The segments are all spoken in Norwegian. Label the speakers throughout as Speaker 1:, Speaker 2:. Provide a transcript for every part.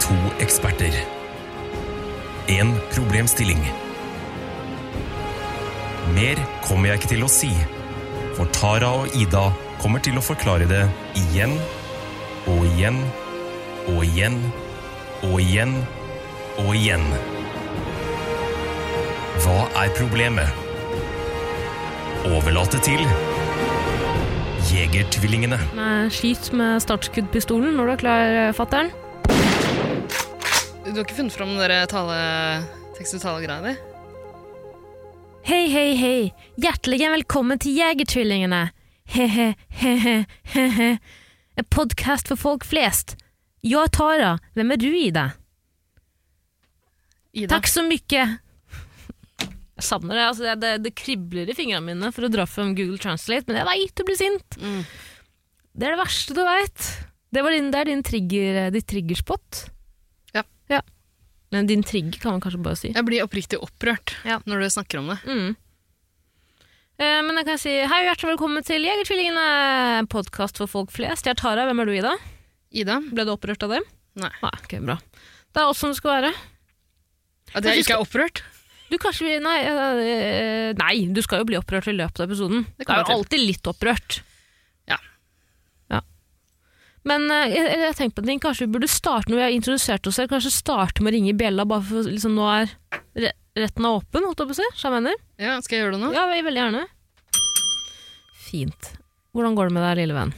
Speaker 1: To eksperter. En problemstilling. Mer kommer jeg ikke til å si, for Tara og Ida kommer til å forklare det igjen og igjen og igjen og igjen og igjen. Hva er problemet? Overlate til Jegertvillingene.
Speaker 2: Eh, Skyt med startskuddpistolen når du er klar, eh, fatter'n.
Speaker 3: Du har ikke funnet fram dere tale, tekst og tale-greia di?
Speaker 2: Hei, hei, hei. Hjertelig velkommen til Jegertvillingene. He-he-he-he-he. En podkast for folk flest. Jeg er Tara. Hvem er du, Ida?
Speaker 3: Ida.
Speaker 2: Takk så mye. Jeg savner det. Altså, det, det, det kribler i fingrene mine for å dra frem Google Translate, men jeg veit du blir sint.
Speaker 3: Mm.
Speaker 2: Det er det verste du veit. Det, var din- det er din trigger, eh, ditt triggerspot.
Speaker 3: Ja.
Speaker 2: Men din trigger kan man kanskje bare si.
Speaker 3: Jeg blir oppriktig opprørt
Speaker 2: Ja.
Speaker 3: når du snakker om det.
Speaker 2: Mm. Eh, Men jeg kan si hei og hjertelig velkommen til Jegertvillingene, en podkast for folk flest. Jeg er Tara, hvem er du, Ida?
Speaker 3: Ida?
Speaker 2: Ble du opprørt av dem?
Speaker 3: Nei.
Speaker 2: Nei, ok, bra. Det er oss som skal være.
Speaker 3: At jeg ikke er opprørt?
Speaker 2: Du kanskje blir nei, eh, nei, du skal jo bli opprørt i løpet av episoden.
Speaker 3: Det
Speaker 2: Det
Speaker 3: kommer
Speaker 2: er jo alltid litt opprørt.
Speaker 3: Ja.
Speaker 2: Ja. Men eh, jeg, jeg har tenkt på en ting. Kanskje vi burde starte når vi har introdusert oss selv, kanskje starte med å ringe i bjella, bare for liksom, nå er re- retten er åpen, holdt jeg på å si. Skjønner jeg mener?
Speaker 3: Ja, Skal jeg gjøre det nå?
Speaker 2: Ja, veldig gjerne. Fint. Hvordan går det med deg, lille venn?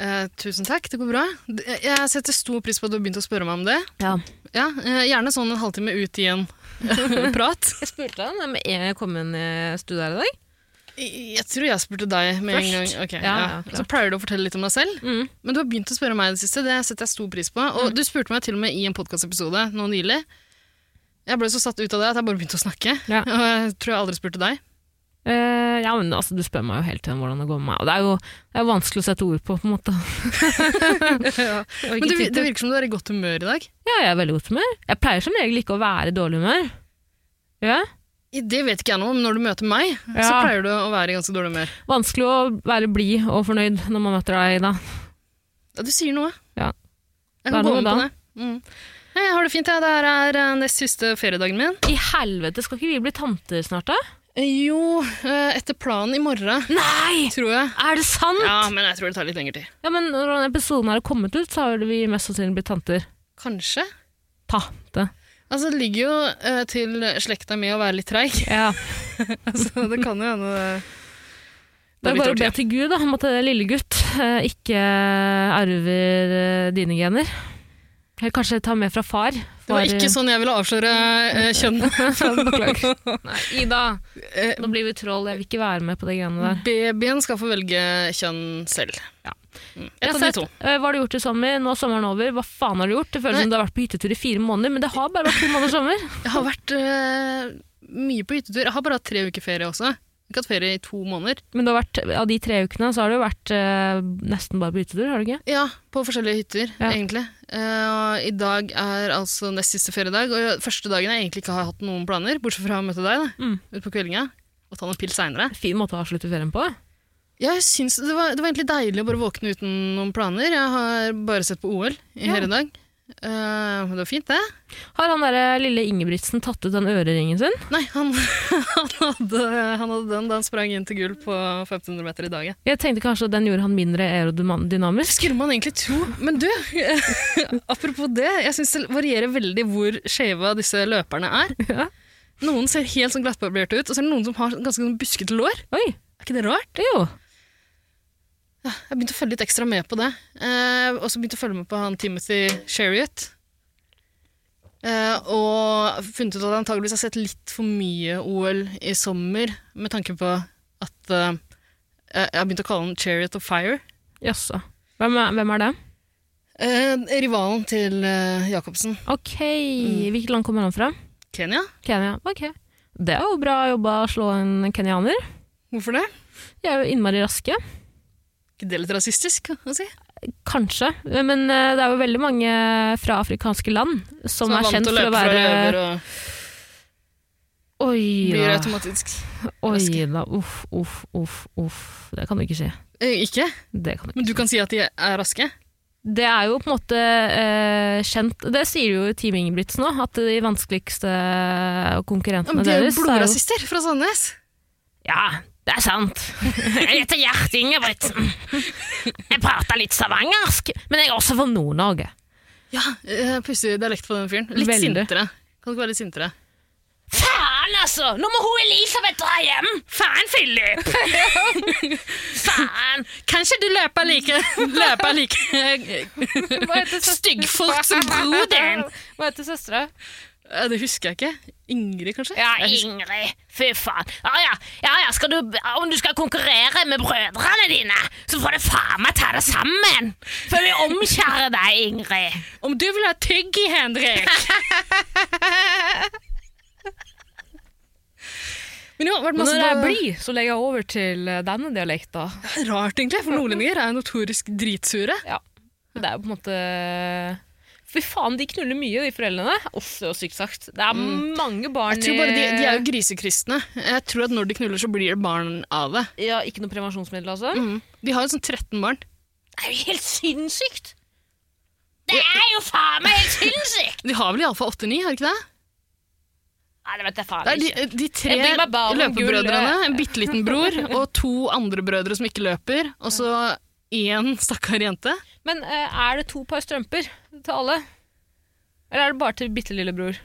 Speaker 3: Eh, tusen takk, det går bra. D- Jeg setter stor pris på at du har begynt å spørre meg om det.
Speaker 2: Ja.
Speaker 3: Ja, eh, Gjerne sånn en halvtime ut i en prat.
Speaker 2: Jeg spurte deg om jeg kom inn i studio her i dag.
Speaker 3: I- Jeg tror jeg spurte deg med en
Speaker 2: Først.
Speaker 3: gang. Ok,
Speaker 2: Ja,
Speaker 3: ja,
Speaker 2: ja, klart.
Speaker 3: Så pleier du å fortelle litt om deg selv.
Speaker 2: Mm.
Speaker 3: Men du har begynt å spørre meg i det siste, det setter jeg stor pris på. Og du spurte meg til og med i en podkastepisode nå nylig. Jeg ble så satt ut av det at jeg bare begynte å snakke.
Speaker 2: Ja.
Speaker 3: Og jeg tror jeg aldri spurte deg.
Speaker 2: Eh, ja, men altså, du spør meg jo hele tiden hvordan det går med meg, og det er jo det er jo vanskelig å sette ord på, på en måte.
Speaker 3: Men det, vi- det virker som du er i godt humør i dag.
Speaker 2: Ja, jeg er i veldig godt humør. Jeg pleier som regel ikke å være i dårlig humør. Ja?
Speaker 3: I- Det vet ikke jeg noe om. Når du møter meg, så
Speaker 2: Ja.
Speaker 3: pleier du å være i ganske dårlig humør.
Speaker 2: Vanskelig å være blid og fornøyd når man møter deg, Ida.
Speaker 3: Ja, du sier noe.
Speaker 2: Ja.
Speaker 3: Jeg
Speaker 2: Da
Speaker 3: kan
Speaker 2: er det
Speaker 3: gå
Speaker 2: noe
Speaker 3: med på
Speaker 2: da.
Speaker 3: det. Mm. Nei, jeg har det fint, jeg. Det her er eh, nest siste feriedagen min.
Speaker 2: I helvete, skal ikke vi bli tanter snart, da?
Speaker 3: Eh, Jo, eh, etter planen i morgen,
Speaker 2: Nei!
Speaker 3: tror jeg.
Speaker 2: Er det sant?
Speaker 3: Ja,
Speaker 2: Ja,
Speaker 3: men jeg tror det tar litt lengre tid.
Speaker 2: men når denne episoden her er kommet ut, så har vi mest sannsynlig blitt tanter.
Speaker 3: Kanskje.
Speaker 2: Tante.
Speaker 3: Altså, det ligger jo eh, til slekta mi å være litt treig,
Speaker 2: Ja.
Speaker 3: så det kan jo hende det-
Speaker 2: Det er
Speaker 3: det litt
Speaker 2: bare å
Speaker 3: over
Speaker 2: be
Speaker 3: tid.
Speaker 2: til Gud da, om at eh, lille gutt eh, ikke arver eh, dine gener. Eller kanskje ta med fra far.
Speaker 3: Det var
Speaker 2: Far, eh,
Speaker 3: ikke sånn jeg ville avsløre eh, kjønn.
Speaker 2: Nei, Ida,
Speaker 3: Eh,
Speaker 2: nå blir vi troll. Jeg vil ikke være med på de greiene der.
Speaker 3: Babyen skal få velge kjønn selv.
Speaker 2: Ja.
Speaker 3: Mm. Et av de to.
Speaker 2: eh, hva har du gjort i sommer? Nå er sommeren over. Hva faen har du gjort? Det føles
Speaker 3: Nei.
Speaker 2: som du har vært på hyttetur i fire måneder, men det har bare vært to måneder sommer.
Speaker 3: Jeg har vært eh, mye på hyttetur. Jeg har bare hatt tre uker ferie også. Jeg har ikke hatt ferie i to måneder.
Speaker 2: Men det har vært, av de tre ukene så har du vært eh, nesten bare på hyttetur, har du ikke?
Speaker 3: Ja, på forskjellige hytter,
Speaker 2: Ja.
Speaker 3: egentlig. Eh, og I dag er altså nest siste feriedag, og første dagen jeg egentlig ikke har hatt noen planer, bortsett fra å møte deg da,
Speaker 2: Mm.
Speaker 3: ute på kveldinga, og ta noen pils seinere.
Speaker 2: Fin måte å avslutte ferien på.
Speaker 3: Jeg syns det var, det var egentlig deilig å bare våkne uten noen planer. Jeg har bare sett på OL i
Speaker 2: Ja.
Speaker 3: hele dag. Eh, det var fint, det.
Speaker 2: Har han der eh, lille Ingebrigtsen tatt ut den øreringen sin?
Speaker 3: Nei, han, han, hadde, han hadde den da han sprang inn til gull på 1500 meter i dag. ja.
Speaker 2: Jeg tenkte kanskje at den gjorde han mindre aerodynamisk.
Speaker 3: Skulle man egentlig tro. Men du, apropos det. Jeg syns det varierer veldig hvor skeiva disse løperne er.
Speaker 2: Ja.
Speaker 3: Noen ser helt sånn glattbarberte ut, og så er det noen som har sånn ganske sånn buskete lår.
Speaker 2: Oi,
Speaker 3: Er ikke det rart?
Speaker 2: det er jo.
Speaker 3: Jeg begynte å følge litt ekstra med på det. Eh, og så begynte jeg å følge med på han Timothy Chariot. Eh, og funnet ut at jeg antageligvis har sett litt for mye OL i sommer, med tanke på at eh, jeg har begynt å kalle han Chariot of Fire.
Speaker 2: Jaså. Hvem, er- hvem er det?
Speaker 3: Eh, rivalen til eh, Jacobsen.
Speaker 2: Ok,
Speaker 3: Mm.
Speaker 2: hvilket land kommer han fra?
Speaker 3: Kenya?
Speaker 2: Kenya. Ok. Det er jo bra jobba å slå en kenyaner.
Speaker 3: Hvorfor det?
Speaker 2: De er jo innmari raske.
Speaker 3: Ikke det litt rasistisk å si?
Speaker 2: Kanskje. Men eh, det er jo veldig mange fra afrikanske land som, er,
Speaker 3: vant
Speaker 2: kjent
Speaker 3: til
Speaker 2: for å
Speaker 3: fra
Speaker 2: være
Speaker 3: løver og
Speaker 2: Oi
Speaker 3: blir
Speaker 2: da.
Speaker 3: automatisk
Speaker 2: Oi
Speaker 3: raske.
Speaker 2: da. Uff, uff, uff, uff. Det kan du ikke si.
Speaker 3: Eh, Ikke?
Speaker 2: Det kan du
Speaker 3: Men
Speaker 2: ikke
Speaker 3: du kan si at de er raske?
Speaker 2: Det er jo på en måte eh, kjent Det sier jo Team Ingebrigtsen òg, at de vanskeligste eh,
Speaker 3: Ja, men
Speaker 2: konkurrentene
Speaker 3: de er jo
Speaker 2: deres er jo
Speaker 3: blodrasister fra Sandnes.
Speaker 2: Ja, det er sant. Jeg heter Gjert Ingebrigtsen. Jeg prater litt stavangersk, men jeg er også fra Nord-Norge.
Speaker 3: Ja, eh, Pussig dialekt på den fyren. Litt
Speaker 2: Veldig.
Speaker 3: sintere. Kan ikke være litt sintere.
Speaker 2: Faen, altså! Nå må hun Elisabeth dra hjem! Faen, Philip! Faen!
Speaker 3: Kanskje du løper like, løper like.
Speaker 2: Hva heter
Speaker 3: Styggfort som bror din.
Speaker 2: Hva heter søstera?
Speaker 3: Eh, Det husker jeg ikke. Ingrid, kanskje?
Speaker 2: Ja,
Speaker 3: Jeg husker-
Speaker 2: Ingrid. Fy faen. Ja, ja. ja, ja. Skal du, om du skal konkurrere med brødrene dine, så får du faen meg ta det sammen. For vi omskjærer deg, Ingrid.
Speaker 3: Om du vil ha tygg i, Henrik! Men jo, det har vært masse bra-
Speaker 2: så legger jeg over til eh, denne dialekten.
Speaker 3: Rart, egentlig, for nordlendinger er jo notorisk dritsure.
Speaker 2: Ja. Det er jo på en måte Fy faen, de knuller mye, de foreldrene. Uff, det var sykt sagt. Det er mange barn
Speaker 3: Mm. Jeg tror bare de, de er jo grisekristne. Jeg tror at når de knuller, så blir det barn av det.
Speaker 2: i Ja, Ikke noe prevensjonsmiddel, altså?
Speaker 3: De har jo sånn 13 barn.
Speaker 2: Det er jo helt sinnssykt! Det er jo faen meg helt sinnssykt!
Speaker 3: De har vel iallfall 8-9, har de ikke det?
Speaker 2: Nei, det vet jeg faen
Speaker 3: Det er
Speaker 2: ikke.
Speaker 3: de, de tre
Speaker 2: Jeg blir bare bar om
Speaker 3: løpebrødrene,
Speaker 2: gulvet.
Speaker 3: en bitte liten bror og to andre brødre som ikke løper, og så én stakkar jente.
Speaker 2: Men eh, er det to par strømper til alle? Eller er det bare til bitte lillebror?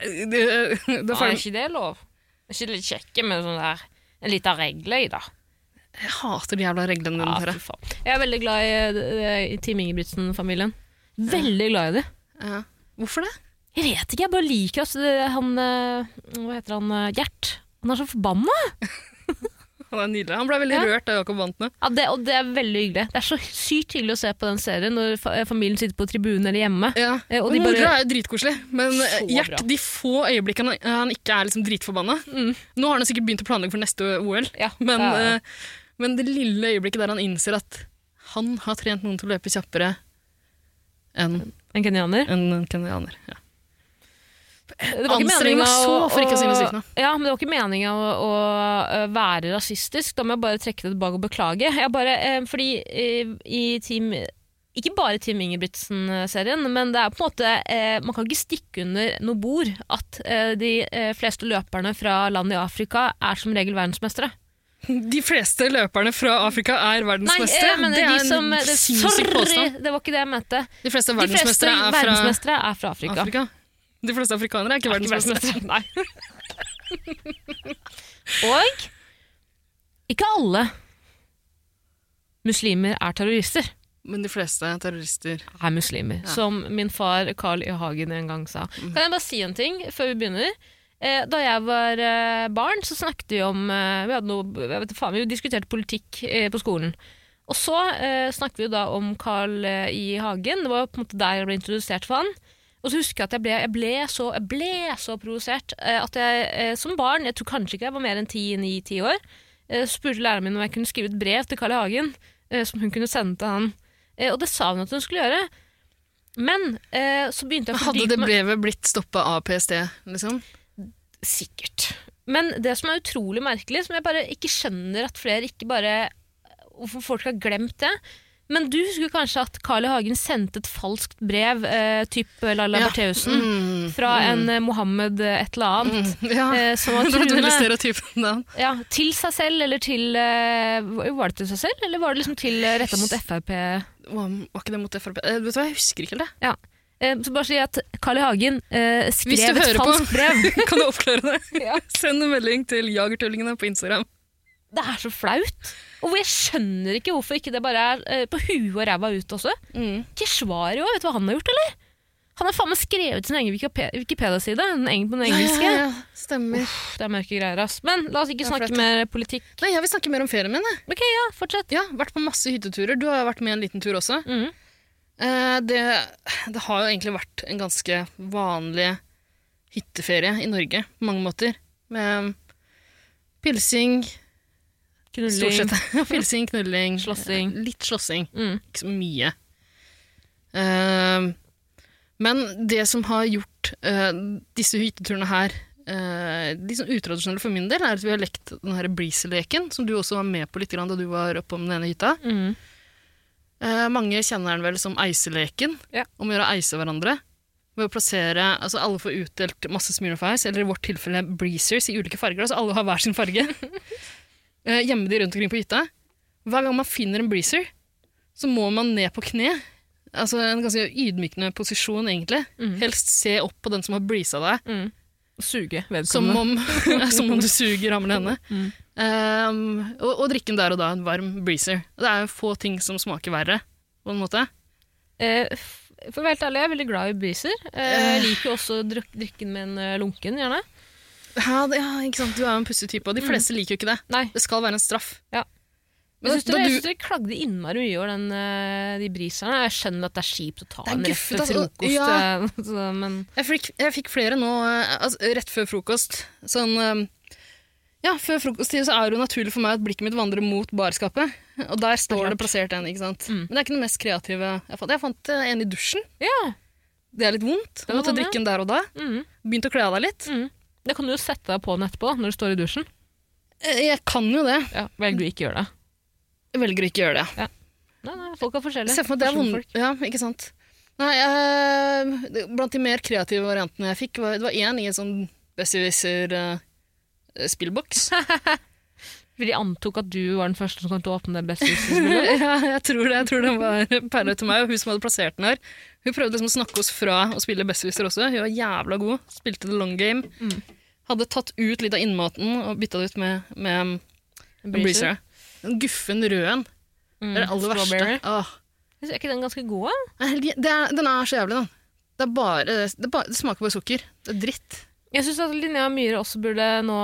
Speaker 3: Det, det er
Speaker 2: Er
Speaker 3: farlig.
Speaker 2: ikke det lov? Er ikke det litt kjekke med sånn der en liten regle i, da?
Speaker 3: Jeg hater de jævla reglene
Speaker 2: Ja,
Speaker 3: dine. Tara.
Speaker 2: fy faen. Jeg er veldig glad i, eh, i Team Ingebrigtsen-familien. Veldig glad i dem.
Speaker 3: Ja. Hvorfor det?
Speaker 2: Jeg vet ikke, jeg bare liker at det- han eh, Hva heter han? eh, Gjert. Han er så forbanna!
Speaker 3: Han er nydelig. Han ble veldig
Speaker 2: Ja.
Speaker 3: rørt da Jakob vant nå.
Speaker 2: Ja, det, og det er veldig hyggelig. Det er så sykt hyggelig å se på den serien når fa eh, familien sitter på tribunen eller hjemme.
Speaker 3: Ja.
Speaker 2: Eh, og
Speaker 3: Og
Speaker 2: de bare-
Speaker 3: Mora er jo dritkoselig, men
Speaker 2: Så
Speaker 3: Gjert,
Speaker 2: bra.
Speaker 3: de få øyeblikkene han ikke er liksom dritforbanna
Speaker 2: Mm.
Speaker 3: Nå har han sikkert begynt å planlegge for neste OL,
Speaker 2: Ja,
Speaker 3: men,
Speaker 2: ja, ja.
Speaker 3: eh, men det lille øyeblikket der han innser at han har trent noen til å løpe kjappere enn
Speaker 2: En kenyaner.
Speaker 3: enn kenyaner. Ja.
Speaker 2: Det var ikke
Speaker 3: Anstreng
Speaker 2: meningen
Speaker 3: meg så for ikke å si noe sykt nå.
Speaker 2: Ja, men det var ikke meninga å, å ø, være rasistisk. Da må jeg bare trekke det tilbake og beklage. Jeg bare, eh, fordi eh, i Team ikke bare Team Ingebrigtsen-serien, men det er på en måte, eh, man kan ikke stikke under noe bord at eh, de eh, fleste løperne fra land i Afrika er som regel verdensmestere.
Speaker 3: De fleste løperne fra Afrika er verdensmestere.
Speaker 2: jeg mener
Speaker 3: det er
Speaker 2: de som,
Speaker 3: en
Speaker 2: det,
Speaker 3: sinnssyk
Speaker 2: sorry,
Speaker 3: påstand.
Speaker 2: det var ikke det jeg mente.
Speaker 3: De
Speaker 2: De
Speaker 3: fleste
Speaker 2: fleste
Speaker 3: verdensmestere er fra
Speaker 2: verdensmestere er fra Afrika.
Speaker 3: Afrika. De fleste afrikanere er ikke verdensmestere.
Speaker 2: Nei. Og ikke alle muslimer er terrorister.
Speaker 3: Men de fleste er terrorister.
Speaker 2: Er muslimer. Som min far Carl I. Hagen en gang sa. Kan jeg bare si en ting før vi begynner? Eh, Da jeg var eh, barn, så snakket vi om eh, Vi, hadde noe, jeg vet, ikke faen, vi diskuterte politikk eh, på skolen. Og så eh, snakket vi jo da om Carl eh, I. Hagen. Det var jo på en måte der jeg ble introdusert for han. Og så husker jeg at jeg ble, jeg ble så, jeg ble så provosert eh, at jeg eh, som barn, jeg tror kanskje ikke jeg var mer enn 10-9-10 år, eh, spurte læreren min om jeg kunne skrive et brev til Carl I. Hagen eh, som hun kunne sende til han. Eh, og det sa hun at hun skulle gjøre. Men eh, så begynte jeg å
Speaker 3: Hadde
Speaker 2: fordype
Speaker 3: det
Speaker 2: meg-
Speaker 3: brevet blitt stoppa av PST, liksom?
Speaker 2: Sikkert. Men det som er utrolig merkelig, som jeg bare ikke skjønner at flere ikke bare Hvorfor folk har glemt det. Men du husker kanskje at Carl I. Hagen sendte et falskt brev, eh, type Laila
Speaker 3: Ja.
Speaker 2: Bertheussen,
Speaker 3: Mm.
Speaker 2: fra en eh, Mohammed eh, et eller annet.
Speaker 3: Ja.
Speaker 2: Eh, som var
Speaker 3: Det var et veldig
Speaker 2: truende
Speaker 3: stereotypt navn.
Speaker 2: ja, til seg selv, eller til eh, Var det til seg selv, eller var det liksom til eh, retta mot Frp?
Speaker 3: Var var ikke det mot Frp? Eh, vet du hva, jeg husker ikke helt det.
Speaker 2: Ja. Eh, så bare si at Carl I. Hagen eh,
Speaker 3: Hvis du
Speaker 2: skrev et
Speaker 3: hører på.
Speaker 2: falskt brev.
Speaker 3: Kan du oppklare det?
Speaker 2: Ja.
Speaker 3: Send en melding til Jagertullingene på Instagram.
Speaker 2: Det er så flaut. Og jeg skjønner ikke hvorfor ikke det bare er eh, på huet og ræva ut også. Keshvari òg, vet du hva han har gjort, eller? Han har faen meg skrevet sin egen Wikipe- Wikipedia-side. Den eng- på den engelske.
Speaker 3: Ja, ja, ja. Stemmer.
Speaker 2: Pff, Det er mørke greier, ass. Men la oss ikke
Speaker 3: Ja,
Speaker 2: snakke
Speaker 3: flaut.
Speaker 2: mer politikk.
Speaker 3: Nei, jeg vil snakke mer om ferien min. Jeg.
Speaker 2: Ok, ja, fortsett.
Speaker 3: Ja, vært på masse hytteturer. Du har jo vært med en liten tur også.
Speaker 2: Mhm.
Speaker 3: Eh, det, det har jo egentlig vært en ganske vanlig hytteferie i Norge på mange måter. Med pilsing, Stort
Speaker 2: Knulling.
Speaker 3: sett. Pilsing, knulling.
Speaker 2: Slåssing.
Speaker 3: Eh, Litt slåssing.
Speaker 2: Mm.
Speaker 3: Ikke så mye. Eh, men det som har gjort eh, disse hytteturene her eh, litt sånn utradisjonelle for min del, er at vi har lekt den her Breezy-leken, som du også var med på litt grann da du var oppe om den ene hytta.
Speaker 2: Mm.
Speaker 3: Eh, mange kjenner den vel som eiseleken,
Speaker 2: Ja.
Speaker 3: om å gjøre å eise hverandre. Ved å plassere, altså Alle får utdelt masse Smirnoff Ice, eller i vårt tilfelle Breezers, i ulike farger. altså Alle har hver sin farge. eh, Gjemme de rundt omkring på hytta. Hver gang man finner en Breezer, så må man ned på kne. Altså En ganske ydmykende posisjon, egentlig. Helst se opp på den som har breeza deg,
Speaker 4: Suge
Speaker 3: som
Speaker 4: vedkommende.
Speaker 3: om, som om du suger ham eller henne. Ehm, og, og drikken der og da, en varm breezer. Det er jo få ting som smaker verre, på en måte.
Speaker 2: Eh, f- for å være helt ærlig, jeg er veldig glad i briser. Eh, jeg liker jo også å druk- drikke den med en eh, lunken, gjerne.
Speaker 3: Ja, det, ja, ikke sant? Du er jo en pussig type, og de fleste liker jo ikke det.
Speaker 2: Nei.
Speaker 3: Det skal være en straff.
Speaker 2: Mm. Ja.
Speaker 3: Men
Speaker 2: Men jeg syns
Speaker 3: da,
Speaker 2: dere, jeg synes
Speaker 3: du,
Speaker 2: dere klagde innmari mye over den, eh, de briserne. Jeg skjønner at det er kjipt å ta
Speaker 3: Det er
Speaker 2: en rett
Speaker 3: guffet,
Speaker 2: til
Speaker 3: altså.
Speaker 2: frokost,
Speaker 3: Ja.
Speaker 2: eh, så, men
Speaker 3: jeg, fikk, jeg fikk flere nå eh, altså, rett før frokost. Sånn, eh, ja, Før frokosttid så er det jo naturlig for meg at blikket mitt vandrer mot barskapet. Og der står det plassert en. ikke
Speaker 2: Mm.
Speaker 3: sant? Men det er ikke det mest kreative jeg fant. Jeg fant eh, en i dusjen.
Speaker 2: ja.
Speaker 3: Det er litt vondt.
Speaker 2: Den
Speaker 3: Jeg måtte
Speaker 2: var
Speaker 3: drikke den der og da.
Speaker 2: Mm,
Speaker 3: Begynte å kle av deg litt.
Speaker 2: mm. Det kan du jo sette deg på den etterpå, når du står i dusjen.
Speaker 3: Eh, Jeg kan jo det.
Speaker 2: Ja, Velger du ikke å gjøre det.
Speaker 3: Jeg velger å ikke gjøre det.
Speaker 2: Nei, nei, folk er forskjellige.
Speaker 3: Jeg ser for meg at det er
Speaker 2: Personfolk.
Speaker 3: vond... Ja, ikke sant. Nei, eh, det- blant de mer kreative variantene jeg fikk, var, det var én i en sånn eh, besserwisser-spillboks.
Speaker 2: For de antok at du var den første som kom til å åpne det beste huset.
Speaker 3: ja, jeg tror det. Jeg tror det var perla til meg, og hun som hadde plassert den her. Hun prøvde liksom å snakke oss fra å spille besserwisser også. Hun var jævla god. Spilte the long game.
Speaker 2: Mm.
Speaker 3: Hadde tatt ut litt av innmaten og bytta det ut med, med breezer. Den guffen røden.
Speaker 2: Mm,
Speaker 3: Det er det aller verste.
Speaker 2: strawberry.
Speaker 3: Åh.
Speaker 2: Jeg synes- Er ikke den ganske god? da?
Speaker 3: Nei, helge- Det er, den er så jævlig, den. Det, er bare, det, er bare, det smaker bare sukker. Det er dritt.
Speaker 2: Jeg syns at Linnea Myhre også burde nå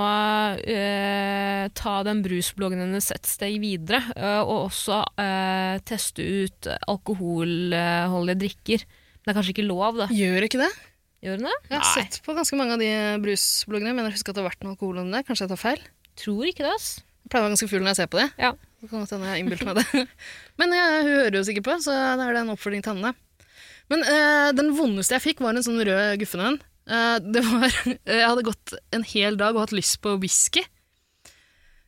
Speaker 2: eh, ta den brusbloggen hennes et steg videre. eh, og også eh, teste ut alkoholholdige drikker. Det er kanskje ikke lov, da?
Speaker 3: Gjør ikke det?
Speaker 2: Gjør hun det?
Speaker 3: Jeg har sett på ganske mange av de brusbloggene. Men jeg husker at det har vært noe alkohol inni der. Kanskje jeg tar feil?
Speaker 2: Tror ikke det, ass.
Speaker 3: Jeg pleier å være ganske full når jeg ser på det.
Speaker 2: Ja.
Speaker 3: Det kan godt hende jeg innbilte meg det. Men jeg, hun hører jo sikkert på, så da er det en oppfordring til henne. Men eh, den vondeste jeg fikk, var en sånn rød guffen en. Eh, det var Jeg hadde gått en hel dag og hatt lyst på whisky.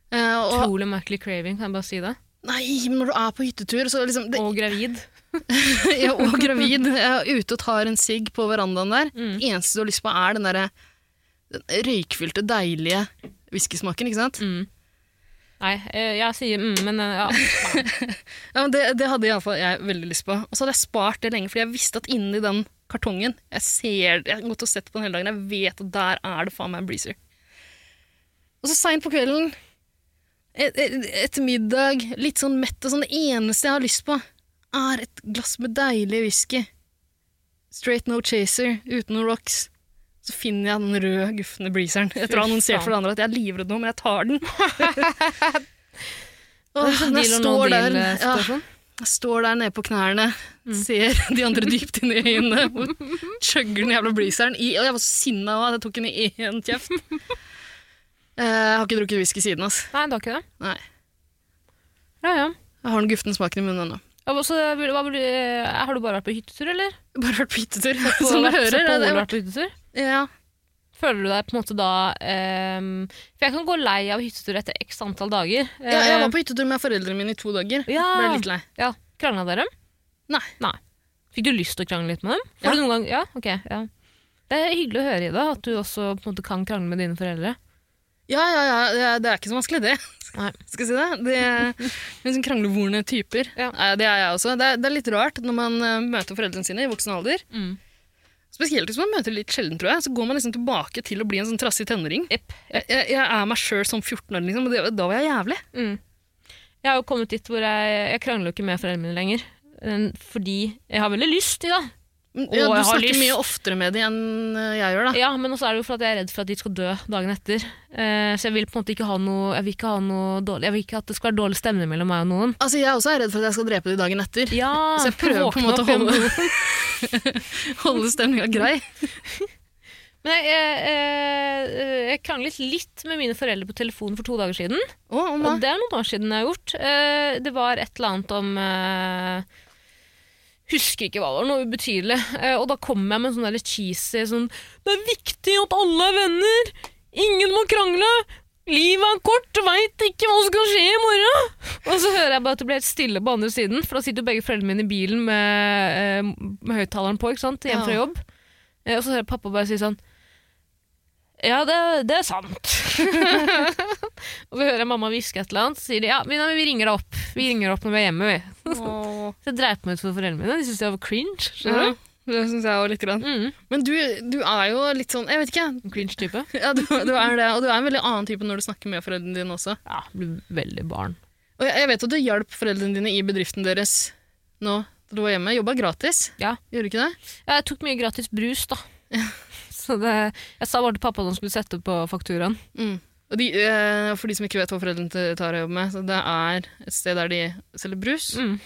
Speaker 3: Eh, og,
Speaker 2: Utrolig merkelig craving, kan jeg bare si det.
Speaker 3: nei, men når du er på hyttetur, så liksom det,
Speaker 2: Og gravid.
Speaker 3: ja, og gravid. Jeg er ute og tar en sigg på verandaen der.
Speaker 2: Mm.
Speaker 3: Det eneste du har lyst på, er den derre den røykfylte, deilige whiskysmaken, ikke sant?
Speaker 2: Mm. Nei, eh, jeg sier mm, men eh, ja.
Speaker 3: Ja, men det, det hadde iallfall jeg veldig lyst på. Og så hadde jeg spart det lenge, fordi jeg visste at inni den kartongen Jeg ser, jeg har gått og sett på den hele dagen, jeg vet at der er det faen meg en breezer. Og så seint på kvelden, et, et, etter middag, litt sånn mett og sånn Det eneste jeg har lyst på, er et glass med deilig whisky. Straight no chaser, uten noen rocks. Så finner jeg den røde, gufne breezeren etter å ha annonsert for det andre at jeg er livredd nå, men jeg tar den. Åh, når
Speaker 2: Deal
Speaker 3: jeg
Speaker 2: or no
Speaker 3: står der
Speaker 2: deal, eh,
Speaker 3: ja,
Speaker 2: situasjon.
Speaker 3: jeg står der nede på knærne,
Speaker 2: Mm.
Speaker 3: ser de andre dypt inn i øynene, og chugger den jævla breezeren i. Og jeg var så sinna av at jeg tok den i én kjeft. Eh, Jeg har ikke drukket whisky siden, ass.
Speaker 2: Nei, det var ikke det.
Speaker 3: Nei.
Speaker 2: Ja, ja.
Speaker 3: Jeg har den gufne smaken i munnen ennå.
Speaker 2: Ja, men så, hva, vil du- eh, har du bare vært på hyttetur, eller?
Speaker 3: Bare vært på hyttetur, som du
Speaker 2: Har
Speaker 3: hører.
Speaker 2: sett på
Speaker 3: er
Speaker 2: Ole
Speaker 3: det-
Speaker 2: vært på hyttetur?
Speaker 3: Ja.
Speaker 2: Føler du deg på en måte da ehm, For jeg kan gå lei av hyttetur etter x antall dager. Eh,
Speaker 3: Ja, jeg var på hyttetur med foreldrene mine i to dager.
Speaker 2: Ja.
Speaker 3: Ble litt lei.
Speaker 2: ja, Krangla dere?
Speaker 3: Nei.
Speaker 2: Fikk du lyst til å krangle litt med dem? Får
Speaker 3: Ja.
Speaker 2: Du noen gang? Ja, ok. Ja. Det er hyggelig å høre, Ida, at du også på en måte kan krangle med dine foreldre.
Speaker 3: Ja, ja, ja, det er- det er ikke så vanskelig, det.
Speaker 2: Nei.
Speaker 3: Skal jeg si det? Det er litt sånn kranglevorne typer.
Speaker 2: Ja.
Speaker 3: Nei, Det er jeg også. Det er, det er litt rart når man eh, møter foreldrene sine i voksen alder.
Speaker 2: Mm.
Speaker 3: Spesielt hvis man møter litt sjelden, tror jeg. Så går man liksom tilbake til å bli en sånn trassig tenåring.
Speaker 2: Jepp.
Speaker 3: Jeg, jeg, jeg er meg sjøl som 14-åring, liksom, og det- da var jeg jævlig.
Speaker 2: Mm. Jeg har jo kommet dit hvor jeg, jeg krangler jo ikke med foreldrene mine lenger. Eh, Fordi jeg har veldig lyst, Ida.
Speaker 3: Ja,
Speaker 2: jeg
Speaker 3: du
Speaker 2: har
Speaker 3: snakker
Speaker 2: lyst.
Speaker 3: mye oftere med dem enn eh, jeg gjør, da.
Speaker 2: Ja, men også er det jo for at jeg er redd for at de skal dø dagen etter. Eh, så jeg vil på en måte ikke ha noe, jeg vil ikke ha noe dårlig Jeg vil ikke at det skal være dårlig stemning mellom meg og noen.
Speaker 3: Altså, Jeg er også redd for at jeg skal drepe dem dagen etter.
Speaker 2: Ja,
Speaker 3: Så jeg prøver på en måte å
Speaker 2: våkne opp igjen.
Speaker 3: holde, holde stemninga grei.
Speaker 2: Men jeg, jeg, jeg, jeg kranglet litt med mine foreldre på telefonen for to dager siden.
Speaker 3: Å, om hva?
Speaker 2: Og det er noen år siden jeg har gjort. Eh, Det var et eller annet om eh, husker ikke hva det var, noe ubetydelig. Eh, Og da kommer jeg med en sånn der cheesy sånn Det er viktig at alle er venner! Ingen må krangle! Livet er kort, veit ikke hva som kan skje i morgen! Og så hører jeg bare at det blir helt stille på andre siden, for da sitter jo begge foreldrene mine i bilen med, eh, med høyttaleren på, ikke sant, hjem fra
Speaker 3: Ja.
Speaker 2: jobb. Eh, Og så hører jeg pappa bare si sånn Ja, det, det er sant. og så hører jeg mamma hviske et eller annet, så sier de ja, vi, nei, vi ringer deg opp. Vi ringer deg opp når vi er hjemme, vi.
Speaker 3: Åh.
Speaker 2: Så jeg dreit meg ut for foreldrene mine. De syntes jeg var cringe.
Speaker 3: Ja,
Speaker 2: skjønner
Speaker 3: det syns jeg òg litt. Grann.
Speaker 2: du? Mm.
Speaker 3: Men du, du er jo litt sånn Jeg vet ikke. jeg.
Speaker 2: Cringe-type.
Speaker 3: Ja, du, du er det, og du er en veldig annen type når du snakker med foreldrene dine også.
Speaker 2: Ja, blir veldig barn.
Speaker 3: Og jeg, jeg vet at du hjalp foreldrene dine i bedriften deres nå da du var hjemme. Jobba gratis.
Speaker 2: Ja.
Speaker 3: Gjorde du ikke det?
Speaker 2: Jeg tok mye gratis brus, da. Så det, jeg sa bare til pappa at han skulle sette på fakturaen.
Speaker 3: Mm. Og de, eh, for de som ikke vet hva foreldrene til Tara jobber med, så det er et sted der de selger brus.
Speaker 2: Mm.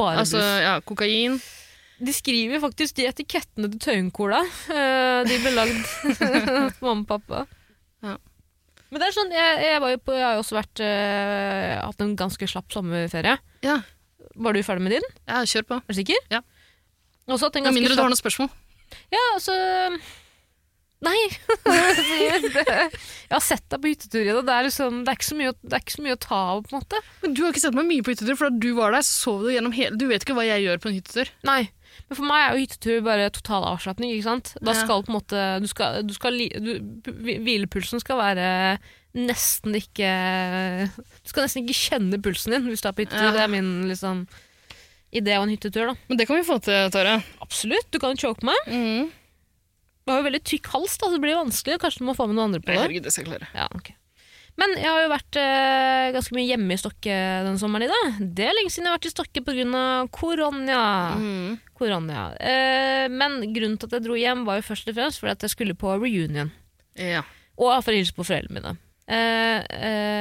Speaker 2: Bare
Speaker 3: Altså ja, kokain.
Speaker 2: brus. De skriver faktisk de etikettene til Tøyencola. Eh, De ble lagd for mamma og pappa.
Speaker 3: Ja.
Speaker 2: Men det er sånn, jeg, jeg, var jo på, jeg har jo også vært, eh, hatt en ganske slapp sommerferie.
Speaker 3: Ja,
Speaker 2: Var du ferdig med din?
Speaker 3: ja kjør på.
Speaker 2: Er du sikker?
Speaker 3: Ja.
Speaker 2: Også hatt en
Speaker 3: Med
Speaker 2: ganske
Speaker 3: mindre
Speaker 2: slapp-
Speaker 3: du har noen spørsmål.
Speaker 2: Ja, altså Nei. jeg har sett deg på hyttetur i dag. Det er, liksom, det, er ikke så mye, å- det er ikke så mye å ta av, på en måte.
Speaker 3: Men du har ikke sett meg mye på hyttetur, for da du var der, sov du gjennom hele Du vet ikke hva jeg gjør på en hyttetur.
Speaker 2: Nei. Men for meg er jo hyttetur bare total avslapning. ikke sant? Da
Speaker 3: Ja.
Speaker 2: skal på en måte du skal, du skal, li- du, hvi- Hvilepulsen skal være nesten ikke Du skal nesten ikke kjenne pulsen din hvis du er på hyttetur.
Speaker 3: Ja.
Speaker 2: Det er min liksom, idé av en hyttetur. da.
Speaker 3: Men det kan vi få til, Tara.
Speaker 2: Absolutt, du kan choke meg.
Speaker 3: Mm.
Speaker 2: Du har jo veldig tykk hals, da, så det blir vanskelig. Kanskje du må få med noen andre på
Speaker 3: Nei,
Speaker 2: det.
Speaker 3: herregud, det skal jeg klare.
Speaker 2: Ja, ok. Men jeg har jo vært eh, ganske mye hjemme i Stokke den sommeren i dag. Det er lenge siden jeg har vært i Stokke pga. korona.
Speaker 3: Mm.
Speaker 2: korona. Eh, men grunnen til at jeg dro hjem, var jo først og fremst fordi at jeg skulle på reunion.
Speaker 3: Ja.
Speaker 2: Og for å hilse på foreldrene mine. Eh,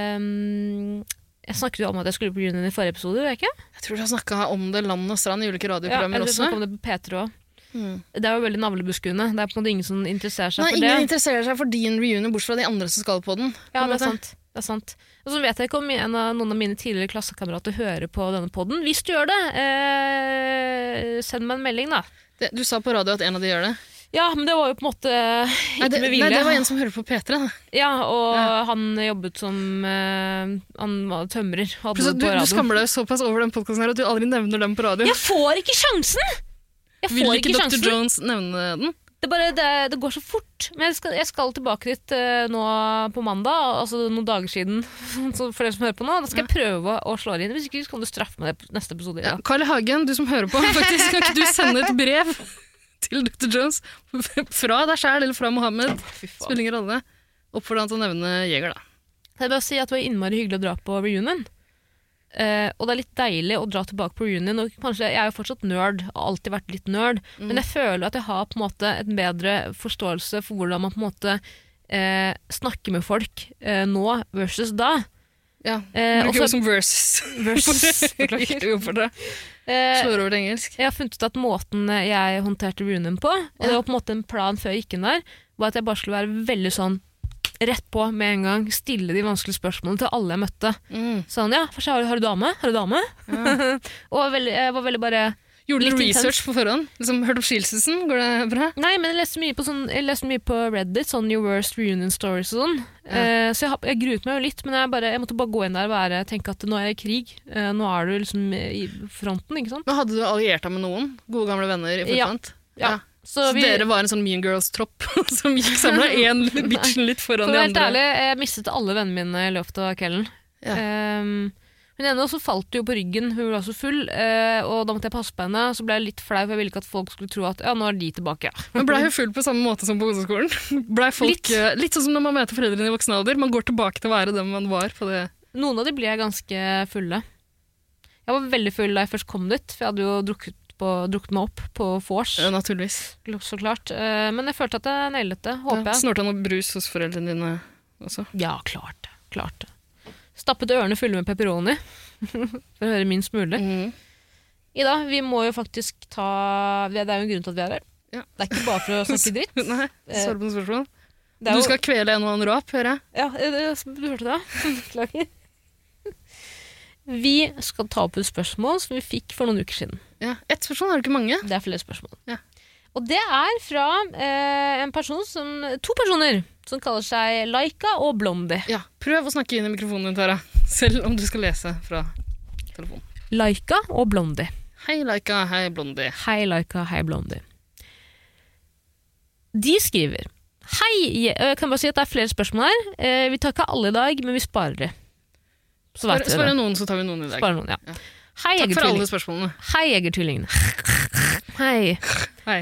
Speaker 2: eh, jeg snakket jo om at jeg skulle på reunion i forrige episode. gjorde jeg ikke?
Speaker 3: Jeg tror du har snakka om det land og strand i ulike
Speaker 2: Ja,
Speaker 3: radioprogrammer
Speaker 2: eller så
Speaker 3: også.
Speaker 2: kom det på P3 også.
Speaker 3: Mm.
Speaker 2: Det er jo veldig navlebeskuende. Det er på en måte ingen som interesserer seg
Speaker 3: Nei,
Speaker 2: for det.
Speaker 3: ingen interesserer seg for din reunion, bortsett fra de andre som skal på den.
Speaker 2: Ja,
Speaker 3: på en
Speaker 2: det er
Speaker 3: måte.
Speaker 2: sant. Det er sant. Og så vet jeg ikke om en av, noen av mine tidligere klassekamerater hører på denne podden. Hvis du gjør det, eh, send meg en melding, da.
Speaker 3: Det, du sa på radio at en av de gjør det.
Speaker 2: Ja, men det var jo på en måte eh, ikke
Speaker 3: Nei, det,
Speaker 2: med
Speaker 3: nei,
Speaker 2: vilje.
Speaker 3: det var en som hører på P3. Da.
Speaker 2: Ja, og han jobbet som eh, Han var tømrer. Hadde jobb
Speaker 3: Plutselig, du,
Speaker 2: på
Speaker 3: du
Speaker 2: radio.
Speaker 3: skammer deg såpass over den podkasten at du aldri nevner den på radio.
Speaker 2: Jeg får ikke sjansen! Jeg
Speaker 3: Vil
Speaker 2: får
Speaker 3: ikke
Speaker 2: ikke
Speaker 3: Dr.
Speaker 2: sjansen.
Speaker 3: Jones nevne den?
Speaker 2: Det, er bare, det, det går så fort. Men jeg skal, jeg skal tilbake dit eh, nå på mandag, altså noen dager siden. Så for dere som hører på nå, da skal jeg prøve å, å slå det inn. Hvis ikke så kan du straffe meg det på neste episode. Ja.
Speaker 3: Ja. Carl I. Hagen, du som hører på, faktisk, kan ikke du sende et brev til Dr. Jones fra deg sjæl eller fra Mohammed?
Speaker 2: Fy faen.
Speaker 3: Spiller ingen rolle. Oppfordrer han til å nevne Jeger, da.
Speaker 2: Kan jeg bare si at det var innmari hyggelig å dra på reunion. Eh, og det er litt deilig å dra tilbake på reunion. Og kanskje, jeg er jo fortsatt nerd, og har alltid vært litt nerd,
Speaker 3: Mm.
Speaker 2: men jeg føler at jeg har på en måte et bedre forståelse for hvordan man på en måte eh, snakker med folk eh, nå versus da.
Speaker 3: Ja.
Speaker 2: Eh,
Speaker 3: Bruker
Speaker 2: også-
Speaker 3: jo som versus.
Speaker 2: Versus
Speaker 3: Helt uoppfordra.
Speaker 2: Eh,
Speaker 3: Slår over til engelsk.
Speaker 2: jeg har funnet ut at måten jeg håndterte reunion på, og det var på en måte en plan før jeg gikk inn der, var at jeg bare skulle være veldig sånn rett på med en gang, stille de vanskelige spørsmålene til alle jeg møtte.
Speaker 3: Mm.
Speaker 2: Sånn, ja, for seg har, du- har du dame? Har du dame? og veldig, jeg var veldig bare
Speaker 3: Gjorde du
Speaker 2: Litt intens.
Speaker 3: research på forhånd? Liksom, hørt om skilsmissen? Går det bra?
Speaker 2: Nei, men jeg leste mye på, sånn, jeg leste mye på Reddit, sånn Your Worst Reunion Stories og sånn. Eh, så jeg, har- jeg gruet meg jo litt, men jeg, bare, jeg måtte bare gå inn der og være, tenke at nå er jeg i krig. Eh, nå er du liksom i fronten, ikke sant?
Speaker 3: Men Hadde du alliert deg med noen? Gode, gamle venner
Speaker 2: Ja.
Speaker 3: i forkant?
Speaker 2: Ja. Så
Speaker 3: Så
Speaker 2: vi,
Speaker 3: dere var en sånn Mean Girls-tropp som gikk samla én bitchen litt
Speaker 2: for
Speaker 3: foran
Speaker 2: å
Speaker 3: de
Speaker 2: være helt
Speaker 3: andre?
Speaker 2: ærlig, jeg mistet alle vennene mine i løpet av kvelden.
Speaker 3: Ja.
Speaker 2: Ehm, hun ene også falt jo på ryggen, hun var så full, eh, og da måtte jeg passe på henne. Så ble jeg litt flau, for jeg ville ikke at folk skulle tro at ja, nå er de tilbake.
Speaker 3: Men Blei hun full på samme måte som på ungdomsskolen? Ble folk,
Speaker 2: Litt.
Speaker 3: eh, litt sånn som når man møter foreldrene i voksen alder. Man går tilbake til å være den man var. på det.
Speaker 2: Noen av de ble ganske fulle. Jeg var veldig full da jeg først kom dit, for jeg hadde jo drukket, på, drukket meg opp på vors,
Speaker 3: Ja, eh, naturligvis.
Speaker 2: så klart. Eh, Men jeg følte at jeg nailet det, håper
Speaker 3: Ja.
Speaker 2: jeg.
Speaker 3: Snorta noe brus hos foreldrene dine også.
Speaker 2: Ja, klart det. Klart det. Stappet ørene fulle med pepperoni, for å høre minst mulig.
Speaker 3: Mhm.
Speaker 2: Ida, vi må jo faktisk ta Det er jo en grunn til at vi er her.
Speaker 3: Ja.
Speaker 2: Det er ikke bare for å snakke dritt.
Speaker 3: Nei,
Speaker 2: Eh,
Speaker 3: svar på noen spørsmål.
Speaker 2: Det er jo-
Speaker 3: Du skal kvele en og annen rap, hører jeg.
Speaker 2: Ja, eh, det- du hørte det? Beklager. Vi skal ta opp et spørsmål som vi fikk for noen uker siden.
Speaker 3: Ja. Ett spørsmål, har du ikke mange?
Speaker 2: Det er flere spørsmål.
Speaker 3: Ja.
Speaker 2: Og det er fra eh, en person som, to personer som kaller seg Laika og Blondie.
Speaker 3: Ja. Prøv å snakke inn i mikrofonen din, Tara. Selv om du skal lese fra telefonen.
Speaker 2: Laika og Blondie.
Speaker 3: Hei, Laika. Hei, Blondie.
Speaker 2: Hei Laika, hei Blondie. De skriver Hei, Je- øh, kan bare si at det er flere spørsmål her. Eh, Vi tar ikke alle i dag, men vi sparer de. Så vet
Speaker 3: Bare,
Speaker 2: dere
Speaker 3: spare
Speaker 2: det.
Speaker 3: noen, så tar vi noen i dag.
Speaker 2: Sparer noen, ja.
Speaker 3: Ja.
Speaker 2: Hei,
Speaker 3: Takk for alle
Speaker 2: Jegertvillingene.
Speaker 3: spørsmålene.
Speaker 2: Hei, Jegertvillingene. Hei.
Speaker 3: Hei.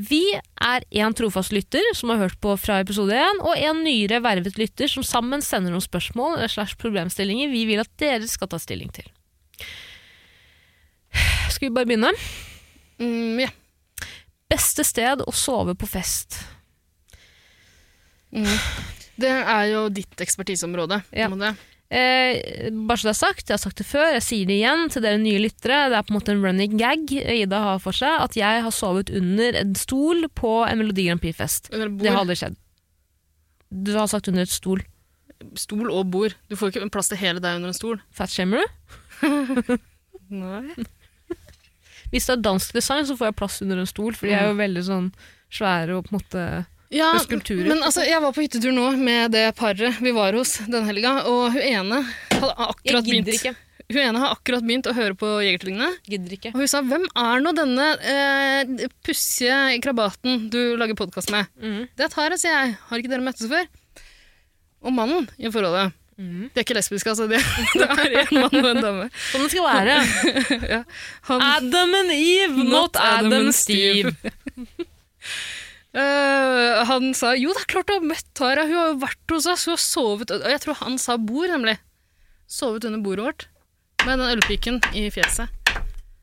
Speaker 2: Vi er en trofast lytter som har hørt på fra episode 1, og en nyere vervet lytter som sammen sender noen spørsmål eller slash problemstillinger vi vil at dere skal ta stilling til. Skal vi bare begynne?
Speaker 3: Mm, ja.
Speaker 2: Beste sted å sove på fest.
Speaker 3: Mm. Det er jo ditt ekspertiseområde.
Speaker 2: Ja.
Speaker 3: må det.
Speaker 2: Eh, bare så det er sagt, jeg har sagt det før, jeg sier det igjen til dere nye lyttere. Det er på en måte en running gag Ida har for seg, at jeg har sovet under en stol på en Melodi Grand Prix-fest.
Speaker 3: Eller
Speaker 2: Det har
Speaker 3: bord.
Speaker 2: aldri skjedd. Du har sagt under et stol.
Speaker 3: Stol og bord. Du får jo ikke plass til hele deg under en stol.
Speaker 2: Fatshamer du?
Speaker 3: Nei.
Speaker 2: Hvis det er dansk design, så får jeg plass under en stol, for de er jo veldig sånn svære og på en måte
Speaker 3: Ja,
Speaker 2: Med skulpturer.
Speaker 3: men altså, jeg var på hyttetur nå med det paret vi var hos den helga, og hun ene hadde akkurat begynt,
Speaker 2: ikke.
Speaker 3: hun ene har akkurat begynt å høre på Jegertvillingene.
Speaker 2: Gidder ikke.
Speaker 3: Og hun sa 'Hvem er nå denne eh, pussige krabaten du lager podkast med?'
Speaker 2: Mhm.
Speaker 3: 'Det er Tara', sier jeg. 'Har ikke dere møttes før?' Og mannen i forholdet.
Speaker 2: Mhm.
Speaker 3: De er ikke lesbiske, altså. Det, det er en mann og en dame.
Speaker 2: Som Sånn det skal være.
Speaker 3: Han,
Speaker 2: Adam and Eve, not Adam and Steve.
Speaker 3: Eh, han sa 'Jo, det er klart du har møtt Tara. Hun har jo vært hos oss.' Hun har sovet Og jeg tror han sa bord, nemlig. Sovet under bordet vårt. Med den ølpiken i fjeset.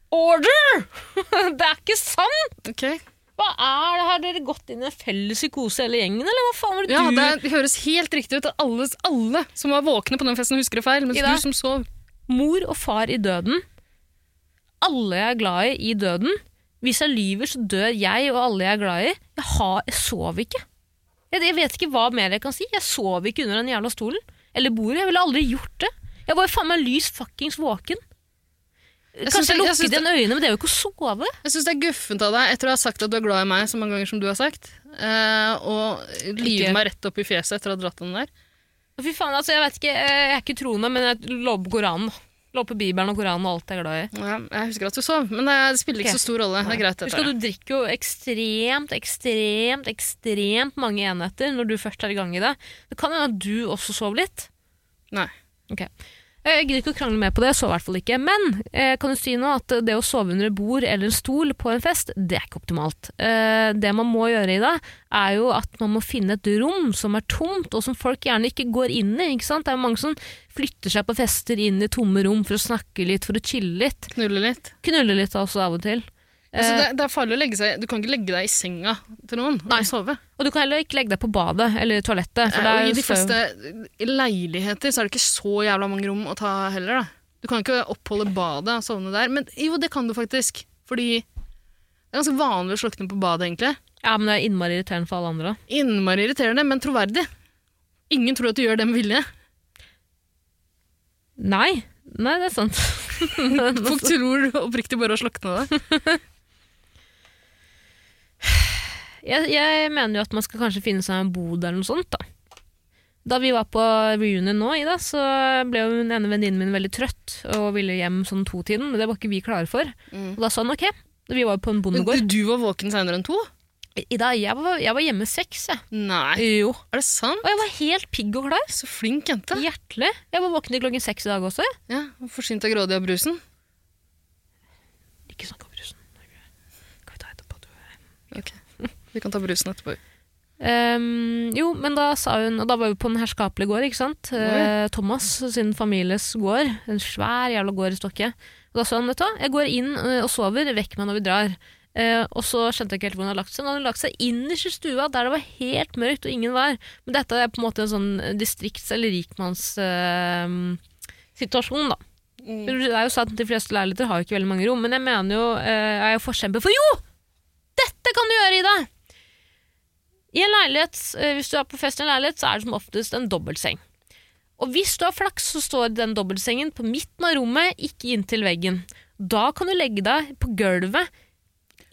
Speaker 2: Order! det er ikke sant!
Speaker 3: Ok.
Speaker 2: Hva er det? Har dere gått inn i en felles psykose hele gjengen, eller hva faen var det
Speaker 3: Ja,
Speaker 2: du
Speaker 3: det er- høres helt riktig ut. at Alle, alle som var våkne på den festen, husker det feil. Mens
Speaker 2: Ida?
Speaker 3: du som sov
Speaker 2: Mor og far i døden. Alle jeg er glad i i døden. Hvis jeg lyver, så dør jeg og alle jeg er glad i. Jeg, har, jeg sov ikke. Jeg, jeg vet ikke hva mer jeg kan si. Jeg sov ikke under den jævla stolen. Eller bordet. Jeg ville aldri gjort det. Jeg var jo faen meg lys fuckings våken.
Speaker 3: synes-
Speaker 2: Kanskje
Speaker 3: jeg
Speaker 2: jeg lukket
Speaker 3: synes det-
Speaker 2: igjen øynene, men det er jo ikke å sove.
Speaker 3: Jeg syns det er guffent av deg, etter å ha sagt at du er glad i meg så mange ganger som du har sagt, eh, og lyve
Speaker 2: Ikke.
Speaker 3: meg rett opp i fjeset etter å ha dratt den der.
Speaker 2: Fy faen, altså, jeg vet ikke, eh, jeg er ikke troende, men jeg lover på Koranen. Lover på Bibelen og Koranen og alt jeg er glad i.
Speaker 3: Ja, jeg husker at du sov, men det spiller ikke
Speaker 2: Ok.
Speaker 3: så stor rolle. Det er greit, det.
Speaker 2: Husk at
Speaker 3: Tara.
Speaker 2: du drikker jo ekstremt, ekstremt, ekstremt mange enheter når du først er i gang i det. Det kan hende at du også sov litt. Eh,
Speaker 3: Nei.
Speaker 2: Jeg gidder ikke å krangle mer på det, jeg sov i hvert fall ikke. Men eh, kan du si nå at det å sove under et bord eller en stol på en fest, det er ikke optimalt. Eh, det man må gjøre i det, er jo at man må finne et rom som er tomt, og som folk gjerne ikke går inn i. ikke sant? Det er jo mange som flytter seg på fester inn i tomme rom for å snakke litt, for å chille litt.
Speaker 3: Knulle litt.
Speaker 2: Knulle litt også av og til.
Speaker 3: Altså, det, det er farlig å legge seg Du kan ikke legge deg i senga til noen
Speaker 2: Nei.
Speaker 3: og sove.
Speaker 2: Og du kan heller ikke legge deg på badet eller toalettet. For
Speaker 3: Nei,
Speaker 2: det er
Speaker 3: Eh, og I de
Speaker 2: jo støv.
Speaker 3: fleste eh, leiligheter så er det ikke så jævla mange rom å ta heller, da. Du kan ikke oppholde badet og sovne der. Men jo, det kan du faktisk. Fordi det er ganske vanlig å slukne på badet, egentlig.
Speaker 2: Ja, men det er innmari irriterende for alle andre.
Speaker 3: Innmari irriterende, men troverdig. Ingen tror at du gjør det med vilje.
Speaker 2: Nei, nei det er sant.
Speaker 3: Folk tror oppriktig bare å slukne det.
Speaker 2: Jeg, jeg mener jo at man skal kanskje finne seg en bod eller noe sånt. Da Da vi var på reunion nå, Ida, så ble jo den ene venninnen min veldig trøtt og ville hjem sånn to-tiden. Men det var ikke vi klare for.
Speaker 3: Mm.
Speaker 2: Og da sa han ok. Vi var jo på en
Speaker 3: Men
Speaker 2: bondegård.
Speaker 3: du, du var våken seinere enn to?
Speaker 2: Ida, jeg var, jeg var hjemme seks, jeg.
Speaker 3: Nei.
Speaker 2: Jo.
Speaker 3: Er det sant?
Speaker 2: Og jeg var helt pigg og klar.
Speaker 3: Så flink jente.
Speaker 2: Hjertelig. Jeg var våken til klokken seks i dag også. jeg.
Speaker 3: Ja, og Forsynt av grådig av brusen.
Speaker 2: Ikke snakk om rusen. Kan vi ta etterpå, du?
Speaker 3: Vi kan ta brusen etterpå.
Speaker 2: Ehm, jo, men da sa hun Og da var vi på den herskapelige gård, ikke sant? Eh, Thomas sin families gård. En svær jævla gård i Stokke. Og da sa han, vet du hva, jeg går inn eh, og sover, vekk meg når vi drar. Eh, og så skjønte jeg ikke helt hvor hun hadde lagt seg. Hun hadde hun lagt seg innerst i stua, der det var helt mørkt og ingen var. Men dette er på en måte en sånn distrikts- eller rikmannssituasjon, da.
Speaker 3: Mm.
Speaker 2: Men Det er jo sant, De fleste leiligheter har jo ikke veldig mange rom, men jeg mener jo, eh, jeg er jo forkjemper for Jo! Dette kan du gjøre, Ida! I en leilighet, eh, Hvis du er på fest i en leilighet, så er det som oftest en dobbeltseng. Og hvis du har flaks, så står den dobbeltsengen på midten av rommet, ikke inntil veggen. Da kan du legge deg på gulvet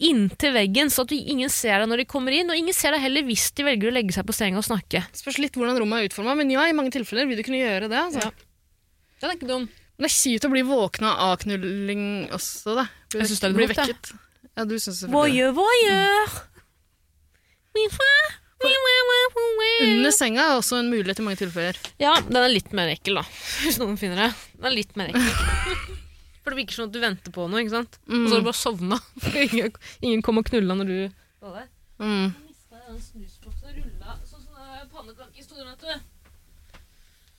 Speaker 2: inntil veggen, så at du- ingen ser deg når de kommer inn, og ingen ser deg heller hvis de velger å legge seg på senga og snakke.
Speaker 3: Spørs litt hvordan rommet er utforma, men ja, i mange tilfeller vil du kunne gjøre det. Altså.
Speaker 2: Ja. Den er ikke dum.
Speaker 3: Men det er kjipt å bli våkna av knulling også, da. Bli
Speaker 2: Jeg synes det er
Speaker 3: bli
Speaker 2: grovt, jeg.
Speaker 3: vekket. Ja, du synes selvfølgelig
Speaker 2: Voyeur,
Speaker 3: det.
Speaker 2: voyeur. Min far. Wee, wee, wee, wee, wee.
Speaker 3: Under senga er også en mulighet i mange tilfeller.
Speaker 2: Ja, den er litt mer ekkel, da. Hvis noen finner det. Den er litt mer ekkel. For det virker som at du venter på noe, ikke sant? Og så har du bare sovna. Ingen, ingen kom og knulla når du var der.
Speaker 3: Mm.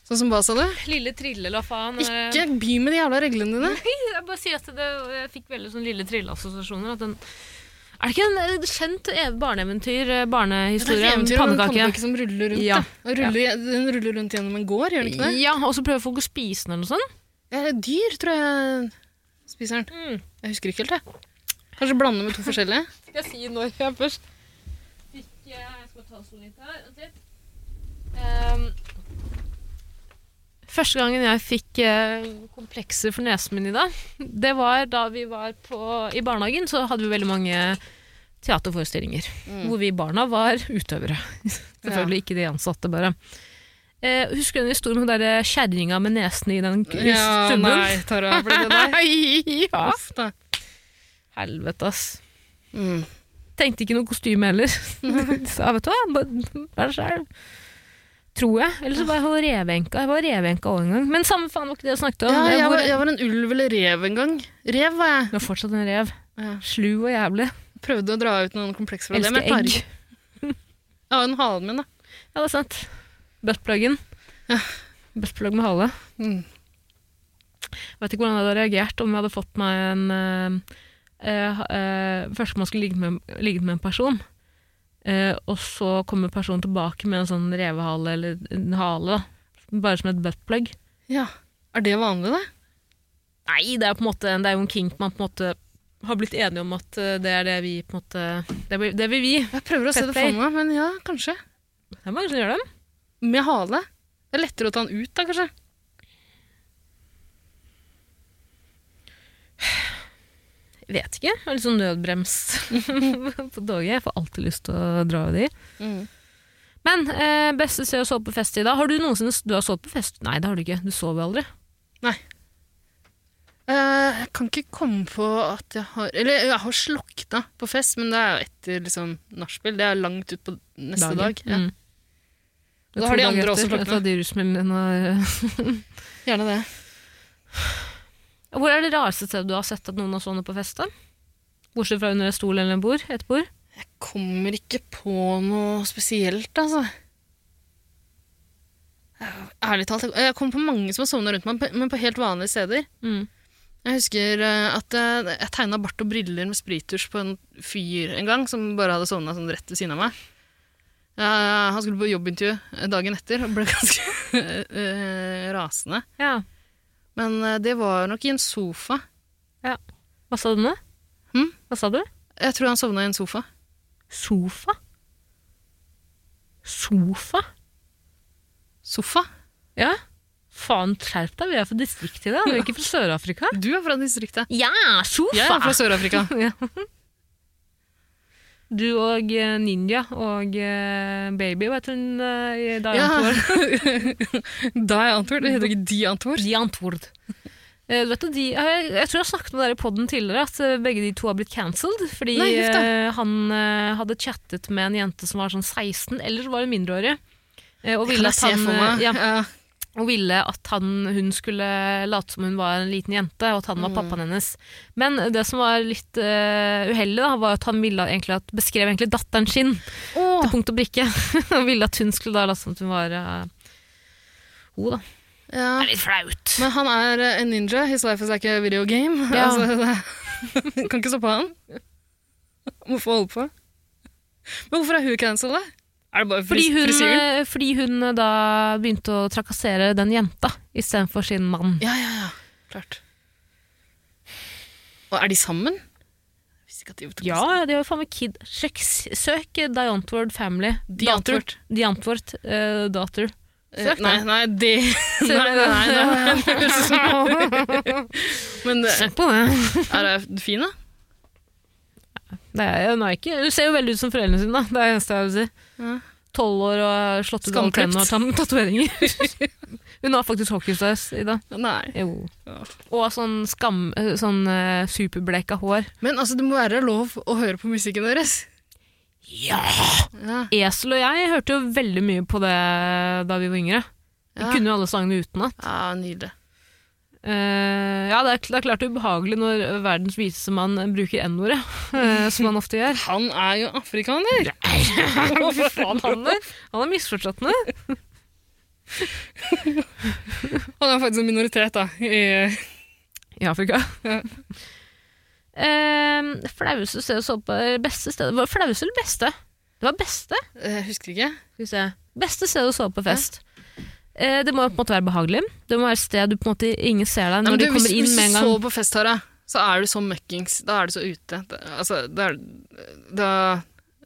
Speaker 3: Sånn som hva, sa du?
Speaker 2: Lille Trille la faen. eh,
Speaker 3: Ikke by med de jævla reglene dine.
Speaker 2: Jeg bare sier at det, jeg fikk veldig sånn Lille Trille-assosiasjoner. at den- Er det ikke en eh, kjent eh, barneeventyr, eh, barnehistorie, om
Speaker 3: eventyret om en
Speaker 2: pannekake?
Speaker 3: pannekake som ruller rundt.
Speaker 2: Ja.
Speaker 3: da. Og ruller, Den ruller rundt gjennom en gård, gjør den ikke det?
Speaker 2: Ja, og så prøver folk å spise den sånn. eller noe sånt.
Speaker 3: Det er et dyr, tror jeg. Spiser den.
Speaker 2: Mm.
Speaker 3: Jeg husker ikke helt, jeg. Kanskje blande med to forskjellige.
Speaker 2: Skal jeg si når jeg først fikk eh, Jeg skal ta sånn litt her. Vent litt. Ehm, første gangen jeg fikk eh, komplekser for nesen min i dag, det var da vi var på, i barnehagen. Så hadde vi veldig mange teaterforestillinger
Speaker 3: Mm.
Speaker 2: hvor vi barna var utøvere. Selvfølgelig ikke de ansatte, bare. Eh, husker du den historien med den der kjerringa med nesen i den k- stubben?
Speaker 3: nei, Tara. Ble det deg?
Speaker 2: ja.
Speaker 3: Uff, da.
Speaker 2: Helvete, ass.
Speaker 3: Mm.
Speaker 2: Tenkte ikke noe kostyme heller. Sa vet du hva, bare vær sjæl. Tror jeg. Eller så var jeg revenka. Jeg var revenka også en gang. Men samme faen var ikke det jeg snakket om.
Speaker 3: Ja, jeg
Speaker 2: jeg
Speaker 3: var,
Speaker 2: var-
Speaker 3: jeg var en ulv eller rev en gang. Rev var jeg.
Speaker 2: jeg var fortsatt en rev.
Speaker 3: Ja.
Speaker 2: Slu og jævlig.
Speaker 3: Prøvde å dra ut noen komplekser fra det.
Speaker 2: Elsker
Speaker 3: men jeg klarer
Speaker 2: egg.
Speaker 3: ikke. Jeg har jo en halen min, da.
Speaker 2: Ja, det er sant. Buttpluggen. Buttplug med hale.
Speaker 3: Mm.
Speaker 2: Vet ikke hvordan jeg hadde reagert om jeg hadde fått meg en eh, eh, eh, Først om man skulle ligget med, ligget med en person, eh, og så kommer personen tilbake med en sånn revehale eller en hale, da. bare som et buttplug.
Speaker 3: Ja. Er det vanlig, da?
Speaker 2: Nei, det er, på en måte, det er jo en kink man på en måte har blitt enige om at eh, det er det vi på en måte Det, blir, det vil vi. Det
Speaker 3: Jeg prøver å se det
Speaker 2: Pepper.
Speaker 3: for meg, men ja, kanskje.
Speaker 2: er mange som gjør dem.
Speaker 3: Med hale. Det er lettere å ta den ut, da, kanskje.
Speaker 2: Jeg Vet ikke. Jeg er litt sånn nødbrems på toget. Jeg får alltid lyst til å dra i de.
Speaker 3: Mm.
Speaker 2: Men eh, beste sted å sove på fest i dag. Har du noensinne s- du har sovet på fest? Nei, det har du ikke. Du sover jo aldri.
Speaker 3: Eh, jeg kan ikke komme på at jeg har Eller jeg har slokna på fest, men det er jo etter liksom, nachspiel. Det er langt ut på neste dag. Ja.
Speaker 2: Mm.
Speaker 3: Da har de
Speaker 2: To dager
Speaker 3: andre også
Speaker 2: etter,
Speaker 3: slokna.
Speaker 2: etter at de rusmidlene har-
Speaker 3: Gjerne det.
Speaker 2: Hvor er det rareste stedet du har sett at noen har sovet på fest? da? Bortsett fra under en stol eller en bord, et bord?
Speaker 3: Kommer ikke på noe spesielt, altså. Eh, Ærlig talt, jeg kom på mange som har sovna rundt meg, men på helt vanlige steder.
Speaker 2: Mm.
Speaker 3: Jeg husker eh, at jeg, jeg tegna bart og briller med sprittusj på en fyr en gang, som bare hadde sovna sånn rett ved siden av meg. Eh, han skulle på jobbintervju eh, dagen etter og ble ganske eh, rasende.
Speaker 2: Ja.
Speaker 3: Men eh, det var nok i en sofa.
Speaker 2: Hva sa du nå?
Speaker 3: Hm?
Speaker 2: Hva sa du?
Speaker 3: Jeg tror han sovna i en sofa.
Speaker 2: Sofa? Sofa?
Speaker 3: Sofa?
Speaker 2: Ja. Faen, skjerp deg. Vi er fra distriktet i dag. Vi er ikke fra Sør-Afrika.
Speaker 3: Du er fra distriktet.
Speaker 2: Ja, sofa!
Speaker 3: Jeg er fra Sør-Afrika.
Speaker 2: Ja. Du og eh, Ninja og eh, Baby, hva heter hun eh, i dag?
Speaker 3: Ja.
Speaker 2: Antwoord?
Speaker 3: Da er jeg Antwoord. Det heter ikke De Antwoord.
Speaker 2: De Antwoord. Eh, vet du, de, jeg, jeg tror jeg har snakket med dere i podden tidligere at eh, begge de to har blitt cancelled. Fordi
Speaker 3: Nei, huff da.
Speaker 2: eh, han eh, hadde chattet med en jente som var sånn 16, eller så var hun mindreårig. eh, og ville at han, eh, ja,
Speaker 3: Ja.
Speaker 2: og ville at han, hun skulle late som hun var en liten jente, og at han var pappaen hennes. Men det som var litt eh, uheldig, da, var at han ville egentlig at, beskrev egentlig datteren sin til punkt og brikke. Han ville at hun skulle da late som at hun var uh, hun, da.
Speaker 3: Ja.
Speaker 2: Det er litt flaut.
Speaker 3: Men han er eh, en ninja. His life is like a video game.
Speaker 2: Ja.
Speaker 3: Altså, det- kan ikke stoppe han. Hvorfor holde på? Men hvorfor er hun cancelled, da? Er det bare fris
Speaker 2: Fordi hun,
Speaker 3: frisyren?
Speaker 2: eh, fordi hun eh, da begynte å trakassere den jenta istedenfor sin mann.
Speaker 3: Ja, ja, ja. Klart. Og er de sammen? Jeg visste ikke at de var to
Speaker 2: Ja, de har jo faen meg kid. Søk, søk eh, Diantword Family.
Speaker 3: Diantword.
Speaker 2: Diantword. Uh, datter.
Speaker 3: Eh,
Speaker 2: Snakk nå.
Speaker 3: Nei, nei, det Nei, nei, nei. nei. Men eh,
Speaker 2: Snakk på det.
Speaker 3: er jeg fin, da?
Speaker 2: Det er jo Nike. Du ser jo veldig ut som foreldrene sine, da. Det er det eneste jeg vil si.
Speaker 3: Ja.
Speaker 2: Tolv år og slått ut alle
Speaker 3: Skamklipt.
Speaker 2: tennene og tam- tatoveringer. Hun har faktisk hockeystars i dag.
Speaker 3: Nei.
Speaker 2: Jo.
Speaker 3: Ja.
Speaker 2: Og sånn, skam, sånn eh, superbleika hår.
Speaker 3: Men altså, det må være lov å høre på musikken deres.
Speaker 2: Ja!
Speaker 3: Ja.
Speaker 2: Esel og jeg hørte jo veldig mye på det da vi var yngre. Vi
Speaker 3: Ja.
Speaker 2: kunne jo alle sangene utenat.
Speaker 3: ja, Nydelig.
Speaker 2: Eh, ja, det er, det er klart ubehagelig når verdens viseste mann bruker N-ordet, eh, som han ofte gjør.
Speaker 3: Han er jo afrikaner!
Speaker 2: Å, Fy faen, han er, han er misforstått nå.
Speaker 3: Han er faktisk en minoritet, da. I,
Speaker 2: I Afrika.
Speaker 3: Ja.
Speaker 2: Ehm, flaueste stedet å sove på Beste stedet var det Flaueste eller beste? Det var beste.
Speaker 3: eh, husker ikke.
Speaker 2: Skal vi se. Beste stedet å sove på fest. Eh, det må jo på en måte være behagelig. Det må være et sted du på en måte ingen ser deg
Speaker 3: Nei,
Speaker 2: når
Speaker 3: men
Speaker 2: du
Speaker 3: du, hvis,
Speaker 2: kommer inn
Speaker 3: hvis
Speaker 2: med
Speaker 3: du
Speaker 2: en gang.
Speaker 3: sover på fest, Tara, så er du så møkkings. Da er du så ute. Da, altså, da, er, da,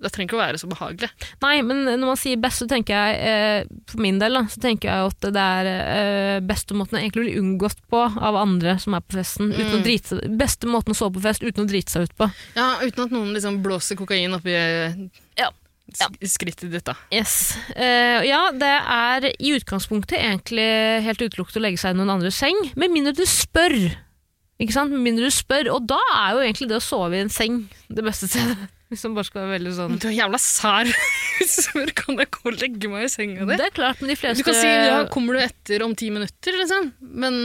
Speaker 3: da trenger det ikke å være så behagelig.
Speaker 2: Nei, men når man sier best, så tenker jeg eh, for min del da, så tenker jeg jo at det er eh, beste måten å egentlig bli unngått på av andre som er på festen. Uten å drite, seg- beste måten å sove på fest uten å drite seg ut på.
Speaker 3: Ja, Uten at noen liksom blåser kokain oppi eh,
Speaker 2: Ja.
Speaker 3: sk- skrittet ditt, da.
Speaker 2: Yes. Eh, ja, det er i utgangspunktet egentlig helt utelukket å legge seg i noen andres seng, med mindre du spør. Ikke sant? Med mindre du spør, og da er jo egentlig det å sove i en seng det beste stedet. Hvis man bare skal være veldig sånn
Speaker 3: Men du er jævla sær! Spør, kan jeg gå og legge meg i senga di?
Speaker 2: Det er klart, men de fleste
Speaker 3: Du kan si ja, 'kommer du etter om ti minutter', liksom. Men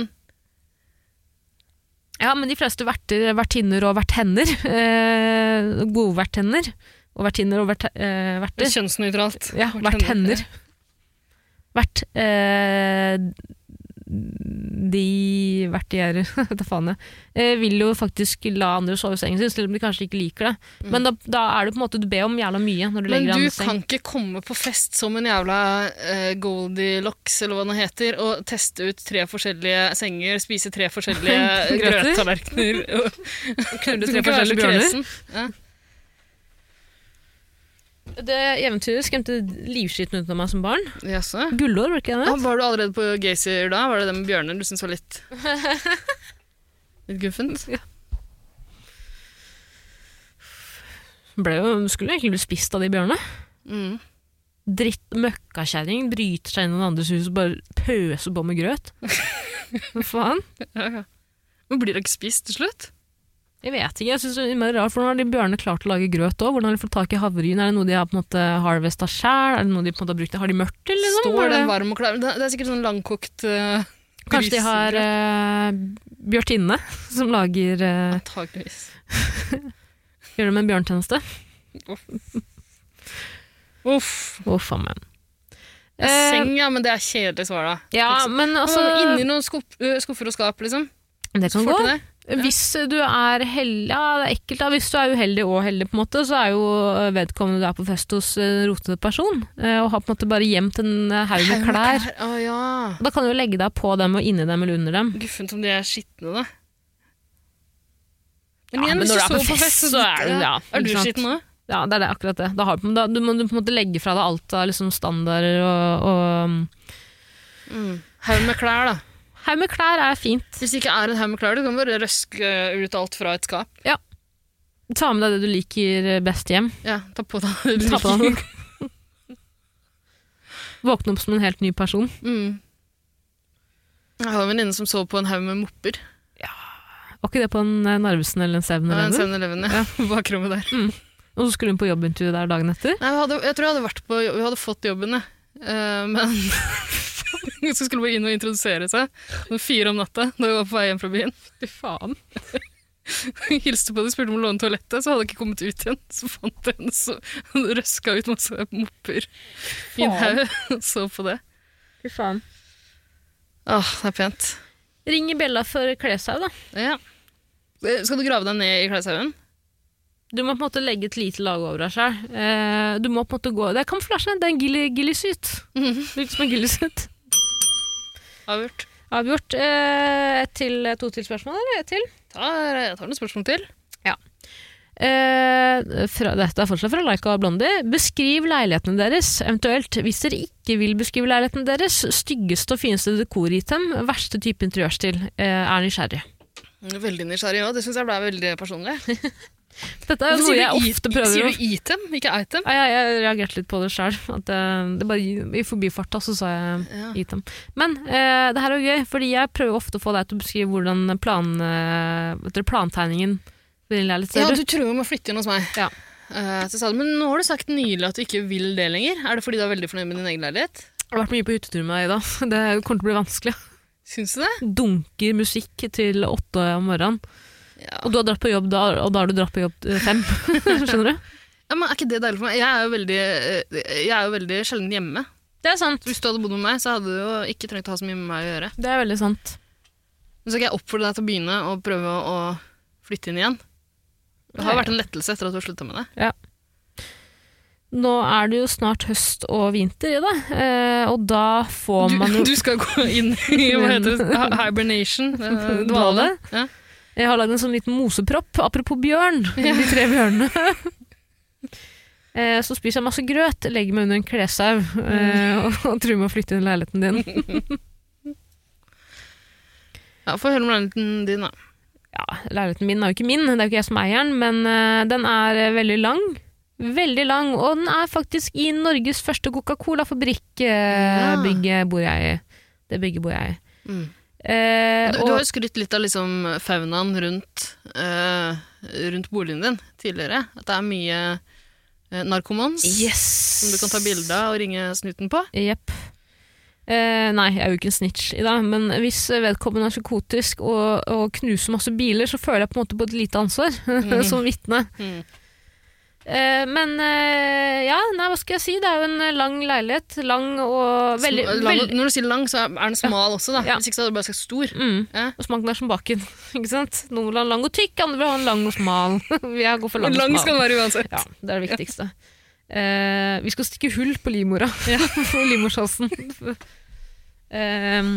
Speaker 2: Ja, men de fleste verter, vertinner og verthenner, eh, gode verthenner, og vertinner og vert, eh, verter,
Speaker 3: kjønnsnøytralt.
Speaker 2: ja, verthenner, vert, eh, de vertgjerder, ta faen jeg, eh, vil jo faktisk la andre sove i sengen sin, selv om de kanskje ikke liker det. Men da, da er det på en måte, du ber om jævla mye når Mm. du
Speaker 3: Men
Speaker 2: legger deg i
Speaker 3: du
Speaker 2: andres seng.
Speaker 3: kan ikke komme på fest som en jævla eh, Goldilocks eller hva den heter, og teste ut tre forskjellige senger, spise tre forskjellige
Speaker 2: Grøter.
Speaker 3: grøttallerkener og knulle
Speaker 2: tre forskjellige bjørner.
Speaker 3: Ja.
Speaker 2: Det eventyret skremte livskiten ut av meg som barn.
Speaker 3: Jaså.
Speaker 2: Gullår, var det ikke det?
Speaker 3: Ah, var du allerede på Gaysir da? Var det det med bjørner du syntes var litt Litt guffent?
Speaker 2: Ble jo, skulle jo egentlig bli spist av de bjørnene.
Speaker 3: Mm.
Speaker 2: dritt møkkakjerring bryter seg inn i noen andres hus og bare pøser på med grøt. Hva faen?
Speaker 3: Ja, ja. Men blir det ikke spist til slutt?
Speaker 2: Jeg vet ikke, jeg synes det er innmari rart, for nå har de bjørnene klart å lage grøt òg. Hvordan har de fått tak i havregryn? Er det noe de har på en måte harvesta sjæl? Er det noe de på en måte har brukt? Har de mørtel, liksom?
Speaker 3: Står
Speaker 2: Eller-
Speaker 3: den varm og klar? Det det er sikkert sånn langkokt uh,
Speaker 2: Kanskje de har eh, bjørtinne, som lager eh,
Speaker 3: Antakeligvis.
Speaker 2: Gjør dem en bjørntjeneste.
Speaker 3: Uff.
Speaker 2: Å, faen meg. Eh,
Speaker 3: Seng, ja, men det er kjedelig svar, da.
Speaker 2: ja, men altså
Speaker 3: Altså, inni noen skuff- øh, skuffer og skap, liksom.
Speaker 2: Det kan
Speaker 3: Får
Speaker 2: gå.
Speaker 3: til det.
Speaker 2: Hvis du er heldig, ja, det er ekkelt da. Hvis du er uheldig og heldig, på en måte, så er jo eh, vedkommende du er på fest hos en rotete person, eh, og har på en måte bare gjemt en eh, haug med klær.
Speaker 3: Å ja.
Speaker 2: Da kan du jo legge deg på dem og inni dem eller under dem.
Speaker 3: Guffent om de er skitne, da.
Speaker 2: Ja, men
Speaker 3: hvis
Speaker 2: når du er på
Speaker 3: sover
Speaker 2: fest, så er det- ja,
Speaker 3: Er du
Speaker 2: ikke sant?
Speaker 3: skitten òg?
Speaker 2: Ja, det er det, akkurat det. Da, har, du- da, du må du på en måte legge fra deg alt av liksom standarder og, og Mm.
Speaker 3: Haug med klær, da.
Speaker 2: Haug med klær er fint.
Speaker 3: Hvis det ikke er en haug med klær, du kan bare røske ut alt fra et skap.
Speaker 2: Ta med deg det du liker best hjem.
Speaker 3: Ja, ta på deg
Speaker 2: Ta på
Speaker 3: sånn.
Speaker 2: deg noe. Våkne opp som en helt ny person.
Speaker 3: Mm. Jeg har en venninne som sov på en haug med mopper.
Speaker 2: Var ikke det på en eh, Narvesen eller en Seven
Speaker 3: Det var en
Speaker 2: Eleven?
Speaker 3: 7-Eleven, ja. Bakrommet der.
Speaker 2: Og så skulle hun på jobbintervju der dagen etter.
Speaker 3: Nei, vi hadde, jeg tror jeg hadde vært på jo- Vi hadde fått jobben, jeg. Eh, men Så skulle hun bare inn og introdusere seg. Noen fire om natta, da vi var på vei hjem fra byen.
Speaker 2: Fy faen.
Speaker 3: Hilste på det, spurte om å låne toalettet, så hadde jeg ikke kommet ut igjen. Så fant jeg henne, så hun røska ut masse mopper i en haug og så på det.
Speaker 2: Fy faen.
Speaker 3: Åh, det er pent.
Speaker 2: Ring i bjella for kleshaug, da.
Speaker 3: Ja. Eh, Skal du grave deg ned i kleshaugen?
Speaker 2: Du må på en måte legge et lite lag over deg sjøl. Eh, du må på en måte gå Det er kamuflasje, det er en gilli- gillisyt. Det Virker som en gillisyt.
Speaker 3: Avgjort.
Speaker 2: Avgjort. Eh, et til, to til spørsmål, eller? Et til?
Speaker 3: Ta, jeg tar noen spørsmål til.
Speaker 2: Eh, fra, dette er fortsatt fra Laika og Blondie. Beskriv leilighetene deres, eventuelt hvis dere ikke vil beskrive leilighetene deres, styggeste og fineste dekorritem, verste type interiørstil, eh, er nysgjerrig.
Speaker 3: Veldig nysgjerrig òg. Det syns jeg ble veldig personlig.
Speaker 2: Dette er jo noe jeg ofte prøver å
Speaker 3: Sier du item, ikke item?
Speaker 2: Nei, jeg, jeg reagerte litt på det eh, sjøl. I forbifarta så sa jeg
Speaker 3: Ja.
Speaker 2: gitt dem. Men eh, det her er jo gøy, fordi jeg prøver ofte å få deg til å beskrive hvordan plan, eh, vet dere, plantegningen vil jeg litt
Speaker 3: Ja,
Speaker 2: større.
Speaker 3: du tror jo med å flytte inn hos meg.
Speaker 2: Ja.
Speaker 3: Eh, så sa du, men nå har du sagt nylig at du ikke vil det lenger. Er det fordi du er veldig fornøyd med din egen leilighet?
Speaker 2: Jeg har vært mye på hyttetur med deg i dag. Det kommer til å bli vanskelig.
Speaker 3: Syns du det?
Speaker 2: Dunker musikk til åtte om morgenen.
Speaker 3: Ja.
Speaker 2: Og du har dratt på jobb da, og da har du dratt på jobb eh, fem. Skjønner du?
Speaker 3: Ja, men Er ikke det deilig for meg? Jeg er jo veldig, eh, jeg er jo veldig sjelden hjemme.
Speaker 2: Det er sant.
Speaker 3: Hvis du hadde bodd med meg, så hadde du jo ikke trengt å ha så mye med meg å gjøre.
Speaker 2: Det er veldig sant.
Speaker 3: Men så skal jeg oppfordre deg til å begynne å prøve å flytte inn igjen. Det har jo vært en lettelse etter at du har slutta med det.
Speaker 2: Nå er det jo snart høst og vinter i det, eh, og da får man jo
Speaker 3: Du, du skal gå inn i hva heter det? Hi- hibernation? eh, Dvale?
Speaker 2: Dvale.
Speaker 3: Ja.
Speaker 2: Jeg har lagd en sånn liten mosepropp, apropos bjørn, de tre bjørnene. Eh, Så spiser jeg masse grøt, legger meg under en klessau eh, og, og truer med å flytte inn i leiligheten din.
Speaker 3: Ja, Få høre om leiligheten din, da.
Speaker 2: Ja, leiligheten min er jo ikke min, det er jo ikke jeg som eier den, men eh, den er eh, veldig lang. Veldig lang, og den er faktisk i Norges første
Speaker 3: Ja.
Speaker 2: Coca-Cola-fabrikkbygget bor jeg i. Det bygget bor jeg i.
Speaker 3: Mm.
Speaker 2: Eh, og-
Speaker 3: Du, du har jo skrytt litt av liksom faunaen rundt, eh, rundt boligen din tidligere. At det er mye eh, narkomans
Speaker 2: yes!
Speaker 3: som du kan ta bilde av og ringe snuten på.
Speaker 2: Jepp. Eh, nei, jeg er jo ikke en snitch i dag, men hvis vedkommende er psykotisk og, og knuser masse biler, så føler jeg på en måte på et lite ansvar som vitne.
Speaker 3: Mm.
Speaker 2: Eh, men eh, ja, nei, hva skal jeg si? Det er jo en eh, lang leilighet. Lang og veldig,
Speaker 3: Sm- lang,
Speaker 2: veldig
Speaker 3: Når du sier lang, så er er den smal også, da.
Speaker 2: Ja.
Speaker 3: Hvis ikke så hadde du bare sagt stor.
Speaker 2: mm.
Speaker 3: Ja.
Speaker 2: Og smaken er som baken. Ikke sant? Noen vil ha en lang og tykk, andre vil ha en lang og smal. Jeg går for lang, og smal.
Speaker 3: den være uansett.
Speaker 2: Ja, det er det viktigste. Eh, vi skal stikke hull på livmora. på livmorshalsen. Ehm,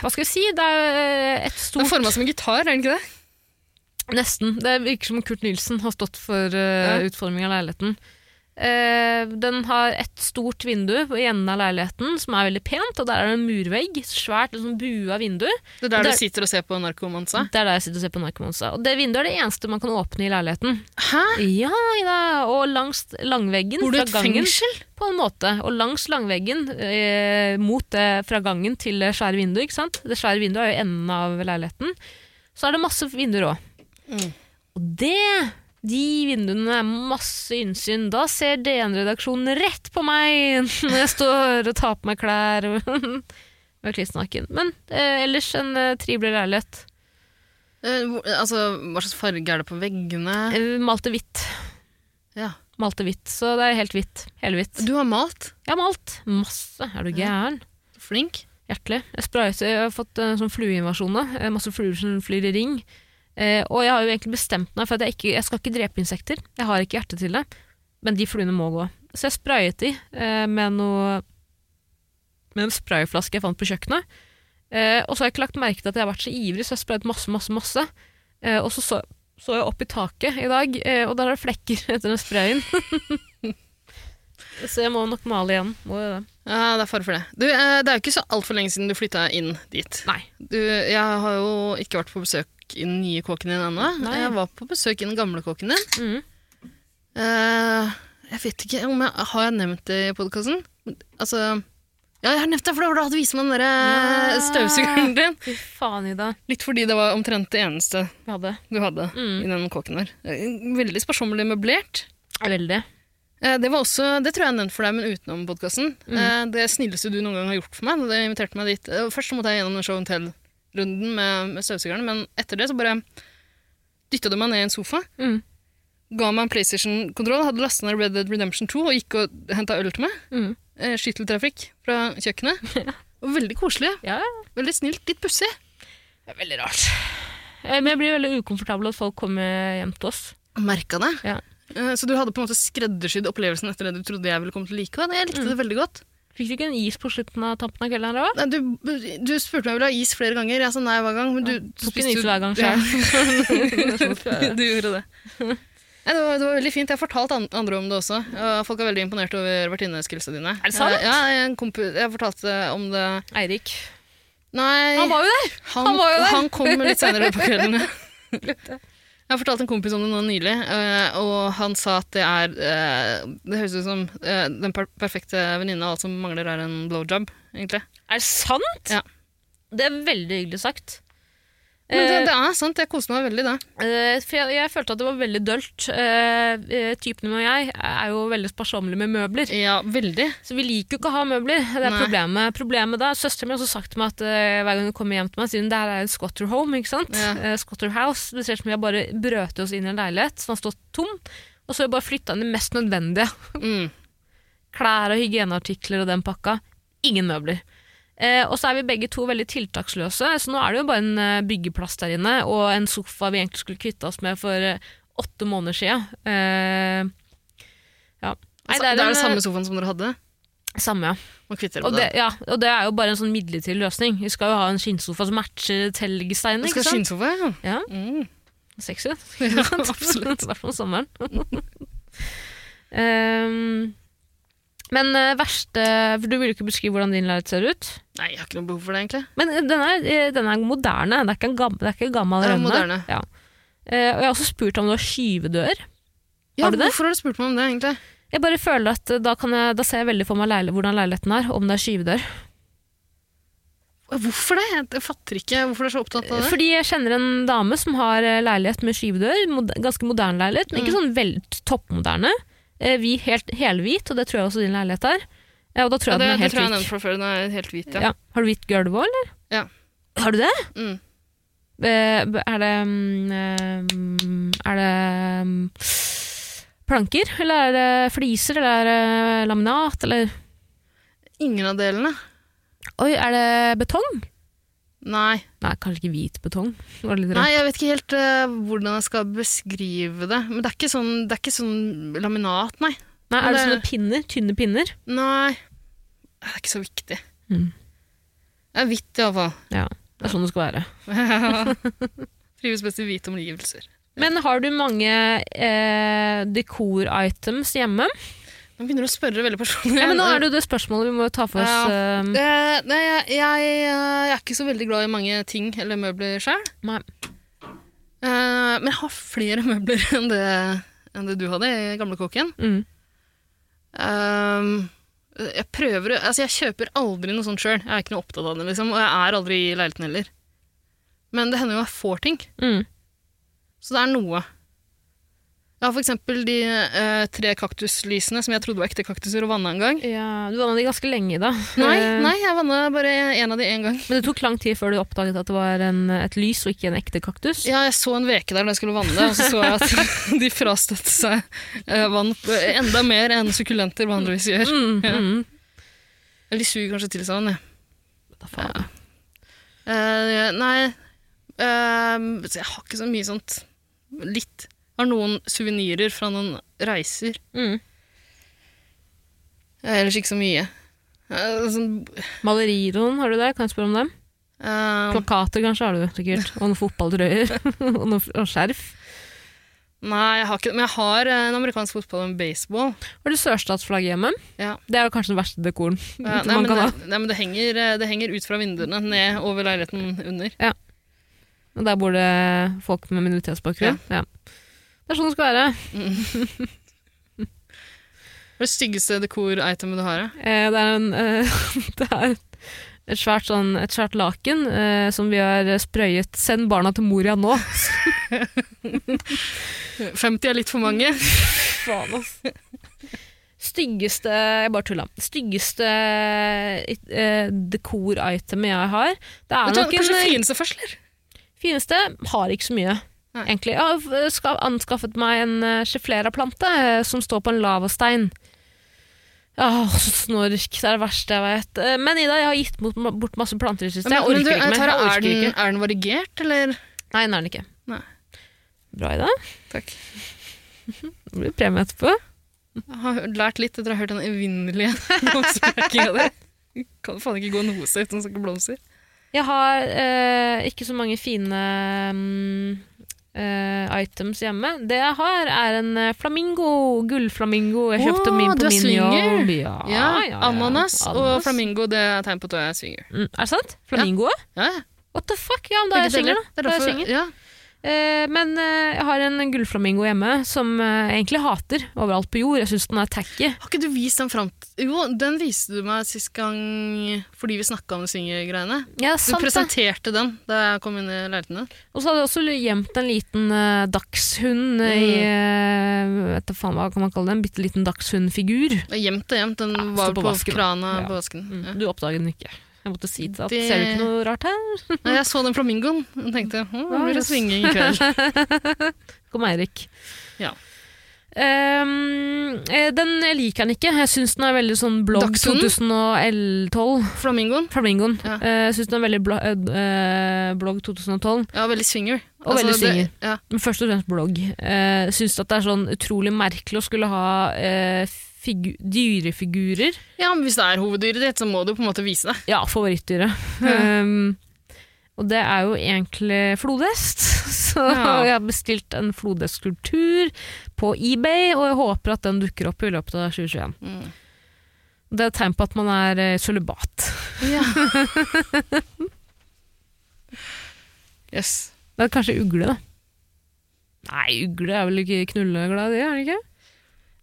Speaker 2: hva skal vi si? Det er eh, et
Speaker 3: Den
Speaker 2: stort
Speaker 3: er forma som en gitar, er den ikke det?
Speaker 2: Nesten. Det virker som Kurt Nilsen har stått for uh,
Speaker 3: Ja.
Speaker 2: utforming av leiligheten. Eh, den har et stort vindu i enden av leiligheten, som er veldig pent. Og der er det en murvegg. Svært liksom, bua vindu.
Speaker 3: Det er der
Speaker 2: Det-
Speaker 3: du sitter og ser på narkomansa.
Speaker 2: Det er der jeg sitter og ser på Narkomansa. Og det vinduet er det eneste man kan åpne i leiligheten.
Speaker 3: Hæ?
Speaker 2: Ja, Ida. Og langs langveggen
Speaker 3: Bor du i
Speaker 2: fra
Speaker 3: et
Speaker 2: gangen
Speaker 3: fengsel?
Speaker 2: På en måte. Og langs langveggen eh, mot det fra gangen til det svære vinduet. ikke sant? Det svære vinduet er jo enden av leiligheten. Så er det masse vinduer òg.
Speaker 3: Mm.
Speaker 2: Og det, de vinduene er masse innsyn. Da ser DN-redaksjonen rett på meg når jeg står og tar på meg klær og og er klissnaken. Men eh, ellers en eh, trivelig leilighet.
Speaker 3: Eh, hvor- altså, hva slags farge er det på veggene?
Speaker 2: Eh, Malte hvitt.
Speaker 3: Ja.
Speaker 2: Malte hvitt, så det er helt hvitt. Helhvitt.
Speaker 3: Du har malt.
Speaker 2: Jeg har malt masse. Er du gæren?
Speaker 3: Flink.
Speaker 2: Hjertelig. Jeg, sprayet, jeg har fått en sånn flueinvasjon. nå. Eh, Masse fluer som flyr i ring. Eh, og jeg har jo egentlig bestemt meg for at jeg, ikke, jeg skal ikke drepe insekter. Jeg har ikke hjerte til det. Men de fluene må gå. Så jeg sprayet de eh, med noe med en sprayflaske jeg fant på kjøkkenet. Eh, og så har jeg ikke lagt merke til at jeg har vært så ivrig, så jeg har sprayet masse, masse, masse. Eh, og så, så så jeg opp i taket i dag, eh, og der er det flekker etter den sprayen. så jeg må nok male igjen. Må jo det.
Speaker 3: Ja, det er fare for det. Du, eh, det er jo ikke så altfor lenge siden du flytta inn dit.
Speaker 2: Nei.
Speaker 3: Du, jeg har jo ikke vært på besøk i den nye kåken din ennå.
Speaker 2: Nei.
Speaker 3: Jeg var på besøk i den gamle kåken din.
Speaker 2: Mm.
Speaker 3: Eh, jeg vet ikke om jeg har jeg nevnt det i podkasten. Altså, ja, jeg har nevnt det, for det var da du viste meg den der
Speaker 2: Ja.
Speaker 3: eh, støvsugeren din.
Speaker 2: Fy faen, Ida.
Speaker 3: Litt fordi det var omtrent det eneste
Speaker 2: Vi hadde
Speaker 3: du hadde
Speaker 2: Mm.
Speaker 3: i den kåken der. Eh, Veldig sparsommelig møblert.
Speaker 2: Veldig.
Speaker 3: Eh, Det var også, det tror jeg jeg har nevnt for deg, men utenom podkasten. Det snilleste du noen gang har gjort for meg. da Du inviterte meg dit. Eh, Først så måtte jeg gjennom den show and tell-runden med, med støvsugeren, men etter det så bare dytta du meg ned i en sofa.
Speaker 2: Mm.
Speaker 3: ga meg en PlayStation-kontroll, hadde lastet ned Red Dead Redemption 2 og gikk og henta øl til meg.
Speaker 2: Mm.
Speaker 3: Eh, Skytteltrafikk fra kjøkkenet. Og veldig koselig.
Speaker 2: Ja,
Speaker 3: Veldig snilt. Litt pussig.
Speaker 2: det er veldig rart. Eh, Men jeg blir veldig ukomfortabel at folk kommer hjem til oss.
Speaker 3: Merka det.
Speaker 2: Ja.
Speaker 3: Eh, Så du hadde på en måte skreddersydd opplevelsen etter det du trodde jeg ville komme til å like. og Jeg likte det veldig godt.
Speaker 2: Fikk du ikke en is på slutten av tampen av kvelden? her også?
Speaker 3: Nei, du, du spurte meg om jeg ville ha is flere ganger. Jeg sa nei hver gang. Men du, du
Speaker 2: Tok en is
Speaker 3: jo-
Speaker 2: hver gang
Speaker 3: Ja.
Speaker 2: sjøl.
Speaker 3: du gjorde det. Nei, det, var, det var veldig fint. Jeg har fortalt an- andre om det også. og Folk er veldig imponert over vertinneskillsene dine.
Speaker 2: det sant?
Speaker 3: Ja, en kompi, jeg fortalte om det
Speaker 2: Eirik.
Speaker 3: Nei,
Speaker 2: Han var jo der!
Speaker 3: han,
Speaker 2: han var jo der!
Speaker 3: han kommer litt senere på kvelden. Jeg fortalte en kompis om det nå nylig, eh, og han sa at det er eh, Det høres ut som eh, den per perfekte venninne, alt som mangler er en blowjob, egentlig.
Speaker 2: Er det sant?
Speaker 3: Ja.
Speaker 2: Det er veldig hyggelig sagt.
Speaker 3: Men det,
Speaker 2: Eh,
Speaker 3: det er sant, jeg koste meg veldig da.
Speaker 2: Eh, for jeg, jeg følte at det var veldig dølt. Eh, eh, typen min og jeg er jo veldig sparsommelige med møbler.
Speaker 3: Ja, veldig.
Speaker 2: Så vi liker jo ikke å ha møbler. Det er
Speaker 3: Nei.
Speaker 2: problemet. Problemet da, Søsteren min har også sagt til meg at eh, hver gang hun kommer hjem til meg, sier hun det her er et squatter home. ikke sant?
Speaker 3: Ja.
Speaker 2: Eh, squatter house. Det ser ut som vi har bare brøtet oss inn i en leilighet som har stått tom. Og så har vi bare flytta inn det mest nødvendige.
Speaker 3: Mm.
Speaker 2: Klær og hygieneartikler og den pakka. Ingen møbler. Eh, og så er vi begge to veldig tiltaksløse, så nå er det jo bare en eh, byggeplass der inne og en sofa vi egentlig skulle kvitte oss med for eh, åtte måneder siden. Eh, ja. Nei,
Speaker 3: Altså, det, er
Speaker 2: en, eh,
Speaker 3: den samme sofaen som dere hadde.
Speaker 2: Samme, ja.
Speaker 3: Man kvitter
Speaker 2: Og
Speaker 3: med
Speaker 2: det,
Speaker 3: det.
Speaker 2: ja. og det er jo bare en sånn midlertidig løsning. Vi skal jo ha en skinnsofa som matcher telgsteinen.
Speaker 3: Du
Speaker 2: ikke
Speaker 3: skal ha
Speaker 2: sant?
Speaker 3: skinnsofa, ja.
Speaker 2: Ja,
Speaker 3: Mm.
Speaker 2: sexy.
Speaker 3: ja absolutt.
Speaker 2: I hvert fall om sommeren. Ehm, men eh, verste For du vil jo ikke beskrive hvordan din leilighet ser ut.
Speaker 3: Nei, jeg har ikke noe behov for det, egentlig.
Speaker 2: Men eh, den er, eh, den er moderne. Det er ikke en gammel, det er ikke en gammel
Speaker 3: Den er
Speaker 2: rønne.
Speaker 3: moderne.
Speaker 2: Ja. Eh, og jeg har også spurt om du har skyvedør.
Speaker 3: Ja,
Speaker 2: Har du det?
Speaker 3: Hvorfor har du spurt meg om det, egentlig?
Speaker 2: Jeg bare føler at eh, da, kan jeg, da ser jeg veldig for meg leil hvordan leiligheten er, om det er skyvedør.
Speaker 3: Hvorfor det? Jeg fatter ikke hvorfor du er så opptatt av det.
Speaker 2: Eh, Fordi jeg kjenner en dame som har eh, leilighet med skyvedør. mod- Ganske moderne leilighet, men
Speaker 3: Mm.
Speaker 2: ikke sånn vel, toppmoderne. Eh, Vi helt helhvit, og det tror jeg også din leilighet er. Eh, Og da tror
Speaker 3: ja,
Speaker 2: jeg
Speaker 3: det,
Speaker 2: den er
Speaker 3: det
Speaker 2: helt
Speaker 3: tror jeg jeg
Speaker 2: hvit.
Speaker 3: nevnte fra før. Den er helt hvit, ja.
Speaker 2: Ja. Har du hvitt gulv òg, eller?
Speaker 3: Ja.
Speaker 2: Har du det?
Speaker 3: Mm.
Speaker 2: Eh, Er det mm, eh, Er det mm, planker, eller er det fliser, eller er det laminat, eller
Speaker 3: Ingen av delene.
Speaker 2: Oi, er det betong?
Speaker 3: Nei.
Speaker 2: Nei, kanskje ikke hvit betong. Det var litt
Speaker 3: Nei,
Speaker 2: rart.
Speaker 3: jeg vet ikke helt eh, hvordan jeg skal beskrive det. Men det er ikke sånn, det er ikke sånn laminat, nei.
Speaker 2: Nei, er det
Speaker 3: men
Speaker 2: sånne
Speaker 3: det-
Speaker 2: pinner? Tynne pinner?
Speaker 3: Nei. Det er ikke så viktig.
Speaker 2: Mm.
Speaker 3: Det er hvitt, iallfall.
Speaker 2: Ja, det er sånn det skal være.
Speaker 3: Trives best i hvite omgivelser.
Speaker 2: Men har du mange eh, dekor-items hjemme?
Speaker 3: Nå begynner du å spørre veldig personlig.
Speaker 2: Ja, men nå er det jo det spørsmålet vi må ta for oss.
Speaker 3: Ja.
Speaker 2: eh,
Speaker 3: Eh, nei, jeg, jeg, jeg er ikke så veldig glad i mange ting eller møbler sjøl.
Speaker 2: nei.
Speaker 3: men jeg har flere møbler enn det, enn det du hadde i gamlekåken.
Speaker 2: Mm.
Speaker 3: Um, jeg prøver Altså, jeg kjøper aldri noe sånt sjøl. Jeg er ikke noe opptatt av det, liksom. Og jeg er aldri i leiligheten heller. Men det hender jo jeg får ting.
Speaker 2: Mm.
Speaker 3: Så det er noe. Jeg har for eksempel de eh, tre kaktuslysene som jeg trodde var ekte kaktuser, og vanna en gang.
Speaker 2: Ja, du vanna de ganske lenge, da.
Speaker 3: Nei,
Speaker 2: Eh,
Speaker 3: nei, jeg vanna bare en av de én gang.
Speaker 2: Men det tok lang tid før du oppdaget at det var en, et lys og ikke en ekte kaktus.
Speaker 3: Ja, jeg så en veke der da jeg skulle vanne det, og så så jeg at de frastøtte seg eh, vann enda mer enn sukkulenter vanligvis gjør.
Speaker 2: Mm,
Speaker 3: Ja.
Speaker 2: mm.
Speaker 3: Eller de suger kanskje til seg vann, ja.
Speaker 2: Da faen.
Speaker 3: Eh, nei ehm, så Jeg har ikke så mye sånt. Litt. Har noen suvenirer fra noen reiser.
Speaker 2: Mm.
Speaker 3: Eh, ellers ikke så mye. Eh, sånn,
Speaker 2: Maleriroen, har du det? Kan jeg spørre om dem?
Speaker 3: eh,
Speaker 2: Plakater kanskje har du, sikkert. Og noen fotballtrøyer. og noen og skjerf.
Speaker 3: nei, jeg har ikke det. Men jeg har eh, en amerikansk fotball og en baseball.
Speaker 2: Har du sørstatsflagg hjemme?
Speaker 3: Ja.
Speaker 2: Det er jo kanskje den verste dekoren
Speaker 3: Eh, nei,
Speaker 2: man
Speaker 3: men,
Speaker 2: kan ha.
Speaker 3: det, nei, men det henger, eh, det henger ut fra vinduene, ned over leiligheten under.
Speaker 2: Og der bor det folk med minoritetsbakgrunn. Ja. Det er sånn det skal være.
Speaker 3: Hva er det styggeste dekor-itemet du har? eh?
Speaker 2: Eh, det er, en, eh, det er et, svært sånn, et svært laken eh, som vi har sprøyet 'Send barna til Moria nå'.
Speaker 3: 50 er litt for mange.
Speaker 2: Faen, ass. Styggeste Jeg bare tulla. Styggeste eh, dekor-itemet jeg har Det er
Speaker 3: Vet du hva,
Speaker 2: nok
Speaker 3: kanskje
Speaker 2: en eh,
Speaker 3: fineste først, eller?
Speaker 2: Fineste har ikke så mye,
Speaker 3: Nei.
Speaker 2: egentlig. Jeg har eh, ska- anskaffet meg en eh, schæflera-plante eh, som står på en lavastein. Åh, så snork. Det er det verste jeg vet. Eh, Men Ida, jeg har gitt bort, bort masse planter i det siste. Jeg orker
Speaker 3: Men du,
Speaker 2: ikke mer.
Speaker 3: Tara,
Speaker 2: Jeg
Speaker 3: er,
Speaker 2: orker
Speaker 3: den,
Speaker 2: ikke.
Speaker 3: er den varigert, eller?
Speaker 2: Nei, den er den ikke.
Speaker 3: Nei.
Speaker 2: Bra, Ida.
Speaker 3: Takk.
Speaker 2: Det blir premie etterpå.
Speaker 3: Jeg har hørt- lært litt etter å ha hørt den evinnelige blomsterpekkinga der. Kan faen ikke gå en hose uten å snakke blomster.
Speaker 2: Jeg har eh, ikke så mange fine mm, eh, items hjemme. Det jeg har, er en eh, flamingo. Gullflamingo. Jeg kjøpte
Speaker 3: Åh,
Speaker 2: min
Speaker 3: du
Speaker 2: på
Speaker 3: er
Speaker 2: Minio.
Speaker 3: swinger.
Speaker 2: Ja,
Speaker 3: Ja,
Speaker 2: ja, ja.
Speaker 3: Ananas og
Speaker 2: Ananas.
Speaker 3: flamingo det er tegn på at du er swinger.
Speaker 2: Mm, er det sant? Flamingoet?
Speaker 3: Ja, ja.
Speaker 2: What the fuck? Ja, men da er jeg
Speaker 3: Begge
Speaker 2: singel,
Speaker 3: deler.
Speaker 2: da.
Speaker 3: Det er
Speaker 2: da er jeg
Speaker 3: derfor-
Speaker 2: singel.
Speaker 3: ja.
Speaker 2: Eh, men eh, jeg har en gullflamingo hjemme som eh, jeg egentlig hater overalt på jord. Jeg syns den er tacky.
Speaker 3: Har ikke du vist den fram Jo, den viste du meg sist gang fordi vi snakka om swingergreiene.
Speaker 2: Ja,
Speaker 3: Du
Speaker 2: sant det.
Speaker 3: presenterte den da jeg kom inn i leiligheten din.
Speaker 2: Og så hadde jeg også gjemt en liten eh, dagshund i eh,
Speaker 3: Mm.
Speaker 2: vet da faen hva kan man kalle det, en bitte liten dagshundfigur.
Speaker 3: Og Gjemt og gjemt. Den
Speaker 2: Ja,
Speaker 3: var
Speaker 2: stod på
Speaker 3: på,
Speaker 2: vasken, da.
Speaker 3: krana
Speaker 2: Ja.
Speaker 3: på vasken.
Speaker 2: Mm,
Speaker 3: Ja.
Speaker 2: Du oppdaget den ikke. Jeg måtte si det. At,
Speaker 3: Det-
Speaker 2: Ser du ikke noe rart her?
Speaker 3: Nei, jeg så den flamingoen og tenkte «Hm, å, nå
Speaker 2: Ja,
Speaker 3: blir det swinging i kveld.
Speaker 2: Kom Eirik.
Speaker 3: Ja.
Speaker 2: Ehm, eh, den jeg liker den ikke. Jeg syns den er veldig sånn blogg
Speaker 3: Dagshunden?
Speaker 2: 2012.
Speaker 3: Flamingoen
Speaker 2: Flamingoen.
Speaker 3: Ja.
Speaker 2: Eh, Jeg syns den er veldig bla, eh, blogg 2012.
Speaker 3: ja, veldig swinger.
Speaker 2: Og veldig swinger.
Speaker 3: Det, ja.
Speaker 2: Men først og fremst blogg. Uh, syns at det er sånn utrolig merkelig å skulle ha eh, figu dyrefigurer.
Speaker 3: ja, men hvis det er hoveddyret ditt, så må du på en måte vise det.
Speaker 2: Ja, favorittdyret.
Speaker 3: Ja.
Speaker 2: Um, og det er jo egentlig flodhest. Så
Speaker 3: Ja.
Speaker 2: jeg har bestilt en flodhestskulptur på eBay, og jeg håper at den dukker opp i løpet av 2021.
Speaker 3: Mm.
Speaker 2: Det er et tegn på at man er eh, sølibat.
Speaker 3: Ja. yes.
Speaker 2: Det er kanskje ugle, da. Nei, ugle er vel ikke knulleglad i, er det ikke?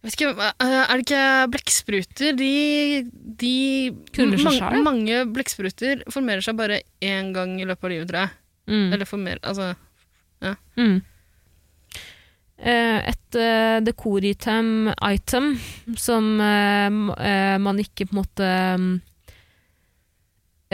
Speaker 3: Jeg Vet ikke, eh, er det ikke blekkspruter? De, de
Speaker 2: Knuller seg
Speaker 3: mange,
Speaker 2: selv?
Speaker 3: mange blekkspruter formerer seg bare én gang i løpet av livet, tror jeg.
Speaker 2: Mm.
Speaker 3: Eller formerer Altså
Speaker 2: Mm. Eh, Et eh, dekoritem item som eh, m- eh, man ikke på en måte mm,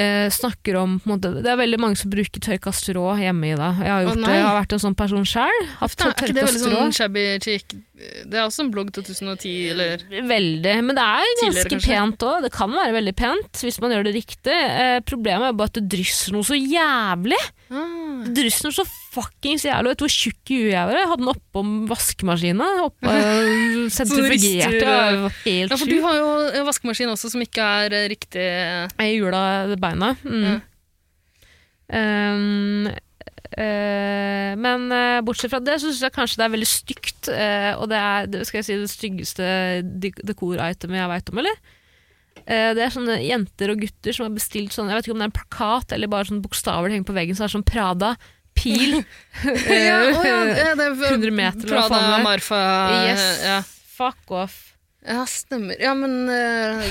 Speaker 2: eh, snakker om på en måte. Det er veldig mange som bruker tørrkastrå hjemme i dag. Jeg har,
Speaker 3: Å,
Speaker 2: gjort
Speaker 3: nei.
Speaker 2: det. Jeg har vært en sånn person sjøl. Hatt
Speaker 3: Er ikke det veldig
Speaker 2: tørrkastrå.
Speaker 3: sånn shabby chic? Det er også en blogg 2010, eller
Speaker 2: Veldig. Men det er
Speaker 3: Tidligere,
Speaker 2: ganske
Speaker 3: kanskje?
Speaker 2: pent òg. Det kan være veldig pent hvis man gjør det riktig. Eh, problemet er bare at det drysser noe så jævlig.
Speaker 3: ah.
Speaker 2: Dryssen så fuckings jævlig ut. Hvor tjukk i huet jeg var. Jeg hadde den oppå vaskemaskina. Oppå øh, sentrifugerte.
Speaker 3: rister,
Speaker 2: Jeg var
Speaker 3: Ja,
Speaker 2: Helt
Speaker 3: for du
Speaker 2: sjuk.
Speaker 3: har jo en vaskemaskin også som ikke er eh, riktig
Speaker 2: Jeg jula beina. Mm.
Speaker 3: Ja.
Speaker 2: Um, eh, men eh, bortsett fra det så syns jeg kanskje det er veldig stygt. eh, og det er det- skal jeg si, det styggeste de- dekoritemet jeg veit om, eller? Eh, det er sånne jenter og gutter som har bestilt sånn Jeg vet ikke om det er en plakat eller bare sånne bokstaver det henger på veggen, så er det sånn Prada, pil
Speaker 3: å ja, det er
Speaker 2: 100 meter, eller hva
Speaker 3: Prada,
Speaker 2: faen det er.
Speaker 3: Marfa
Speaker 2: Yes.
Speaker 3: ja.
Speaker 2: Eh, Fuck off.
Speaker 3: ja, stemmer. Ja, men eh,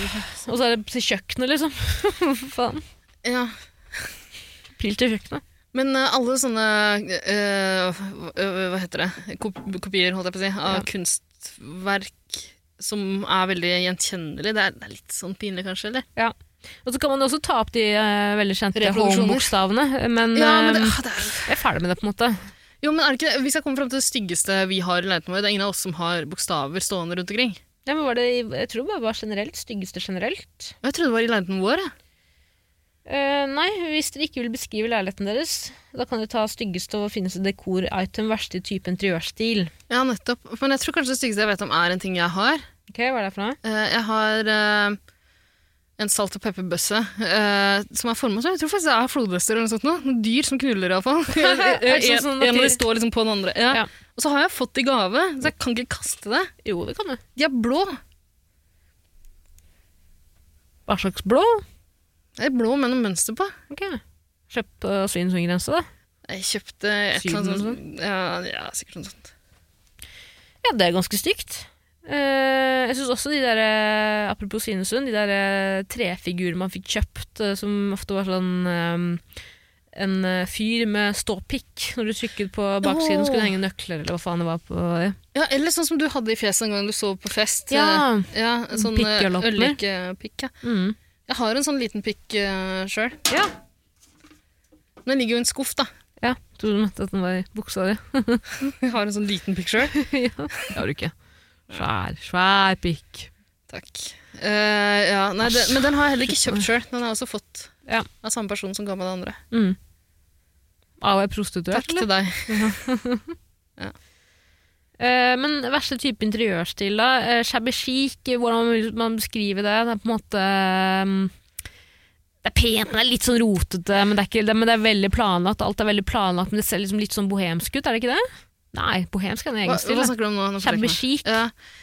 Speaker 2: Og så er det til kjøkkenet, liksom. Faen.
Speaker 3: ja.
Speaker 2: Pil til kjøkkenet.
Speaker 3: Men eh, alle sånne eh, hva- eh, Hva heter det? Kop kopier, holdt jeg på å si, av
Speaker 2: Ja.
Speaker 3: kunstverk som er veldig gjenkjennelig. Det er, det er litt sånn pinlig, kanskje? eller?
Speaker 2: Og så kan man også ta opp de eh, veldig kjente
Speaker 3: Reproduksjoner.
Speaker 2: home-bokstavene, men,
Speaker 3: Ja, men det,
Speaker 2: eh,
Speaker 3: ah, det er
Speaker 2: jeg er ferdig med det, på en måte.
Speaker 3: Jo, men er det ikke det? Vi skal komme frem til det styggeste vi har i leiligheten vår. Det er ingen av oss som har bokstaver stående rundt omkring.
Speaker 2: Ja, men var det, jeg tror det bare var generelt. Styggeste generelt.
Speaker 3: Og Jeg trodde det var i leiligheten vår. jeg.
Speaker 2: Eh, nei, hvis dere ikke vil beskrive leiligheten deres, da kan dere ta styggeste og finnes dekor-item, verste type interiørstil.
Speaker 3: Ja, nettopp. Men jeg tror kanskje det styggeste jeg vet om, er en ting jeg har.
Speaker 2: Ok, hva er det for noe?
Speaker 3: Eh, Jeg har eh, en salt- og pepperbøsse eh, som er formet som Jeg tror faktisk det er flodhester eller noe sånt. Noe. Noen dyr som knuller, iallfall.
Speaker 2: det sånn
Speaker 3: Eh, en,
Speaker 2: som
Speaker 3: en av
Speaker 2: natur-
Speaker 3: de står liksom på den andre. Ja.
Speaker 2: Ja.
Speaker 3: Og så har jeg fått i gave, så jeg kan ikke kaste det.
Speaker 2: Jo, det kan du.
Speaker 3: De er blå.
Speaker 2: Hva slags blå?
Speaker 3: De er blå med noe mønster på.
Speaker 2: Ok. Kjøp eh, på Svinesundgrense, da.
Speaker 3: Jeg kjøpte et eller
Speaker 2: Syden
Speaker 3: annet
Speaker 2: eller
Speaker 3: sånt. Ja, ja, sikkert noe sånt.
Speaker 2: Ja, det er ganske stygt. Eh, jeg syns også de der, eh, apropos Svinesund, de der eh, trefigurer man fikk kjøpt, eh, som ofte var sånn eh, en eh, fyr med ståpikk. Når du trykket på baksiden,
Speaker 3: Åh.
Speaker 2: skulle det henge nøkler, eller hva faen det var på det.
Speaker 3: Ja, Eller sånn som du hadde i fjeset en gang du så på fest. Eh,
Speaker 2: Ja.
Speaker 3: ja en sånn eh,
Speaker 2: Pikkelopper.
Speaker 3: øllikepikk. Ja.
Speaker 2: Mm.
Speaker 3: Jeg har en sånn liten pikk uh, sjøl.
Speaker 2: ja.
Speaker 3: Den ligger jo i en skuff, da.
Speaker 2: Ja. Tror du mente at den var i buksa di?
Speaker 3: Jeg har en sånn liten pikk sjøl.
Speaker 2: ja. Det har du ikke. Svær, svær pikk.
Speaker 3: Takk. Eh, ja, nei, det, men den har jeg heller ikke kjøpt sjøl. Den har jeg også fått
Speaker 2: Ja.
Speaker 3: av samme person som ga meg det andre.
Speaker 2: Mm. Ah, var jeg prostituert,
Speaker 3: Takk
Speaker 2: eller?
Speaker 3: til deg.
Speaker 2: Eh, men verste type interiørstil, da? Eh, shabby chic, hvordan vil man beskrive det? Det er på en måte mm, Det er pent, men det er litt sånn rotete. Men det er, ikke, det, men det er veldig planlagt. Alt er veldig planlagt, men det ser liksom litt sånn bohemsk ut, er det ikke det? Nei, bohemsk er en
Speaker 3: Hva,
Speaker 2: egen stil.
Speaker 3: hva
Speaker 2: da.
Speaker 3: snakker du om nå? nå? forstår jeg
Speaker 2: Shabby
Speaker 3: ikke meg.
Speaker 2: chic.
Speaker 3: Ja.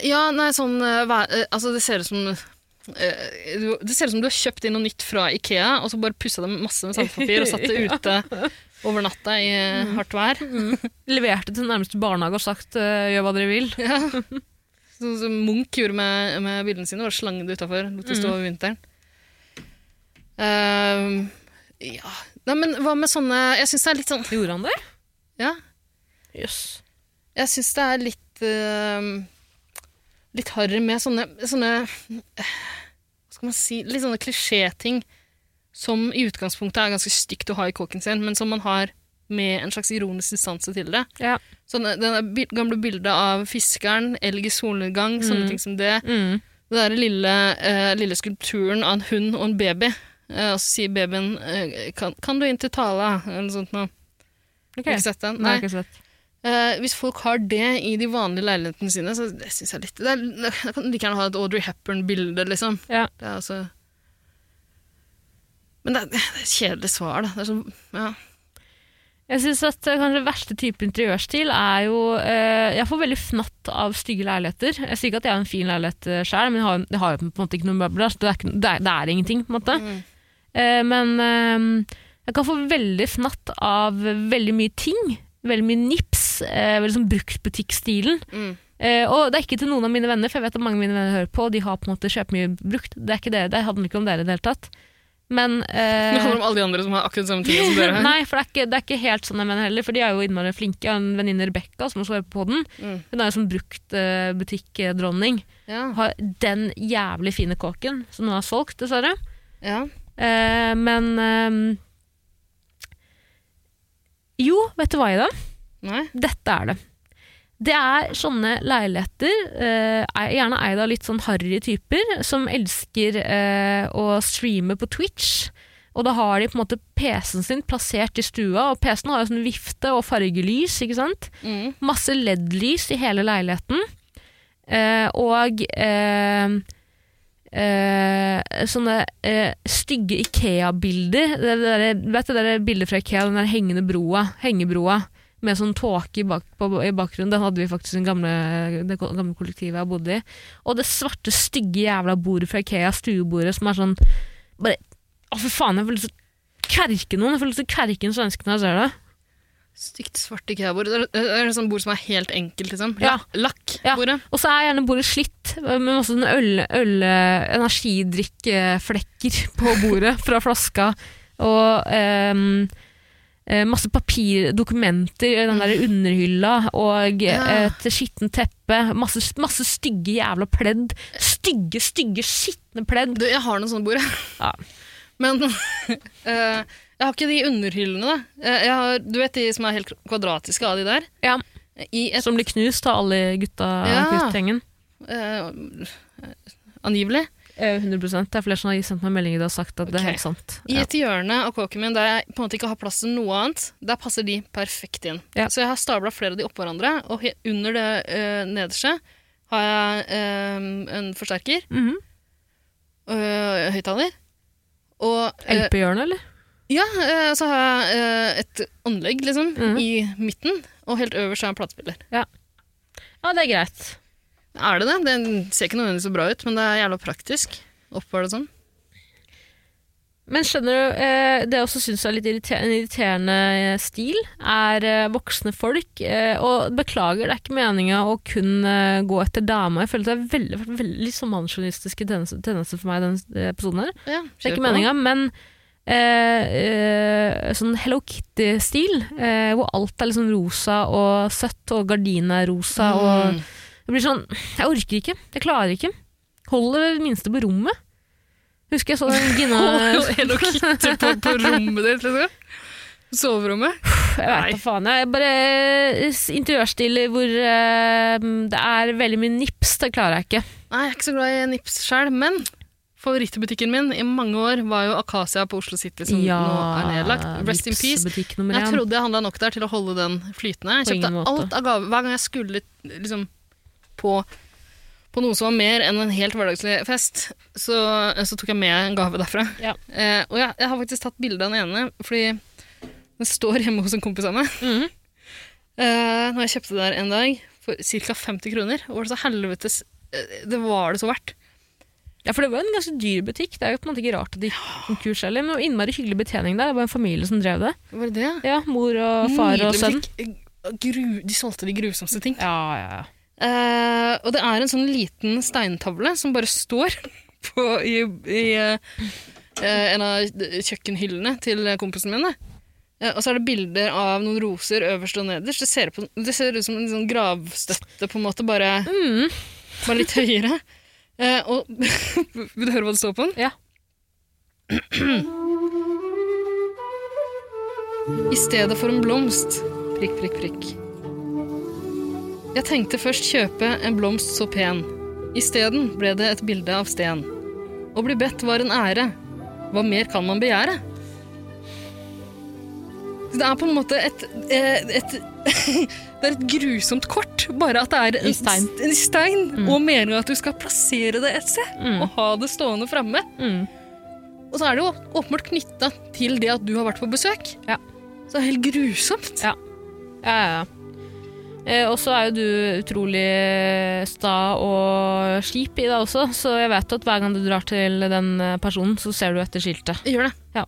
Speaker 3: Eh, ja, nei, sånn eh, væ- eh, Altså, det ser ut som eh, du- Det ser ut som du har kjøpt inn noe nytt fra Ikea, og så bare pussa det masse med sandpapir og satt det ute over natta i eh, hardt vær.
Speaker 2: Leverte til nærmeste barnehage og sagt eh, 'gjør hva dere vil'.
Speaker 3: Sånn som Munch gjorde med, med bildene sine, var å slange det utafor. Lot
Speaker 2: Mm.
Speaker 3: det stå over vinteren. Ehm, ja Nei, men hva med sånne Jeg syns det er litt sånn
Speaker 2: Gjorde han det?
Speaker 3: Ja.
Speaker 2: Jøss.
Speaker 3: Jeg syns det er litt ehm, Litt harry med sånne, sånne eh, Hva skal man si Litt sånne klisjéting som i utgangspunktet er ganske stygt å ha i kåken sin, men som man har med en slags ironisk distanse til det.
Speaker 2: Ja.
Speaker 3: Sånne, det der bil- gamle bildet av fiskeren, elg i solnedgang, sånne ting som det.
Speaker 2: Mm.
Speaker 3: Det der lille, eh, lille skulpturen av en hund og en baby. Eh, og så sier babyen eh, kan, 'Kan du ikke tale?' eller noe sånt. noe.
Speaker 2: Ok.
Speaker 3: Har du Ikke sett den?
Speaker 2: Nei,
Speaker 3: Nei.
Speaker 2: jeg har ikke sett.
Speaker 3: Eh, hvis folk har det i de vanlige leilighetene sine, så det synes jeg litt det er, Da kan du like gjerne ha et Audrey Hepburn-bilde, liksom.
Speaker 2: Ja.
Speaker 3: Det er altså Men det er, det er et kjedelig svar, da. Det er så, ja.
Speaker 2: Jeg synes at eh, kanskje verste type interiørstil er jo eh, Jeg får veldig fnatt av stygge leiligheter. Jeg sier ikke at jeg har en fin leilighet eh, selv, men jeg har, jeg har jo på en måte ikke noen møbler. Så det, er ikke, det, er, det er ingenting, på en måte. Eh, men eh, jeg kan få veldig fnatt av veldig mye ting. Veldig mye nips. eh, veldig sånn bruktbutikkstilen.
Speaker 3: Mm.
Speaker 2: Eh, og det er ikke til noen av mine venner, for jeg vet at mange av mine venner hører på, og de har på en måte kjøpt mye brukt. Det er ikke dere, det handler ikke om dere i det hele tatt. Men eh,
Speaker 3: Det handler om alle de andre som har akkurat samme ting som Altså, dere. har.
Speaker 2: Nei, for det er, ikke, det er ikke helt sånn jeg mener heller, for de er jo innmari flinke. Jeg har en venninne Rebekka som også hører på den.
Speaker 3: Mm.
Speaker 2: Hun er jo som bruktbutikkdronning.
Speaker 3: Ja.
Speaker 2: Har den jævlig fine kåken som hun har solgt, dessverre.
Speaker 3: Ja.
Speaker 2: Eh, men ehm, Jo, vet du hva, Ida?
Speaker 3: Nei.
Speaker 2: Dette er det. Det er sånne leiligheter, eh, er- gjerne eid av litt sånn harry typer, som elsker eh, å streame på Twitch. Og da har de på en måte PC-en sin plassert i stua, og PC-en har jo sånn vifte og fargelys, ikke sant?
Speaker 3: Mm.
Speaker 2: Masse LED-lys i hele leiligheten. Eh, og eh, eh, sånne eh, stygge Ikea-bilder. Det, det der, vet du det der bildet fra Ikea, den der hengende broa, hengebroa med sånn tåke i, bak, på, i bakgrunnen. Den hadde vi faktisk i den gamle, det ko- gamle kollektivet jeg bodde i. Og det svarte, stygge jævla bordet fra Ikea, stuebordet, som er sånn bare, Å, for faen, jeg får lyst til å kverke noen. Jeg får lyst til å kverke en svenske når jeg ser det.
Speaker 3: Stygt svart IKEA-bord. Det er- det er et sånt bord som er helt enkelt, liksom.
Speaker 2: Ja. Ja.
Speaker 3: Lakk-bordet.
Speaker 2: Og så er gjerne bordet slitt, med masse sånne øl, øl, energidrikkeflekker på bordet fra flaska. Og ehm, eh, masse papirdokumenter i den der underhylla, og eh,
Speaker 3: Ja.
Speaker 2: et skittent teppe. Masse, masse stygge jævla pledd. Stygge, stygge, skitne pledd.
Speaker 3: Du, jeg har noen sånne bord, jeg.
Speaker 2: Ja.
Speaker 3: Men eh, jeg har ikke de underhyllene, da. Eh, Jeg har, du vet de som er helt kvadratiske av de der?
Speaker 2: Ja.
Speaker 3: I et,
Speaker 2: Som blir knust av alle gutta i
Speaker 3: Ja.
Speaker 2: guttegjengen.
Speaker 3: eh, angivelig.
Speaker 2: Eh, 100 Det er flere som har sendt meg meldinger og sagt at det
Speaker 3: Ok.
Speaker 2: er helt sant.
Speaker 3: I et hjørne av kåken min der jeg på en måte ikke har plass til noe annet, der passer de perfekt inn.
Speaker 2: Ja.
Speaker 3: Så jeg har stabla flere av de oppå hverandre, og he- under det eh, nederste har jeg eh, en forsterker,
Speaker 2: Mhm.
Speaker 3: uh, høyttaler, og eh,
Speaker 2: LP-hjørnet, eller?
Speaker 3: Ja, eh, så har jeg eh, et anlegg liksom,
Speaker 2: Mhm.
Speaker 3: i midten, og helt øverst er en platespiller.
Speaker 2: Ja, det er greit.
Speaker 3: Er det det? Det ser ikke nødvendigvis så bra ut, men det er jævla praktisk. Oppvar det sånn.
Speaker 2: Men skjønner du, eh, det jeg også syns er litt irriter en irriterende eh, stil, er eh, voksne folk. eh, Og beklager, det er ikke meninga å kun eh, gå etter dama. Jeg føler at det er veldig, vært veldig sånn mannsjåvinistiske tendenser, tendenser for meg i denne episoden her.
Speaker 3: Ja,
Speaker 2: Det
Speaker 3: kjør
Speaker 2: er
Speaker 3: på.
Speaker 2: ikke meninga, men eh, eh, sånn Hello Kitty-stil, eh, hvor alt er liksom rosa og søtt, og gardinene er rosa, og
Speaker 3: Mm.
Speaker 2: det blir sånn, jeg orker ikke, jeg klarer ikke. Hold det minste på rommet. Husker jeg så den Gina
Speaker 3: Hold Hello Kitty på, på rommet ditt, liksom. Soverommet.
Speaker 2: Jeg vet da faen. Jeg bare eh, s- Interiørstil hvor eh, det er veldig mye nips, det klarer jeg ikke.
Speaker 3: Nei, jeg er ikke så glad i nips sjøl, men favorittbutikken min i mange år var jo Akasia på Oslo City, som nå er nedlagt. Rest in
Speaker 2: Vips
Speaker 3: peace.
Speaker 2: Butikk nummer
Speaker 3: Men jeg
Speaker 2: én.
Speaker 3: trodde jeg handla nok der til å holde den
Speaker 2: På
Speaker 3: flytende. Jeg
Speaker 2: ingen
Speaker 3: kjøpte
Speaker 2: måte.
Speaker 3: alt av gave hver gang jeg skulle liksom, på, på noe som var mer enn en helt hverdagslig fest. Så, så tok jeg med en gave derfra.
Speaker 2: Ja.
Speaker 3: Eh, og jeg, jeg har faktisk tatt bilde av den ene, fordi den står hjemme hos en kompis av meg.
Speaker 2: Mhm.
Speaker 3: Eh, når jeg kjøpte der en dag for ca. 50 kroner, og var det så helvetes eh, Det var det så verdt.
Speaker 2: Ja, for det var jo en ganske dyr butikk. Det er jo på en måte ikke rart at de gikk konkurs heller, men det var innmari hyggelig betjening der. Det var en familie som drev det.
Speaker 3: Var det det?
Speaker 2: Ja, mor og far og
Speaker 3: Nydelig
Speaker 2: sønn.
Speaker 3: butikk. Gru, de solgte de grusomste ting.
Speaker 2: Ja, ja, ja.
Speaker 3: Eh, og det er en sånn liten steintavle som bare står på, i, i eh, eh, en av kjøkkenhyllene til kompisene mine. Eh, og så er det bilder av noen roser øverst og nederst. Det ser, på, det ser ut som en sånn gravstøtte, på en måte, bare,
Speaker 2: Mm.
Speaker 3: bare litt høyere. Eh, og Vil du høre hva det står på den?
Speaker 2: Ja.
Speaker 3: I stedet for en blomst prikk, prikk, prikk. Jeg tenkte først kjøpe en blomst så pen. Isteden ble det et bilde av Sten. Å bli bedt var en ære. Hva mer kan man begjære? Så det er på en måte et, eh, et Det er et grusomt kort, bare at det er
Speaker 2: I stein.
Speaker 3: en stein og meninga at du skal plassere det et sted og ha det stående framme.
Speaker 2: Mm.
Speaker 3: Og så er det jo åpenbart knytta til det at du har vært på besøk.
Speaker 2: Ja.
Speaker 3: Så det er helt grusomt.
Speaker 2: Ja. Ja, ja, ja. Eh, og så er jo du utrolig sta og skip i deg også, så jeg vet at hver gang du drar til den eh, personen, så ser du etter skiltet.
Speaker 3: Jeg gjør det.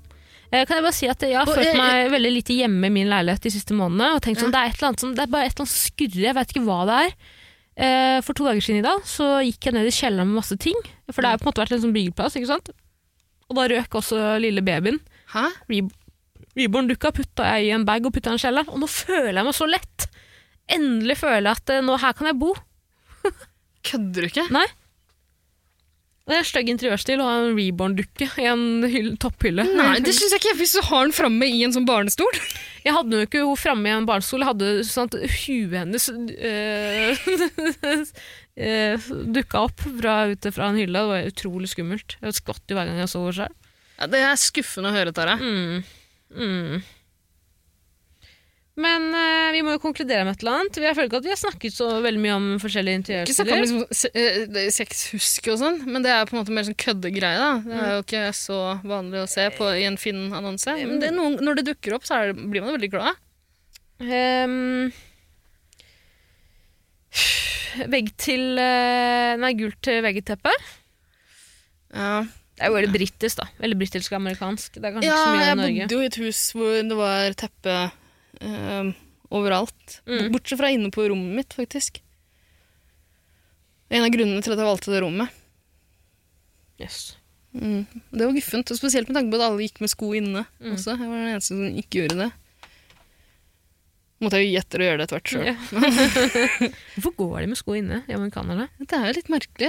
Speaker 2: Eh, kan jeg bare si at jeg har
Speaker 3: Og,
Speaker 2: følt
Speaker 3: eh,
Speaker 2: meg veldig lite hjemme i min leilighet de siste månedene, og tenkt sånn,
Speaker 3: Ja.
Speaker 2: det er et eller annet som, det er bare et eller annet som skurrer, jeg vet ikke hva det er. Eh, for to dager siden i dag, så gikk jeg ned i kjelleren med masse ting, for det har jo på en måte vært en sånn byggeplass, ikke sant? Og da røk også lille babyen.
Speaker 3: Hæ?
Speaker 2: Re- Reborn dukka, putta jeg i en bag og putta den i kjelleren. Og nå føler jeg meg så lett! Endelig føler jeg at eh, nå her kan jeg bo.
Speaker 3: Kødder du ikke?
Speaker 2: Det er en stygg interiørstil å ha en reborn-dukke i en hyll, topphylle.
Speaker 3: Nei, det syns jeg ikke. Hvis du har den framme i en sånn barnestol.
Speaker 2: Jeg hadde jo ikke henne framme i en barnestol. Jeg hadde sånn at huet hennes øh, dukka opp fra, ute fra en hylle. Det var utrolig skummelt. Jeg skvatt jo hver gang jeg så henne sjøl.
Speaker 3: Ja, det er skuffende å høre, Tara.
Speaker 2: Mm. Mm. Men eh, vi må jo konkludere med et eller annet. Jeg føler ikke at vi har snakket så veldig mye om forskjellige
Speaker 3: Ikke snakka om
Speaker 2: interiørstiler.
Speaker 3: liksom, se- eh, sexhuske og sånn, men det er på en måte mer sånn køddegreie. da. Det er jo ikke så vanlig å se på i en Finn-annonse. Mm. Men det er noen, når det dukker opp, så er det, blir man veldig glad.
Speaker 2: Ehm, vegg til eh, Nei, gult til veggeteppe.
Speaker 3: Ja,
Speaker 2: Det er jo veldig britisk, da. Veldig britisk og amerikansk. Det er kanskje
Speaker 3: ja
Speaker 2: ikke så mye
Speaker 3: jeg
Speaker 2: i Norge.
Speaker 3: bodde jo i et hus hvor det var teppe eh, overalt.
Speaker 2: Mm.
Speaker 3: Bortsett fra inne på rommet mitt, faktisk. En av grunnene til at jeg valgte det rommet.
Speaker 2: Yes.
Speaker 3: Mm. Det var guffent, og spesielt med tanke på at alle gikk med sko inne.
Speaker 2: Mm.
Speaker 3: også. Jeg var den eneste som ikke gjorde det. Måtte jeg jo gi etter å gjøre det etter hvert sjøl.
Speaker 2: Ja. Hvorfor går de med sko inne, de amerikanerne?
Speaker 3: Det er jo litt merkelig.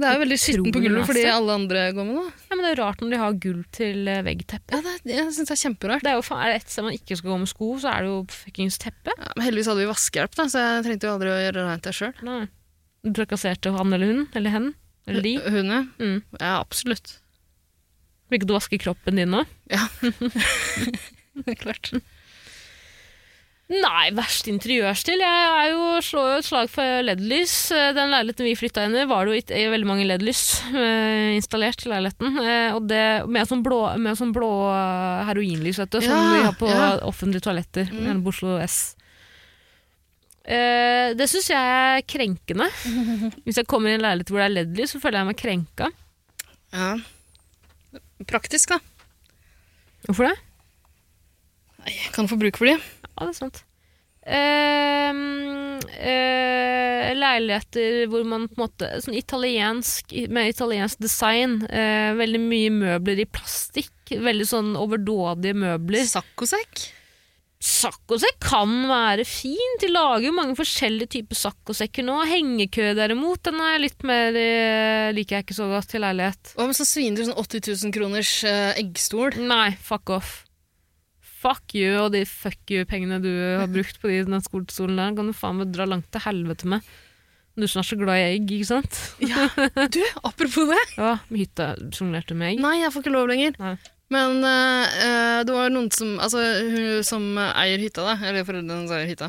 Speaker 3: Det er jo veldig skitten på
Speaker 2: Utrolig
Speaker 3: gulvet fordi
Speaker 2: rase.
Speaker 3: alle andre går med det.
Speaker 2: Ja, men Det er jo rart når de har gull til eh, veggteppe.
Speaker 3: Ja, det er, jeg syns det er kjemperart.
Speaker 2: Det er jo faen, er det ett sted man ikke skal gå med sko, så er det jo fuckings teppe.
Speaker 3: Ja, men heldigvis hadde vi vaskehjelp, da, så jeg trengte jo aldri å gjøre rent det sjøl.
Speaker 2: Nei. Trakasserte han eller hun, eller hen, eller de.
Speaker 3: Hunde?
Speaker 2: Mm.
Speaker 3: Ja, absolutt.
Speaker 2: Vil ikke du vaske kroppen din nå?
Speaker 3: Det er klart.
Speaker 2: Nei, verst interiørstil. Jeg er jo, slår jo et slag for LED-lys. Den leiligheten vi flytta inn i, var det jo ikke- veldig mange LED-lys eh, installert i leiligheten. Eh, Og det, med sånn blå, med sånn blå eh, heroinlys, vet du, som
Speaker 3: Ja,
Speaker 2: vi har på
Speaker 3: ja.
Speaker 2: offentlige toaletter.
Speaker 3: Mm.
Speaker 2: Gjerne på Oslo S. Eh, Det syns jeg er krenkende. Hvis jeg kommer i en leilighet hvor det er LED-lys, så føler jeg meg krenka.
Speaker 3: Ja. Praktisk, da.
Speaker 2: Hvorfor det?
Speaker 3: Nei, jeg kan få bruk for de.
Speaker 2: Ja, det er sant. Ehm, eh, leiligheter hvor man på en måte sånn italiensk, Med italiensk design. eh, veldig mye møbler i plastikk. Veldig sånn overdådige møbler.
Speaker 3: Saccosekk?
Speaker 2: Saccosekk kan være fin. De lager jo mange forskjellige typer saccosekker nå. Hengekø derimot, den er litt mer eh, Liker jeg ikke så godt til leilighet.
Speaker 3: Hva med sånn svindyr sånn 80 000 kroners eh, eggstol?
Speaker 2: Nei, fuck off. Fuck you og de fuck you-pengene du har brukt på de- den skolestolen der, kan du faen meg dra langt til helvete med. Du som er så glad i egg, ikke sant?
Speaker 3: Ja, du, apropos det.
Speaker 2: Ja, hytta sjonglerte med egg.
Speaker 3: Nei, jeg får ikke lov lenger.
Speaker 2: Nei.
Speaker 3: Men eh, eh, det var noen som Altså, hun som eier hytta, da, eller foreldrene hennes eier hytta,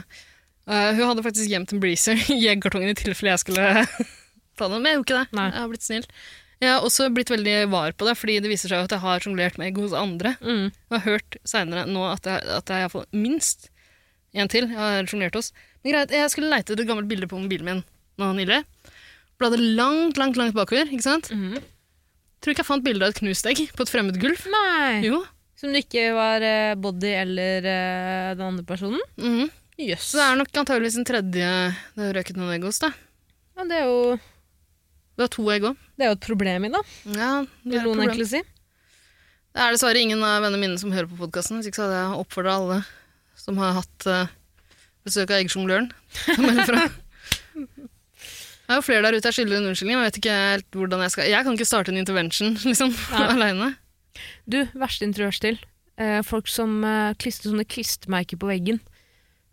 Speaker 3: eh, hun hadde faktisk gjemt en breezer i eggkartongen i tilfelle jeg skulle ta den. Men jeg gjorde ikke det.
Speaker 2: Nei.
Speaker 3: Jeg har blitt snill. Jeg har også blitt veldig var på det, fordi det viser seg jo at jeg har sjonglert med egg hos andre.
Speaker 2: Mm.
Speaker 3: Jeg har hørt seinere nå at jeg, at jeg iallfall minst en til jeg har sjonglert hos. Men greit, jeg skulle leite etter et gammelt bilde på mobilen min nå nylig. Bladde langt, langt, langt bakover. ikke sant?
Speaker 2: Mhm.
Speaker 3: Tror ikke jeg fant bilde av et knust egg på et fremmed gulv.
Speaker 2: Nei!
Speaker 3: Jo.
Speaker 2: Som det ikke var eh, Body eller eh, den andre personen.
Speaker 3: Mhm.
Speaker 2: Jøss.
Speaker 3: Så det er nok antageligvis en tredje det har røket noen egg hos. da.
Speaker 2: Ja, det, er jo-
Speaker 3: Det var to egg òg.
Speaker 2: det er jo et problem i det,
Speaker 3: Ja, det
Speaker 2: vil
Speaker 3: er,
Speaker 2: noen
Speaker 3: et problem.
Speaker 2: egentlig si.
Speaker 3: det er dessverre ingen av vennene mine som hører på podkasten. Hvis ikke så hadde jeg oppfordra alle som har hatt eh, besøk av eggsjongløren, til å melde fra. Det er jo flere der ute jeg skylder en unnskyldning. men Jeg vet ikke helt hvordan jeg skal... Jeg kan ikke starte en intervention liksom,
Speaker 2: Nei.
Speaker 3: aleine.
Speaker 2: Du, verste interiørstil. Eh, folk som eh, klistrer sånne klistremerker på veggen.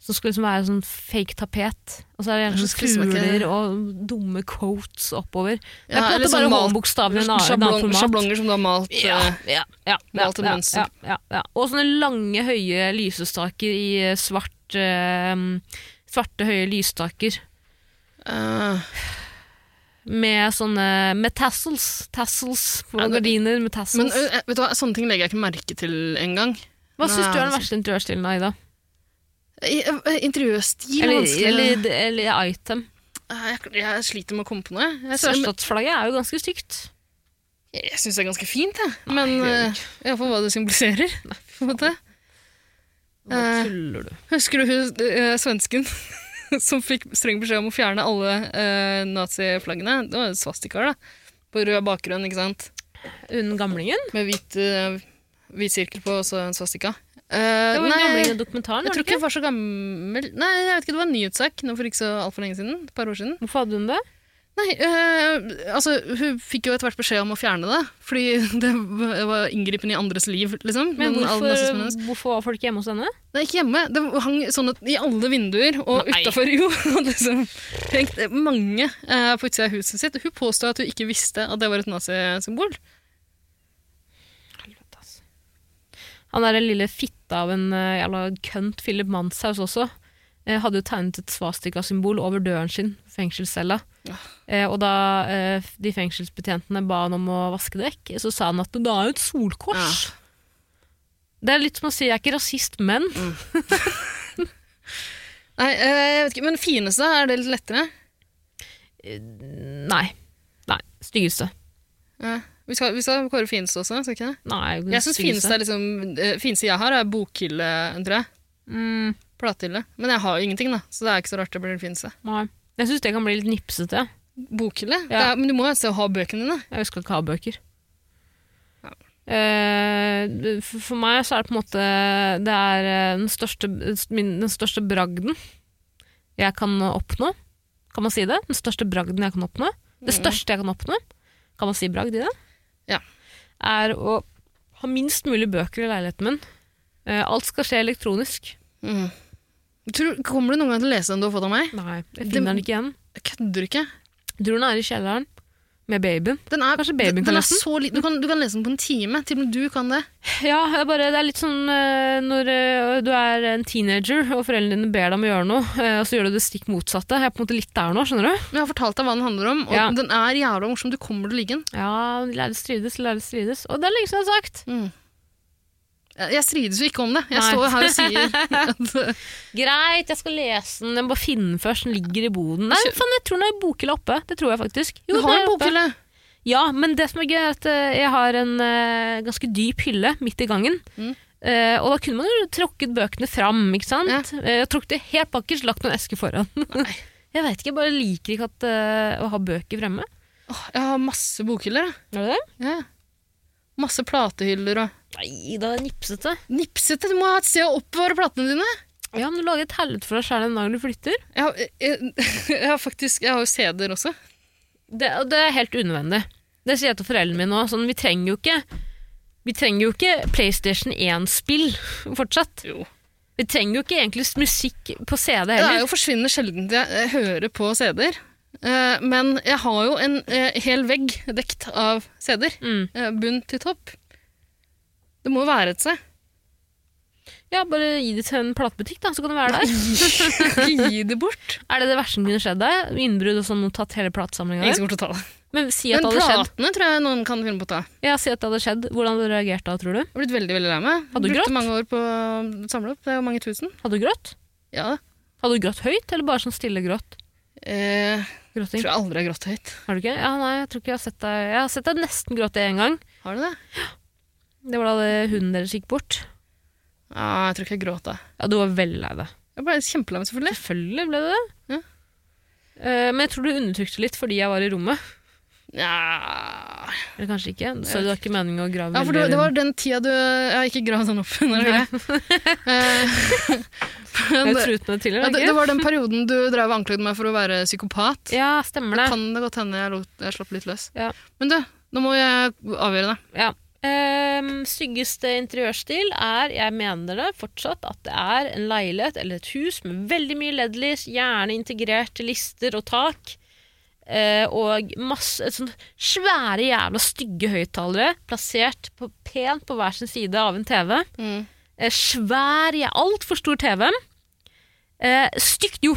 Speaker 2: Som skulle liksom være sånn fake tapet. Og så er det gjerne
Speaker 3: Hva
Speaker 2: sånn
Speaker 3: slags klistremerke?
Speaker 2: fugler og dumme coats oppover. Det er på en
Speaker 3: Ja, eller
Speaker 2: måte bare
Speaker 3: sånn mal-
Speaker 2: håndbokstaven i en annen- annen
Speaker 3: Sjablong,
Speaker 2: format.
Speaker 3: sjablonger som du har malt.
Speaker 2: Ja,
Speaker 3: eh,
Speaker 2: ja, ja, ja,
Speaker 3: Malte
Speaker 2: ja,
Speaker 3: mønster.
Speaker 2: ja, ja, ja. Og sånne lange, høye lysestaker i eh, svart eh, Svarte, høye lysstaker
Speaker 3: eh,
Speaker 2: med sånne Med tassels. Tassels på
Speaker 3: Ja, det-
Speaker 2: gardiner med
Speaker 3: men
Speaker 2: tassels.
Speaker 3: eh, vet du hva, sånne ting legger jeg ikke merke til engang.
Speaker 2: Hva syns
Speaker 3: Nei,
Speaker 2: du er den
Speaker 3: altså.
Speaker 2: verste interiørstilen, Aida?
Speaker 3: I- eh, Interiørstil er
Speaker 2: Eller,
Speaker 3: vanskelig.
Speaker 2: eller, eller item?
Speaker 3: Eh, Jeg, jeg sliter med å komme på noe. jeg. Jeg, synes-
Speaker 2: Sørstatsflagget er jo ganske stygt.
Speaker 3: jeg, jeg syns det er ganske fint, jeg. men
Speaker 2: det er det
Speaker 3: eh, iallfall hva det symboliserer. På en måte. Eh,
Speaker 2: tuller du?
Speaker 3: husker du hun eh, svensken som fikk streng beskjed om å fjerne alle eh, naziflaggene? Det var svastikaer, da. På rød bakgrunn, ikke sant?
Speaker 2: Hun gamlingen?
Speaker 3: Med hvit, eh, hvit sirkel på og så en svastika. Eh,
Speaker 2: Det var hun gamlingen
Speaker 3: nei,
Speaker 2: i dokumentaren,
Speaker 3: jeg
Speaker 2: var
Speaker 3: tror
Speaker 2: det
Speaker 3: ikke
Speaker 2: ikke?
Speaker 3: hun var så gammel Nei, jeg vet ikke, det var en nyhetssak nå for ikke så altfor lenge siden. Et par år siden.
Speaker 2: Hvorfor hadde hun det?
Speaker 3: Nei, eh, altså hun fikk jo etter hvert beskjed om å fjerne det, fordi det var inngripende i andres liv, liksom.
Speaker 2: Men
Speaker 3: all nazismen
Speaker 2: hvorfor,
Speaker 3: hennes.
Speaker 2: hvorfor var folk hjemme hos henne?
Speaker 3: Nei, ikke hjemme. Det hang sånn at i alle vinduer og
Speaker 2: Nei.
Speaker 3: utafor, jo. og liksom, tenk, det er mange eh, på utsida av huset sitt. Hun påstod at hun ikke visste at det var et nazisymbol.
Speaker 2: Han der lille fitta av en eh, jævla kønt Philip Manshaus også. eh, Hadde jo tegnet et svastikasymbol over døren sin, fengselscella.
Speaker 3: Ja.
Speaker 2: Eh, og da eh, de fengselsbetjentene ba han om å vaske det vekk, så sa han at det er jo et solkors. Det er litt som å si jeg er ikke rasist, men
Speaker 3: Nei, eh, jeg vet ikke, men fineste, er det litt lettere?
Speaker 2: Nei. Nei. Styggeste.
Speaker 3: Ja. vi, skal, vi skal kåre fineste også, skal vi ikke det?
Speaker 2: Nei,
Speaker 3: Jeg syns fineste, er liksom, eh, fineste jeg har, er bokhylle, tror jeg.
Speaker 2: mm.
Speaker 3: Platehylle. Men jeg har jo ingenting, da, så det er ikke så rart det blir det fineste.
Speaker 2: Nei. Jeg syns det kan bli litt nipsete.
Speaker 3: Bokhylle?
Speaker 2: Ja.
Speaker 3: Det er, men du må jo et sted å ha bøkene dine.
Speaker 2: Jeg skal ikke ha bøker.
Speaker 3: Ja.
Speaker 2: Eh, for- for meg så er det på en måte Det er eh, den største, min, den største bragden jeg kan oppnå. Kan man si det? Den største bragden jeg kan oppnå. Det største jeg kan oppnå, kan man si bragd i det,
Speaker 3: Mm. Ja.
Speaker 2: er å ha minst mulig bøker i leiligheten min. Eh, alt skal skje elektronisk. Mm.
Speaker 3: Tror, kommer du noen gang til å lese den du har fått av meg?
Speaker 2: Nei, jeg
Speaker 3: Det-
Speaker 2: finner den ikke igjen.
Speaker 3: Jeg kødder ikke.
Speaker 2: Jeg tror den er i kjelleren med babyen.
Speaker 3: Den er,
Speaker 2: Kanskje babyen
Speaker 3: den-
Speaker 2: kan
Speaker 3: den er
Speaker 2: lese den?
Speaker 3: så liten. Du kan, du kan lese den på en time. Til og med du kan det.
Speaker 2: Ja, jeg bare, det er litt sånn eh, når eh, du er en teenager og foreldrene dine ber deg om å gjøre noe, eh, og så gjør du det stikk motsatte. Jeg er på en måte litt der nå, skjønner du?
Speaker 3: Men jeg har fortalt deg hva den handler om, og
Speaker 2: Ja.
Speaker 3: den er jævla morsom. Du kommer til å like den.
Speaker 2: Ja, lærde strides, lærde strides. Og det er lenge siden jeg har sagt.
Speaker 3: Jeg- Jeg strides jo ikke om det. Jeg
Speaker 2: Nei.
Speaker 3: står her og sier at
Speaker 2: Greit, jeg skal lese den. Jeg må bare finne den først. Den ligger i boden. Nei, faen, jeg tror den er i bokhylla oppe. Det tror jeg faktisk. Jo,
Speaker 3: Du
Speaker 2: den
Speaker 3: har
Speaker 2: er
Speaker 3: en
Speaker 2: oppe.
Speaker 3: bokhylle!
Speaker 2: Ja, men det som er gøy er at eh, jeg har en eh, ganske dyp hylle midt i gangen.
Speaker 3: Mm.
Speaker 2: Eh, og da kunne man jo tråkket bøkene fram, ikke sant? Eh, jeg tråkket det helt bakkers, lagt noen esker foran. jeg vet ikke, jeg bare liker ikke at, eh, å ha bøker fremme.
Speaker 3: Åh, jeg har masse bokhyller. jeg.
Speaker 2: Er det det?
Speaker 3: Ja. Masse platehyller og
Speaker 2: Nei, da er det nipsete.
Speaker 3: Nipsete! Du må ha et sted å oppbevare platene dine!
Speaker 2: Ja, men du lager et helvete for deg sjæl den dagen du flytter.
Speaker 3: Jeg har, jeg, jeg har faktisk Jeg har jo CD-er også.
Speaker 2: Det, og det er helt unødvendig. Det sier jeg til foreldrene mine òg. Sånn, vi trenger jo ikke vi trenger jo ikke PlayStation 1-spill fortsatt.
Speaker 3: Jo.
Speaker 2: Vi trenger jo ikke egentlig musikk på CD
Speaker 3: Det er
Speaker 2: heller.
Speaker 3: jo forsvinnende sjelden jeg jeg hører på CD-er. Eh, men jeg har jo en eh, hel vegg dekt av CD-er.
Speaker 2: Mm.
Speaker 3: Eh, bunn til topp. Det må jo være et sted.
Speaker 2: Ja, bare gi det til en platebutikk, da, så kan det være der.
Speaker 3: Ikke gi det bort.
Speaker 2: Er det det verste som kunne skjedd deg? Innbrudd og sånn og tatt hele platesamlinga
Speaker 3: Ingen
Speaker 2: di?
Speaker 3: som kommer til å ta det.
Speaker 2: Men si at
Speaker 3: Men
Speaker 2: det hadde skjedd.
Speaker 3: platene tror jeg noen kan finne på å ta.
Speaker 2: Ja, si at det hadde skjedd. Hvordan hadde du reagert da, tror du?
Speaker 3: Jeg har blitt veldig veldig lei meg.
Speaker 2: Hadde du
Speaker 3: Brukte
Speaker 2: grått?
Speaker 3: mange år på å samle opp. Det er jo mange tusen.
Speaker 2: Hadde du grått?
Speaker 3: Ja,
Speaker 2: Hadde du grått høyt, eller bare sånn stille grått?
Speaker 3: eh,
Speaker 2: Gråting?
Speaker 3: tror jeg aldri har grått høyt.
Speaker 2: Har du ikke? Ja, nei, jeg tror ikke jeg har sett deg Jeg har sett deg nesten gråte én gang.
Speaker 3: Har du det?
Speaker 2: Det var da det hunden deres gikk bort.
Speaker 3: Ja, jeg tror ikke jeg gråt da.
Speaker 2: Ja, du var veldig lei deg.
Speaker 3: Jeg ble kjempelei meg, selvfølgelig.
Speaker 2: Selvfølgelig ble du det.
Speaker 3: Ja.
Speaker 2: Eh, men jeg tror du undertrykte litt fordi jeg var i rommet.
Speaker 3: Ja,
Speaker 2: Eller kanskje ikke. Så det var ikke meningen å grave
Speaker 3: ja for det,
Speaker 2: veldig
Speaker 3: det var den tida du Jeg har ikke sånn gravd den opp under det.
Speaker 2: Jeg har
Speaker 3: Men,
Speaker 2: jo truet med det
Speaker 3: ja,
Speaker 2: tidligere.
Speaker 3: det,
Speaker 2: ikke?
Speaker 3: det var den perioden du drev og anklaget meg for å være psykopat.
Speaker 2: Ja, stemmer
Speaker 3: Da
Speaker 2: det.
Speaker 3: kan det godt hende jeg, lot, jeg slapp litt løs.
Speaker 2: Ja.
Speaker 3: Men du, nå må jeg avgjøre det.
Speaker 2: Ja. Ehm, styggeste interiørstil er, jeg mener det fortsatt, at det er en leilighet eller et hus med veldig mye LED-lys, gjerne integrerte lister og tak. eh, og masse et sånt svære, jævla stygge høyttalere plassert på, pent på hver sin side av en TV.
Speaker 3: Mm.
Speaker 2: Eh, svær, ja, altfor stor TV. Eh, stygt, jo.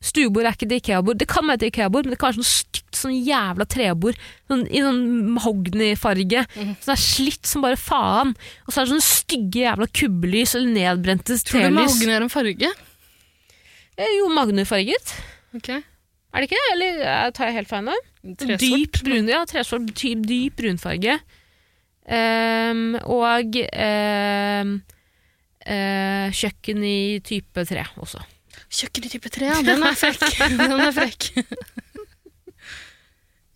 Speaker 2: Stuebord er ikke et Ikea-bord. Det kan være et Ikea-bord, men det kan være sånn stygt sånn jævla trebord. Sånn, I sånn mahognifarge.
Speaker 3: Mm.
Speaker 2: Sånn er slitt som bare faen. Og så er det sånne stygge jævla kubbelys eller nedbrente
Speaker 3: Tror du
Speaker 2: telys.
Speaker 3: magen er en farge?
Speaker 2: Eh, jo, magnefarget.
Speaker 3: Ok.
Speaker 2: Er det ikke det? Eller eh, tar jeg helt feil nå?
Speaker 3: Tresort.
Speaker 2: Dyp brun, ja, tresvart, dyp, dyp brunfarge. Ehm, og ehm, eh, kjøkken i type 3 også.
Speaker 3: Kjøkken i type 3, ja. Den er frekk. Den er frekk.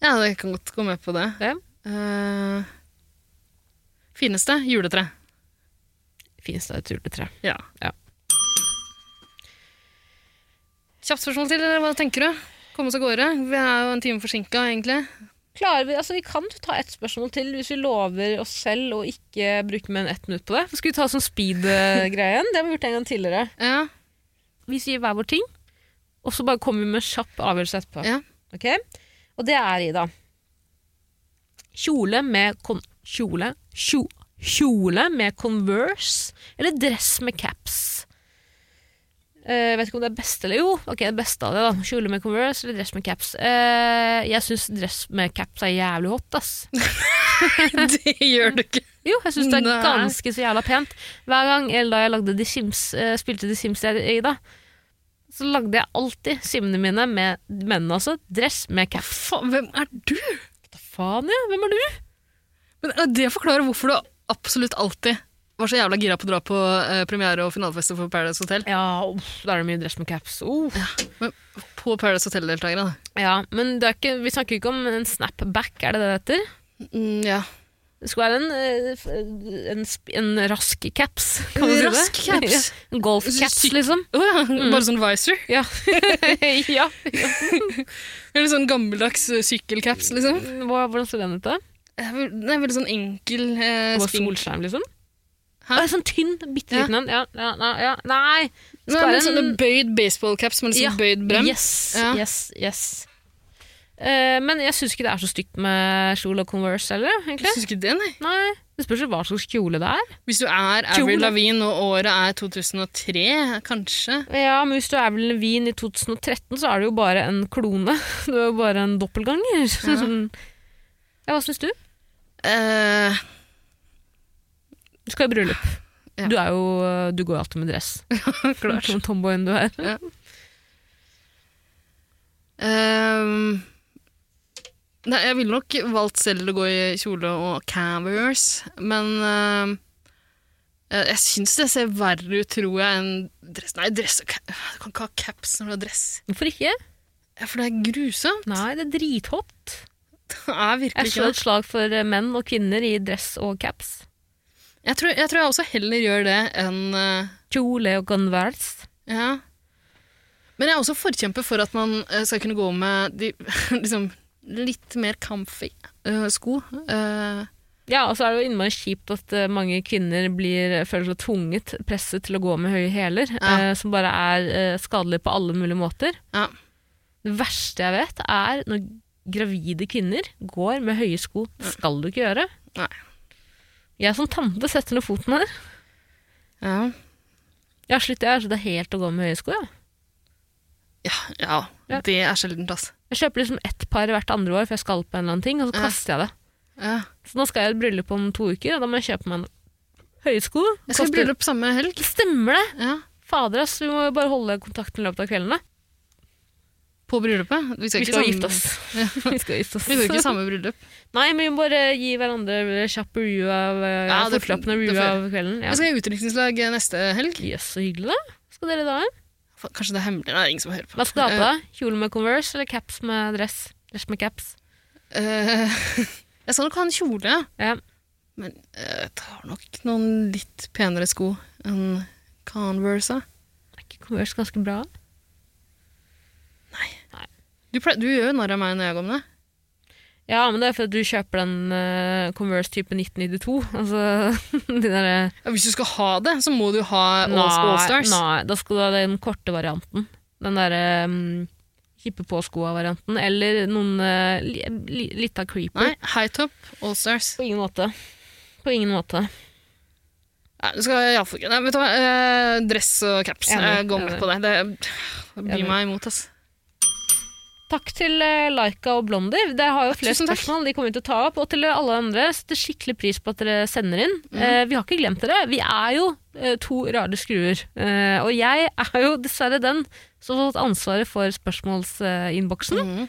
Speaker 3: ja, det kan godt gå med på det.
Speaker 2: Ja.
Speaker 3: Eh, fineste juletre.
Speaker 2: Finnes det et juletre?
Speaker 3: Ja.
Speaker 2: Ja.
Speaker 3: Kjapt spørsmål til, eller hva tenker du? Komme oss av gårde. Vi er jo en time forsinka, egentlig.
Speaker 2: Klarer Vi altså vi kan ta ett spørsmål til hvis vi lover oss selv å ikke bruke mer enn ett minutt på det. Skal vi ta sånn speed-greien? Det har vi gjort en gang tidligere.
Speaker 3: Ja.
Speaker 2: Vi sier hver vår ting, og så bare kommer vi med en kjapp avgjørelse etterpå.
Speaker 3: Ja.
Speaker 2: Ok? Og det er Ida. Kjole med kon... Kjole? Kjo, kjole med Converse, eller dress med caps? Eh, vet ikke om det er beste eller Jo, ok, det beste av det, da. Kjole med Converse eller dress med caps. Eh, jeg syns dress med caps er jævlig hot, ass.
Speaker 3: det gjør du ikke.
Speaker 2: Jo, jeg syns det er
Speaker 3: Nei.
Speaker 2: ganske så jævla pent. Hver gang eller da jeg lagde The Sims, eh, spilte The Sims der, Ida, så lagde jeg alltid simene mine, med mennene altså, dress med caps.
Speaker 3: Faen, hvem er du?
Speaker 2: Hva faen, ja? Hvem er du?
Speaker 3: Men eh, Det forklarer hvorfor du absolutt alltid var så jævla gira på å dra på eh, premiere og finalefester for Paradise Hotel.
Speaker 2: Ja, uff, da er det mye dress med caps. Uff.
Speaker 3: Men på Paradise Hotel-deltakere, da.
Speaker 2: Ja, men det er ikke, vi snakker ikke om en snapback, er det det det heter?
Speaker 3: Mm, ja.
Speaker 2: Det skulle være en, eh, f- en, sp- en rask caps, kan man si det?
Speaker 3: Rask caps?
Speaker 2: Ja, en golf caps,
Speaker 3: Sykt.
Speaker 2: liksom.
Speaker 3: Å ja, bare sånn visor?
Speaker 2: Ja. ja.
Speaker 3: Eller sånn gammeldags eh, sykkelcaps, liksom?
Speaker 2: Hva- Hvordan ser den ut, da?
Speaker 3: Det er vel- det er veldig sånn enkel eh,
Speaker 2: På
Speaker 3: spink.
Speaker 2: Solskjerm, liksom?
Speaker 3: Hæ?
Speaker 2: Å, sånn tynn, bitte liten en. Ja, ja, ja, ja. Nei!
Speaker 3: Nei, men
Speaker 2: Skal
Speaker 3: sånne
Speaker 2: en-
Speaker 3: bøyd baseballcaps med liksom
Speaker 2: Ja.
Speaker 3: bøyd brem.
Speaker 2: Yes,
Speaker 3: Ja.
Speaker 2: yes, yes. Eh, men jeg syns ikke det er så stygt med kjole og Converse heller. egentlig.
Speaker 3: Jeg syns ikke det, nei.
Speaker 2: Nei, Det spørs jo hva slags kjole det er.
Speaker 3: Hvis du er Avril
Speaker 2: Kjole.
Speaker 3: Lavigne og året er 2003, kanskje
Speaker 2: Ja, men Hvis du er vel Levin i 2013, så er du jo bare en klone. Du er jo bare en doppelganger. Ja, ja Hva syns du?
Speaker 3: eh,
Speaker 2: Du skal i bryllup.
Speaker 3: Ja.
Speaker 2: Du, er jo, eh, du går jo alltid med dress.
Speaker 3: Klart.
Speaker 2: Som tomboyen du er.
Speaker 3: ehm, Nei, jeg ville nok valgt selv å gå i kjole og canvas, men ehm, eh, jeg syns det ser verre ut, tror jeg, enn dress. Nei, dress og ca- Du kan ikke ha caps når du har dress.
Speaker 2: Hvorfor ikke?
Speaker 3: Ja, for det er grusomt.
Speaker 2: Nei, det er drithot.
Speaker 3: Det er virkelig
Speaker 2: Jeg
Speaker 3: ikke
Speaker 2: slår
Speaker 3: det.
Speaker 2: et slag for eh, menn og kvinner i dress og caps.
Speaker 3: Jeg tror, jeg tror jeg også heller gjør det enn eh,
Speaker 2: Kjole og converse.
Speaker 3: Ja. Men jeg er også forkjemper for at man eh, skal kunne gå med de liksom litt mer comfy eh, sko. Eh,
Speaker 2: Ja, og så er det jo innmari kjipt at eh, mange kvinner blir, eh, føler seg tvunget, presset til å gå med høye hæler,
Speaker 3: Ja.
Speaker 2: eh, som bare er eh, skadelig på alle mulige måter.
Speaker 3: ja.
Speaker 2: Det verste jeg vet, er når gravide kvinner går med høye sko. Det skal du ikke gjøre.
Speaker 3: Mm. Nei.
Speaker 2: Jeg som tante setter ned foten her.
Speaker 3: Ja.
Speaker 2: Jeg har sluttet, jeg har sluttet helt å gå med høye sko. Ja.
Speaker 3: Ja, ja.
Speaker 2: Ja.
Speaker 3: det er sjeldent, altså.
Speaker 2: Jeg kjøper liksom ett par hvert andre år, for jeg skal på en eller annen ting, og så
Speaker 3: Ja.
Speaker 2: kaster jeg det.
Speaker 3: Ja.
Speaker 2: Så nå skal jeg i et bryllup om to uker, og da må jeg kjøpe meg en høye sko.
Speaker 3: Jeg skal i
Speaker 2: Kaster-
Speaker 3: bryllup samme helg.
Speaker 2: Stemmer det!
Speaker 3: Ja.
Speaker 2: Fader, ass. Vi må jo bare holde kontakten i løpet av kveldene.
Speaker 3: På bryllupet. Vi
Speaker 2: Vi
Speaker 3: ikke
Speaker 2: skal
Speaker 3: samme-
Speaker 2: gifte oss. Vi skal gifte oss.
Speaker 3: Vi skal ikke i samme bryllup.
Speaker 2: Nei, men vi må bare gi hverandre kjapp review av eh,
Speaker 3: Ja, det-
Speaker 2: fortløpende
Speaker 3: det
Speaker 2: review
Speaker 3: får jeg.
Speaker 2: av kvelden. Ja.
Speaker 3: Jeg skal i utdrikningslag neste helg.
Speaker 2: Jøss, så hyggelig, da. Skal dere da?
Speaker 3: Fa- Kanskje det er hemmelig? Det er ingen som hører på.
Speaker 2: Hva skal du ha på deg? Kjole med Converse eller caps med dress? Dress med caps.
Speaker 3: Eh, jeg skal nok ha en kjole,
Speaker 2: Ja.
Speaker 3: men eh, jeg tar nok noen litt penere sko enn Converse. da.
Speaker 2: Er ikke Converse ganske bra?
Speaker 3: Du, ple- du gjør jo narr av meg når jeg går med det.
Speaker 2: Ja, men det er fordi du kjøper den eh, Converse type 1992. Altså, de der
Speaker 3: Ja, Hvis du skal ha det, så må du ha all,
Speaker 2: Nei,
Speaker 3: Allstars.
Speaker 2: Nei, da skal du ha den korte varianten. Den derre um, hippe på skoa-varianten. Eller noen eh, li, li, litt av creeper.
Speaker 3: Nei, high top, Allstars.
Speaker 2: På ingen måte. På ingen måte.
Speaker 3: Nei, du skal iallfall ikke Nei, vet du hva, eh, dress og caps.
Speaker 2: Enig,
Speaker 3: Jeg går med
Speaker 2: enig.
Speaker 3: på det. Det
Speaker 2: Enig.
Speaker 3: blir meg imot, ass.
Speaker 2: Takk til eh, Laika og Blondie. Dere har jo flere
Speaker 3: tusen takk.
Speaker 2: spørsmål de kommer vi til å ta opp. Og til alle andre, setter skikkelig pris på at dere sender inn.
Speaker 3: Mhm.
Speaker 2: Eh, vi har ikke glemt dere. Vi er jo eh, to rare skruer. Eh, og jeg er jo dessverre den som har fått ansvaret for spørsmålsinnboksen.
Speaker 3: Mhm.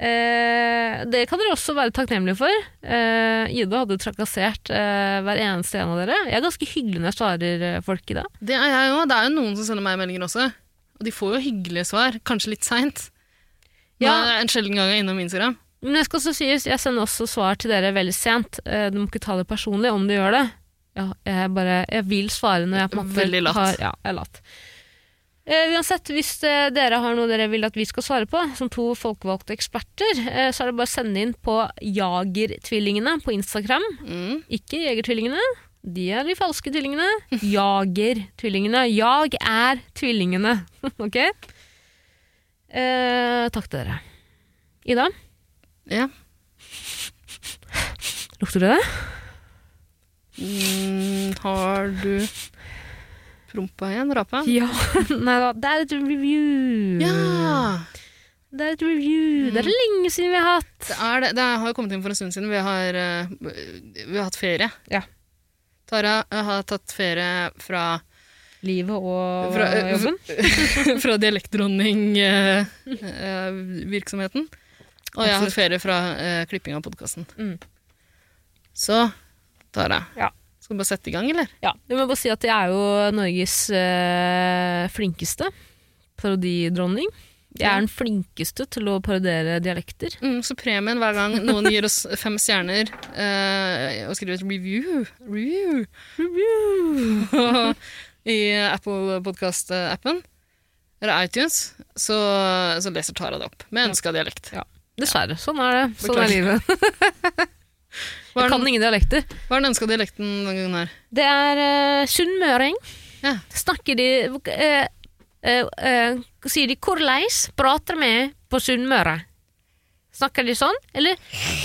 Speaker 2: Eh, det kan dere også være takknemlige for. Eh, Ida hadde trakassert eh, hver eneste en av dere. Jeg er ganske hyggelig når jeg svarer eh, folk i dag.
Speaker 3: Det er jeg òg. Det er jo noen som sender meg meldinger også. Og de får jo hyggelige svar. Kanskje litt seint. Ja.
Speaker 2: Ja.
Speaker 3: En sjelden gang jeg er innom Instagram.
Speaker 2: Men jeg skal også sies, jeg sender også svar til dere veldig sent. Eh, Du må ikke ta det personlig om du gjør det. Ja, jeg, bare, jeg vil svare når jeg på en måte
Speaker 3: Veldig latt.
Speaker 2: har Ja, jeg er latt. Eh, uansett, hvis eh, dere har noe dere vil at vi skal svare på, som to folkevalgte eksperter, eh, så er det bare å sende inn på Jagertvillingene på Instagram.
Speaker 3: Mm.
Speaker 2: Ikke Jegertvillingene. De er de falske tvillingene. Jagertvillingene. Jag er tvillingene. ok? Eh, takk til dere. Ida,
Speaker 3: Ja.
Speaker 2: lukter du det?
Speaker 3: Mm, har du prompa igjen? Rapa?
Speaker 2: Ja. Nei da, det er et review.
Speaker 3: Ja! Mm.
Speaker 2: Det er et review. Det er lenge siden vi har hatt.
Speaker 3: Det, er det. det har jo kommet inn for en stund siden. Vi har, eh, vi har hatt ferie.
Speaker 2: Ja.
Speaker 3: Tara eh, har tatt ferie fra,
Speaker 2: Livet og
Speaker 3: fra, eh,
Speaker 2: jobben.
Speaker 3: fra dialektdronning-virksomheten. og jeg har hatt ferie fra eh, klipping av podkasten.
Speaker 2: Mm.
Speaker 3: Så, Tara,
Speaker 2: Ja.
Speaker 3: skal vi bare sette i gang, eller?
Speaker 2: Ja, jeg må bare si at jeg er jo Norges eh, flinkeste parodidronning. Jeg er den flinkeste til å parodiere dialekter.
Speaker 3: Mm, så premien hver gang noen gir oss fem stjerner eh, og skriver et review, review i Apple Podcast-appen, eller iTunes, så, så leser Tara det opp med ønska dialekt.
Speaker 2: Dessverre. Sånn er det. Sånn er
Speaker 3: Beklager.
Speaker 2: livet. Jeg
Speaker 3: Hva er
Speaker 2: kan
Speaker 3: den,
Speaker 2: ingen dialekter.
Speaker 3: hva er den ønska dialekten denne gangen her?
Speaker 2: Det er uh, sunnmøring.
Speaker 3: Ja.
Speaker 2: Snakker de eh, eh, eh, Sier de 'korleis prater vi på Sunnmøre'? Snakker de sånn? Eller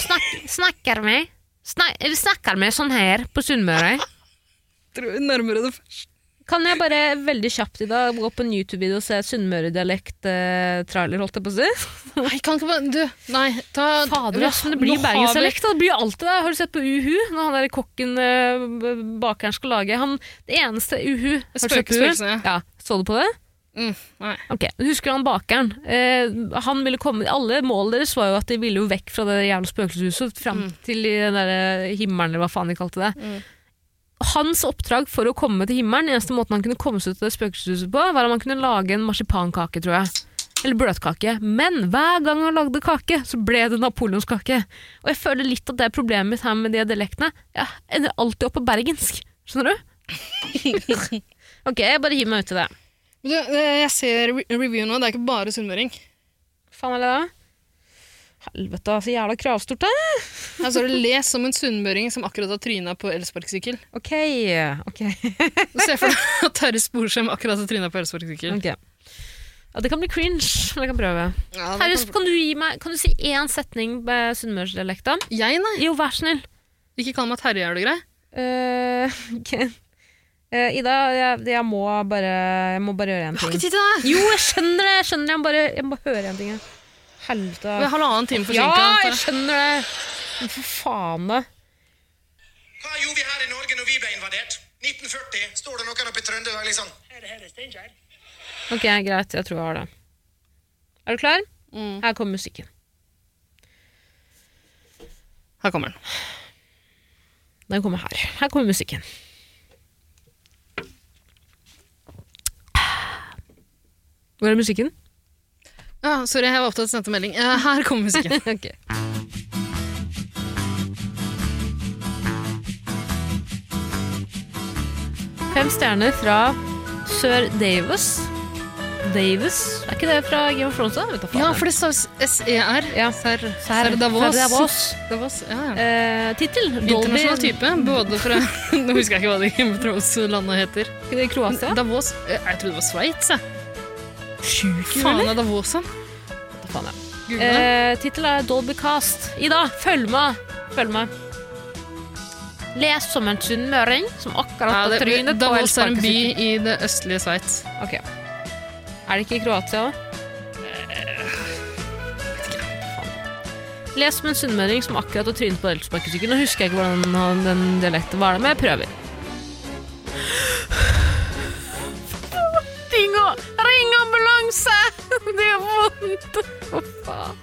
Speaker 2: snak, snakker vi snak, Eller snakker vi sånn her på Sunnmøre?
Speaker 3: Tror vi nærmere det først.
Speaker 2: Kan jeg bare veldig kjapt i dag gå på en YouTube-video og se sunnmøredialekt-trailer, holdt jeg på å si?
Speaker 3: Nei, kan ikke bare Du, nei, ta
Speaker 2: Fader,
Speaker 3: Ja,
Speaker 2: ass, men det
Speaker 3: nå
Speaker 2: blir
Speaker 3: har vi-
Speaker 2: bergensdialekt. da. Det blir alltid det. Har du sett på Uhu? Når han der kokken eh, bakeren skal lage han, Det eneste Uhu Har du sett på
Speaker 3: Spøkelse,
Speaker 2: Uhu?
Speaker 3: ja.
Speaker 2: Ja, Så du på det?
Speaker 3: Mm, nei.
Speaker 2: Ok, Husker du han bakeren? Eh, han ville komme, alle målene deres var jo at de ville jo vekk fra det jævla spøkelseshuset. Fram til i den der eh, himmelen, eller hva faen de kalte det.
Speaker 3: Mm.
Speaker 2: Hans oppdrag for å komme til himmelen, eneste måten han kunne komme seg ut av det spøkelseshuset på, var om han kunne lage en marsipankake, tror jeg. Eller bløtkake. Men hver gang han lagde kake, så ble det napoleonskake. Og jeg føler litt at det er problemet mitt her med de dialektene. Jeg ender alltid opp på bergensk. Skjønner du? ok, jeg bare hiver meg uti det.
Speaker 3: Men du, eh, jeg ser re- reviewen nå, det er ikke bare sunnmøring.
Speaker 2: Faen er det da? Helvete, så jævla kravstort det.
Speaker 3: Her står Altså, det 'les som en sunnmøring som akkurat har tryna på elsparkesykkel'.
Speaker 2: Ok, ok.
Speaker 3: Se for deg at Terje Sporsem akkurat har tryna på elsparkesykkel.
Speaker 2: ok. Ja, det kan bli cringe, men jeg kan prøve.
Speaker 3: Ja, det
Speaker 2: Herres,
Speaker 3: kan-
Speaker 2: kan du gi meg Kan du si én setning med sunnmørsdialekta?
Speaker 3: Mm. Jeg, nei.
Speaker 2: Jo, vær snill.
Speaker 3: Ikke kall meg Terje, er du grei?
Speaker 2: Eh, ok. Eh, Ida, jeg, jeg, må bare, jeg må bare gjøre én ting.
Speaker 3: tid til det!
Speaker 2: Jo, jeg skjønner det! Jeg skjønner det. Jeg må bare, jeg må bare høre en ting. jeg. Helvete.
Speaker 3: Vi er halvannen time
Speaker 2: Ja,
Speaker 3: forsinka.
Speaker 2: jeg skjønner det! Men for faen, da.
Speaker 4: Hva gjorde vi her i Norge når vi ble invadert? 1940 står det noen oppe i Trøndelag liksom
Speaker 2: Ok, greit. Jeg tror jeg har det. Er du klar?
Speaker 3: Mm.
Speaker 2: Her kommer musikken.
Speaker 3: Her kommer den.
Speaker 2: Den kommer her. Her kommer musikken. Hvor er musikken?
Speaker 3: Ja, sorry, jeg var opptatt av å sende melding. Eh, her kommer musikken.
Speaker 2: ok. Fem stjerner fra Sir Davis. Davis? Er ikke det fra Game of Thrones? da? Vet da faen.
Speaker 3: ja, for det E står SER.
Speaker 2: Ja.
Speaker 3: Ser,
Speaker 2: Ser
Speaker 3: Davos.
Speaker 2: Davos.
Speaker 3: Davos, ja, ja.
Speaker 2: Eh, Tittel? Dolby
Speaker 3: Internasjonal type, både fra Nå husker jeg ikke hva det Game of Thrones-landet heter.
Speaker 2: Ikke det i Kroatia?
Speaker 3: Davos eh, Jeg trodde det var Sveits, jeg.
Speaker 2: Sjuke,
Speaker 3: Faen er Davos, da?
Speaker 2: Faen, ja.
Speaker 3: Google det.
Speaker 2: Eh, Tittelen er Dolby Cast. Ida, følg med! Følg med. Les som en sunnmøring som akkurat
Speaker 3: Ja,
Speaker 2: har
Speaker 3: det-
Speaker 2: trynet på
Speaker 3: Davos er en
Speaker 2: elsparkesykkel.
Speaker 3: by i det østlige Sveits.
Speaker 2: Ok. Er det ikke i Kroatia òg? Les som en sunnmøring som akkurat har trynet på elsparkesykkelen. Nå husker jeg ikke hvordan han- den dialekten var, det, men jeg prøver. Ring, og- ring ambulanse! Det gjør vondt! Hva faen?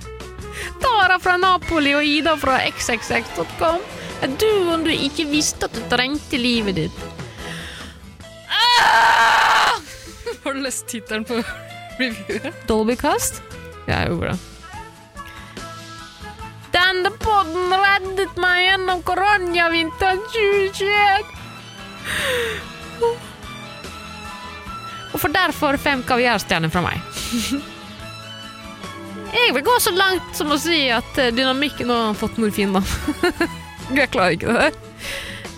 Speaker 2: Tara fra Napoli og Ida fra xxx.com. Er du om du ikke visste at du trengte livet ditt? Ah!
Speaker 3: Har du lest tittelen på reviewet?
Speaker 2: Dolbycast? Jeg gjorde det. Denne podden reddet meg gjennom koronavinteren 2021. Og for derfor fem kaviarstjerner fra meg. Jeg vil gå så langt som å si at eh, dynamikken Nå har han fått morfin, da. Jeg klarer ikke det.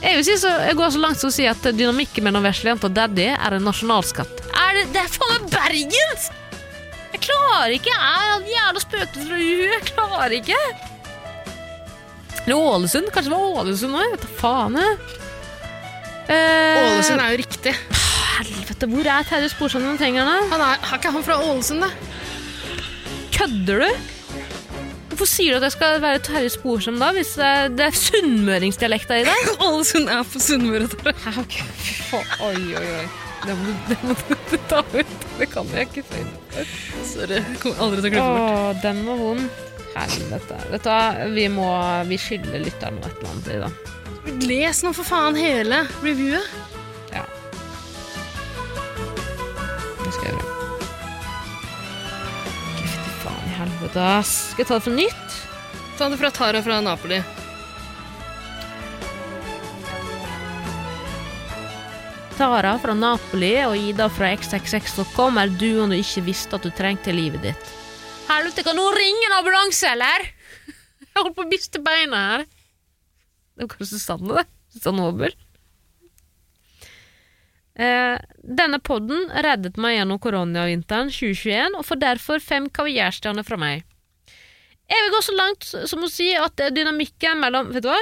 Speaker 2: Jeg vil si så, jeg går så langt som å si at eh, dynamikken mellom veslejenta og daddy er en nasjonalskatt. Er det, det er faen meg bergensk! Jeg klarer ikke! Jeg er en jævla spøkelse fra UiO. Jeg klarer ikke! Eller Ålesund? Kanskje det var Ålesund òg? Vet da faen. jeg. Eh,
Speaker 3: Ålesund er jo riktig.
Speaker 2: Helvete, hvor er Terje Sporsand når han trenger henne?
Speaker 3: Han er, er ikke han fra Ålesund, da?
Speaker 2: Kødder du? Hvorfor sier du at jeg skal være Terje Sporsand da, hvis det er, det er sunnmøringsdialekta i det?
Speaker 3: Ålesund er på Sunnmøre. Tara.
Speaker 2: Hæ, ok, fy faen. Oi, oi, oi. Det må, det må du ta ut. Det kan jeg ikke si.
Speaker 3: Sorry. Kommer aldri til å klippe bort.
Speaker 2: Åh, den var vond. Helvete. Vet du hva, vi må Vi skylder lytteren noe et eller annet i dag.
Speaker 3: Les nå for faen hele reviewet.
Speaker 2: Det skal jeg gjøre. Fy faen i helvete, ass. Skal jeg ta det fra nytt?
Speaker 3: Ta det fra Tara fra Napoli.
Speaker 2: Tara fra Napoli og Ida fra xxx.com er duoen du ikke visste at du trengte i livet ditt. Helvete, kan noen ringe en ambulanse, eller? Jeg holdt på å miste beina her. Det var kanskje Susanne, det. Susanne Aabel. Eh, denne podden reddet meg gjennom koronavinteren 2021, og får derfor fem kaviarstjerner fra meg. Jeg vil gå så langt som å si at dynamikken mellom Vet du hva?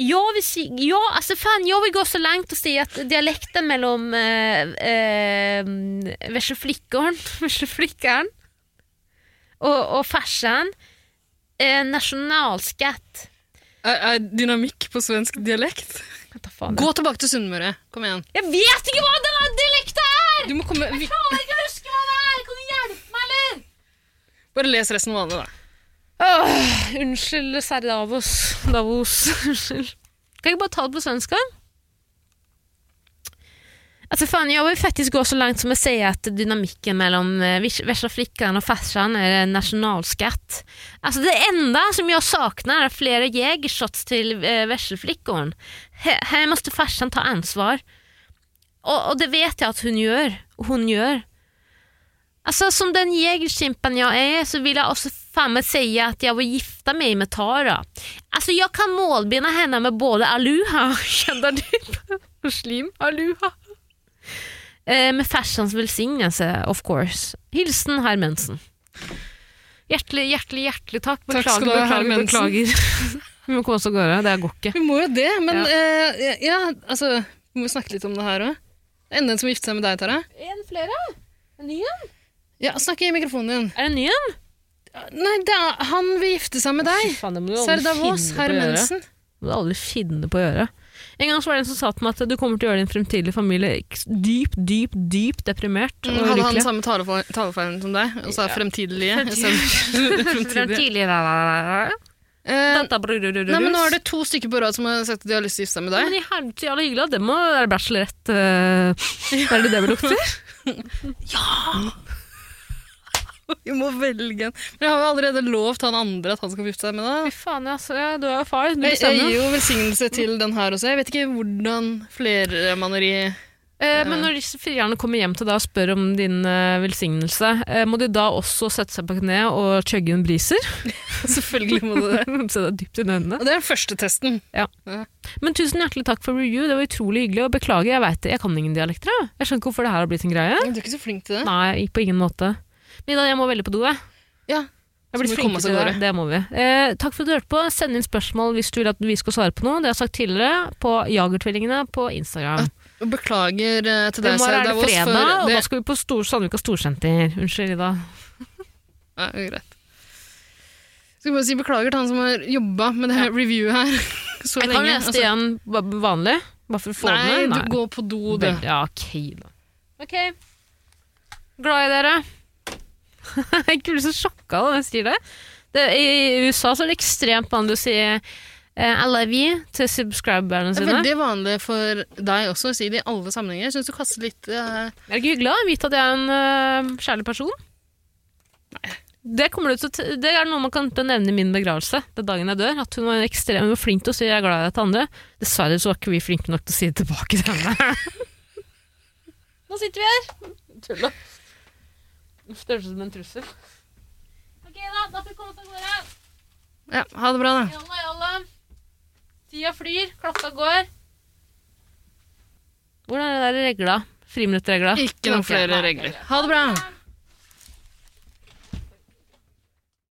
Speaker 2: Jag vill, si, ja, alltså fan, jag vill gå så långt och säga att dialekten mellan eh, eh, vesleflickaren, vesleflickaren och, och farsan är nationalskatt.
Speaker 3: Er, er dynamikk på svensk dialekt?
Speaker 2: Vänta, fan.
Speaker 3: Gå tilbake til Sunnmøre. Kom igjen.
Speaker 2: Jag vet inte vad den här dialekten är!
Speaker 3: Du må komme vi,
Speaker 2: Jag klarar inte att huska vad det är! Kan du hjälpa mig eller?
Speaker 3: Bare les resten vanlig, da.
Speaker 2: Åh, unnskyld, Sverre Davos. Davos. Unnskyld. Kan jeg bare ta det på svenska? Alltså Altså, fan, jag vill faktiskt gå så långt som att säga att dynamiken mellan eh, vis- värsta flickan och farsan är en nationalskatt. Alltså det enda som jag saknar är flera jägershots till eh, värselflickorn. Här- Här måste farsan ta ansvar. Och, och det vet jag att hon gör. Hon gör. Alltså Altså, som den jägerkimpan jag är så vill jag också fan med säga att jag vill gifta mig med Tara. Alltså jag kan målbena henne med både aluha och kända muslim aluha. Eh, med fashions velsignelse, of course. Hilsen herr Mensen. Hjertelig, hjertelig, hjertelig takk.
Speaker 3: Takk
Speaker 2: Beklager,
Speaker 3: skal du ha, herr
Speaker 2: beklager,
Speaker 3: Mensen.
Speaker 2: beklager. Vi må komme oss av gårde. Det her går ikke.
Speaker 3: Vi må jo det, men
Speaker 2: Ja.
Speaker 3: eh, ja, altså Vi må jo snakke litt om det her òg. Enda en som gifter seg med deg, Tara.
Speaker 2: En flere? En ny en?
Speaker 3: Ja, Snakk i mikrofonen din.
Speaker 2: Er det en ny en?
Speaker 3: Nei, det er han vil gifte seg med deg.
Speaker 2: Faen, det må du aldri
Speaker 3: Serda Vås,
Speaker 2: finne på
Speaker 3: herr
Speaker 2: å gjøre.
Speaker 3: Mensen.
Speaker 2: Det må du aldri finne på å gjøre. En gang så var det en som sa til meg at du kommer til å gjøre din fremtidige familie eks- dypt, dypt, dypt deprimert og
Speaker 3: Mm, Hadde han
Speaker 2: ulykkelig.
Speaker 3: samme talefeil- talefeilen som deg? Altså liksom. Og så er fremtidige. i stedet for fremtidige.
Speaker 2: Fremtidig, la, la, la, la.
Speaker 3: Eh,
Speaker 2: Dette er brudurururus.
Speaker 3: Nei, men Nå er det to stykker på rad som har sagt at de har lyst til å gifte seg med
Speaker 2: Ja,
Speaker 3: deg.
Speaker 2: Men i helvete, jævla hyggelig, da. det må være bachelorette. eh, Er det det vi lukter?
Speaker 3: Vi må velge en. Men jeg har jo allerede lovt han andre at han skal gifte seg med deg.
Speaker 2: Fy faen, altså, ja, du er jo far, du
Speaker 3: Jeg, jeg
Speaker 2: bestemmer
Speaker 3: gir
Speaker 2: eh, jo.
Speaker 3: jo velsignelse til den her også. Jeg vet ikke hvordan flermanneri
Speaker 2: Eh, men når disse frierne kommer hjem til deg og spør om din eh, velsignelse, eh, må de da også sette seg på kne og chugge en briser?
Speaker 3: Selvfølgelig må du det.
Speaker 2: Se deg dypt inn i øynene.
Speaker 3: Og det er den første testen.
Speaker 2: Men tusen hjertelig takk for review, det var utrolig hyggelig, og beklager, jeg vet det, jeg kan ingen dialekter. jeg. Jeg skjønner ikke hvorfor det her har blitt en greie.
Speaker 3: Du er ikke så flink til det.
Speaker 2: Nei, på ingen måte. Men Ida, jeg må velge på do, jeg.
Speaker 3: Ja.
Speaker 2: Jeg
Speaker 3: Så
Speaker 2: blir
Speaker 3: må vi komme
Speaker 2: flinkere
Speaker 3: oss
Speaker 2: til
Speaker 3: av
Speaker 2: det. Det må vi. Eh, takk for at du hørte på. Send inn spørsmål hvis du vil at vi skal svare på noe. Det har jeg sagt tidligere på Jagertvillingene på Instagram.
Speaker 3: Og Beklager eh, til
Speaker 2: I
Speaker 3: deg,
Speaker 2: morgen er
Speaker 3: Serda
Speaker 2: det
Speaker 3: Vås,
Speaker 2: fredag,
Speaker 3: for
Speaker 2: og
Speaker 3: det
Speaker 2: da skal vi på Stor Sandvika Storsenter. Unnskyld, Ida.
Speaker 3: Ja, det er greit. Skal bare si beklager til han som har jobba med det her reviewet her så
Speaker 2: Jeg
Speaker 3: lenge.
Speaker 2: kan lese
Speaker 3: Altså,
Speaker 2: det igjen ba- vanlig, bare for å få
Speaker 3: Nei,
Speaker 2: den
Speaker 3: du
Speaker 2: der.
Speaker 3: går på do, du.
Speaker 2: Vel, Ja, ok, da. Ok. Glad i dere. jeg blir så sjokka da jeg sier det. det. I USA så er det ekstremt vanlig å si eh, I love you til subscriberne
Speaker 3: Det er
Speaker 2: sine.
Speaker 3: veldig vanlig for deg også å si det i alle sammenhenger. Jeg syns du kaster litt eh,
Speaker 2: Er det ikke hyggelig å vite at jeg er en øh, kjærlig person? Nei. Det, kommer du til, å t- det er noe man kan til å nevne i min begravelse den dagen jeg dør. At hun var ekstremt hun var flink til å si 'jeg er glad i deg' til andre. Dessverre så var ikke vi flinke nok til å si det tilbake til henne. Nå sitter vi her. Tulla. Størrelse som en trussel. Ok, da. Da får vi komme oss av gårde.
Speaker 3: Ja, ha det bra, da.
Speaker 2: Jalla, jalla. Tida flyr. Klokka går. Hvordan er det der regla? Friminuttregla?
Speaker 3: Ikke noen
Speaker 2: Ok,
Speaker 3: flere
Speaker 2: nei.
Speaker 3: regler. Ha det bra!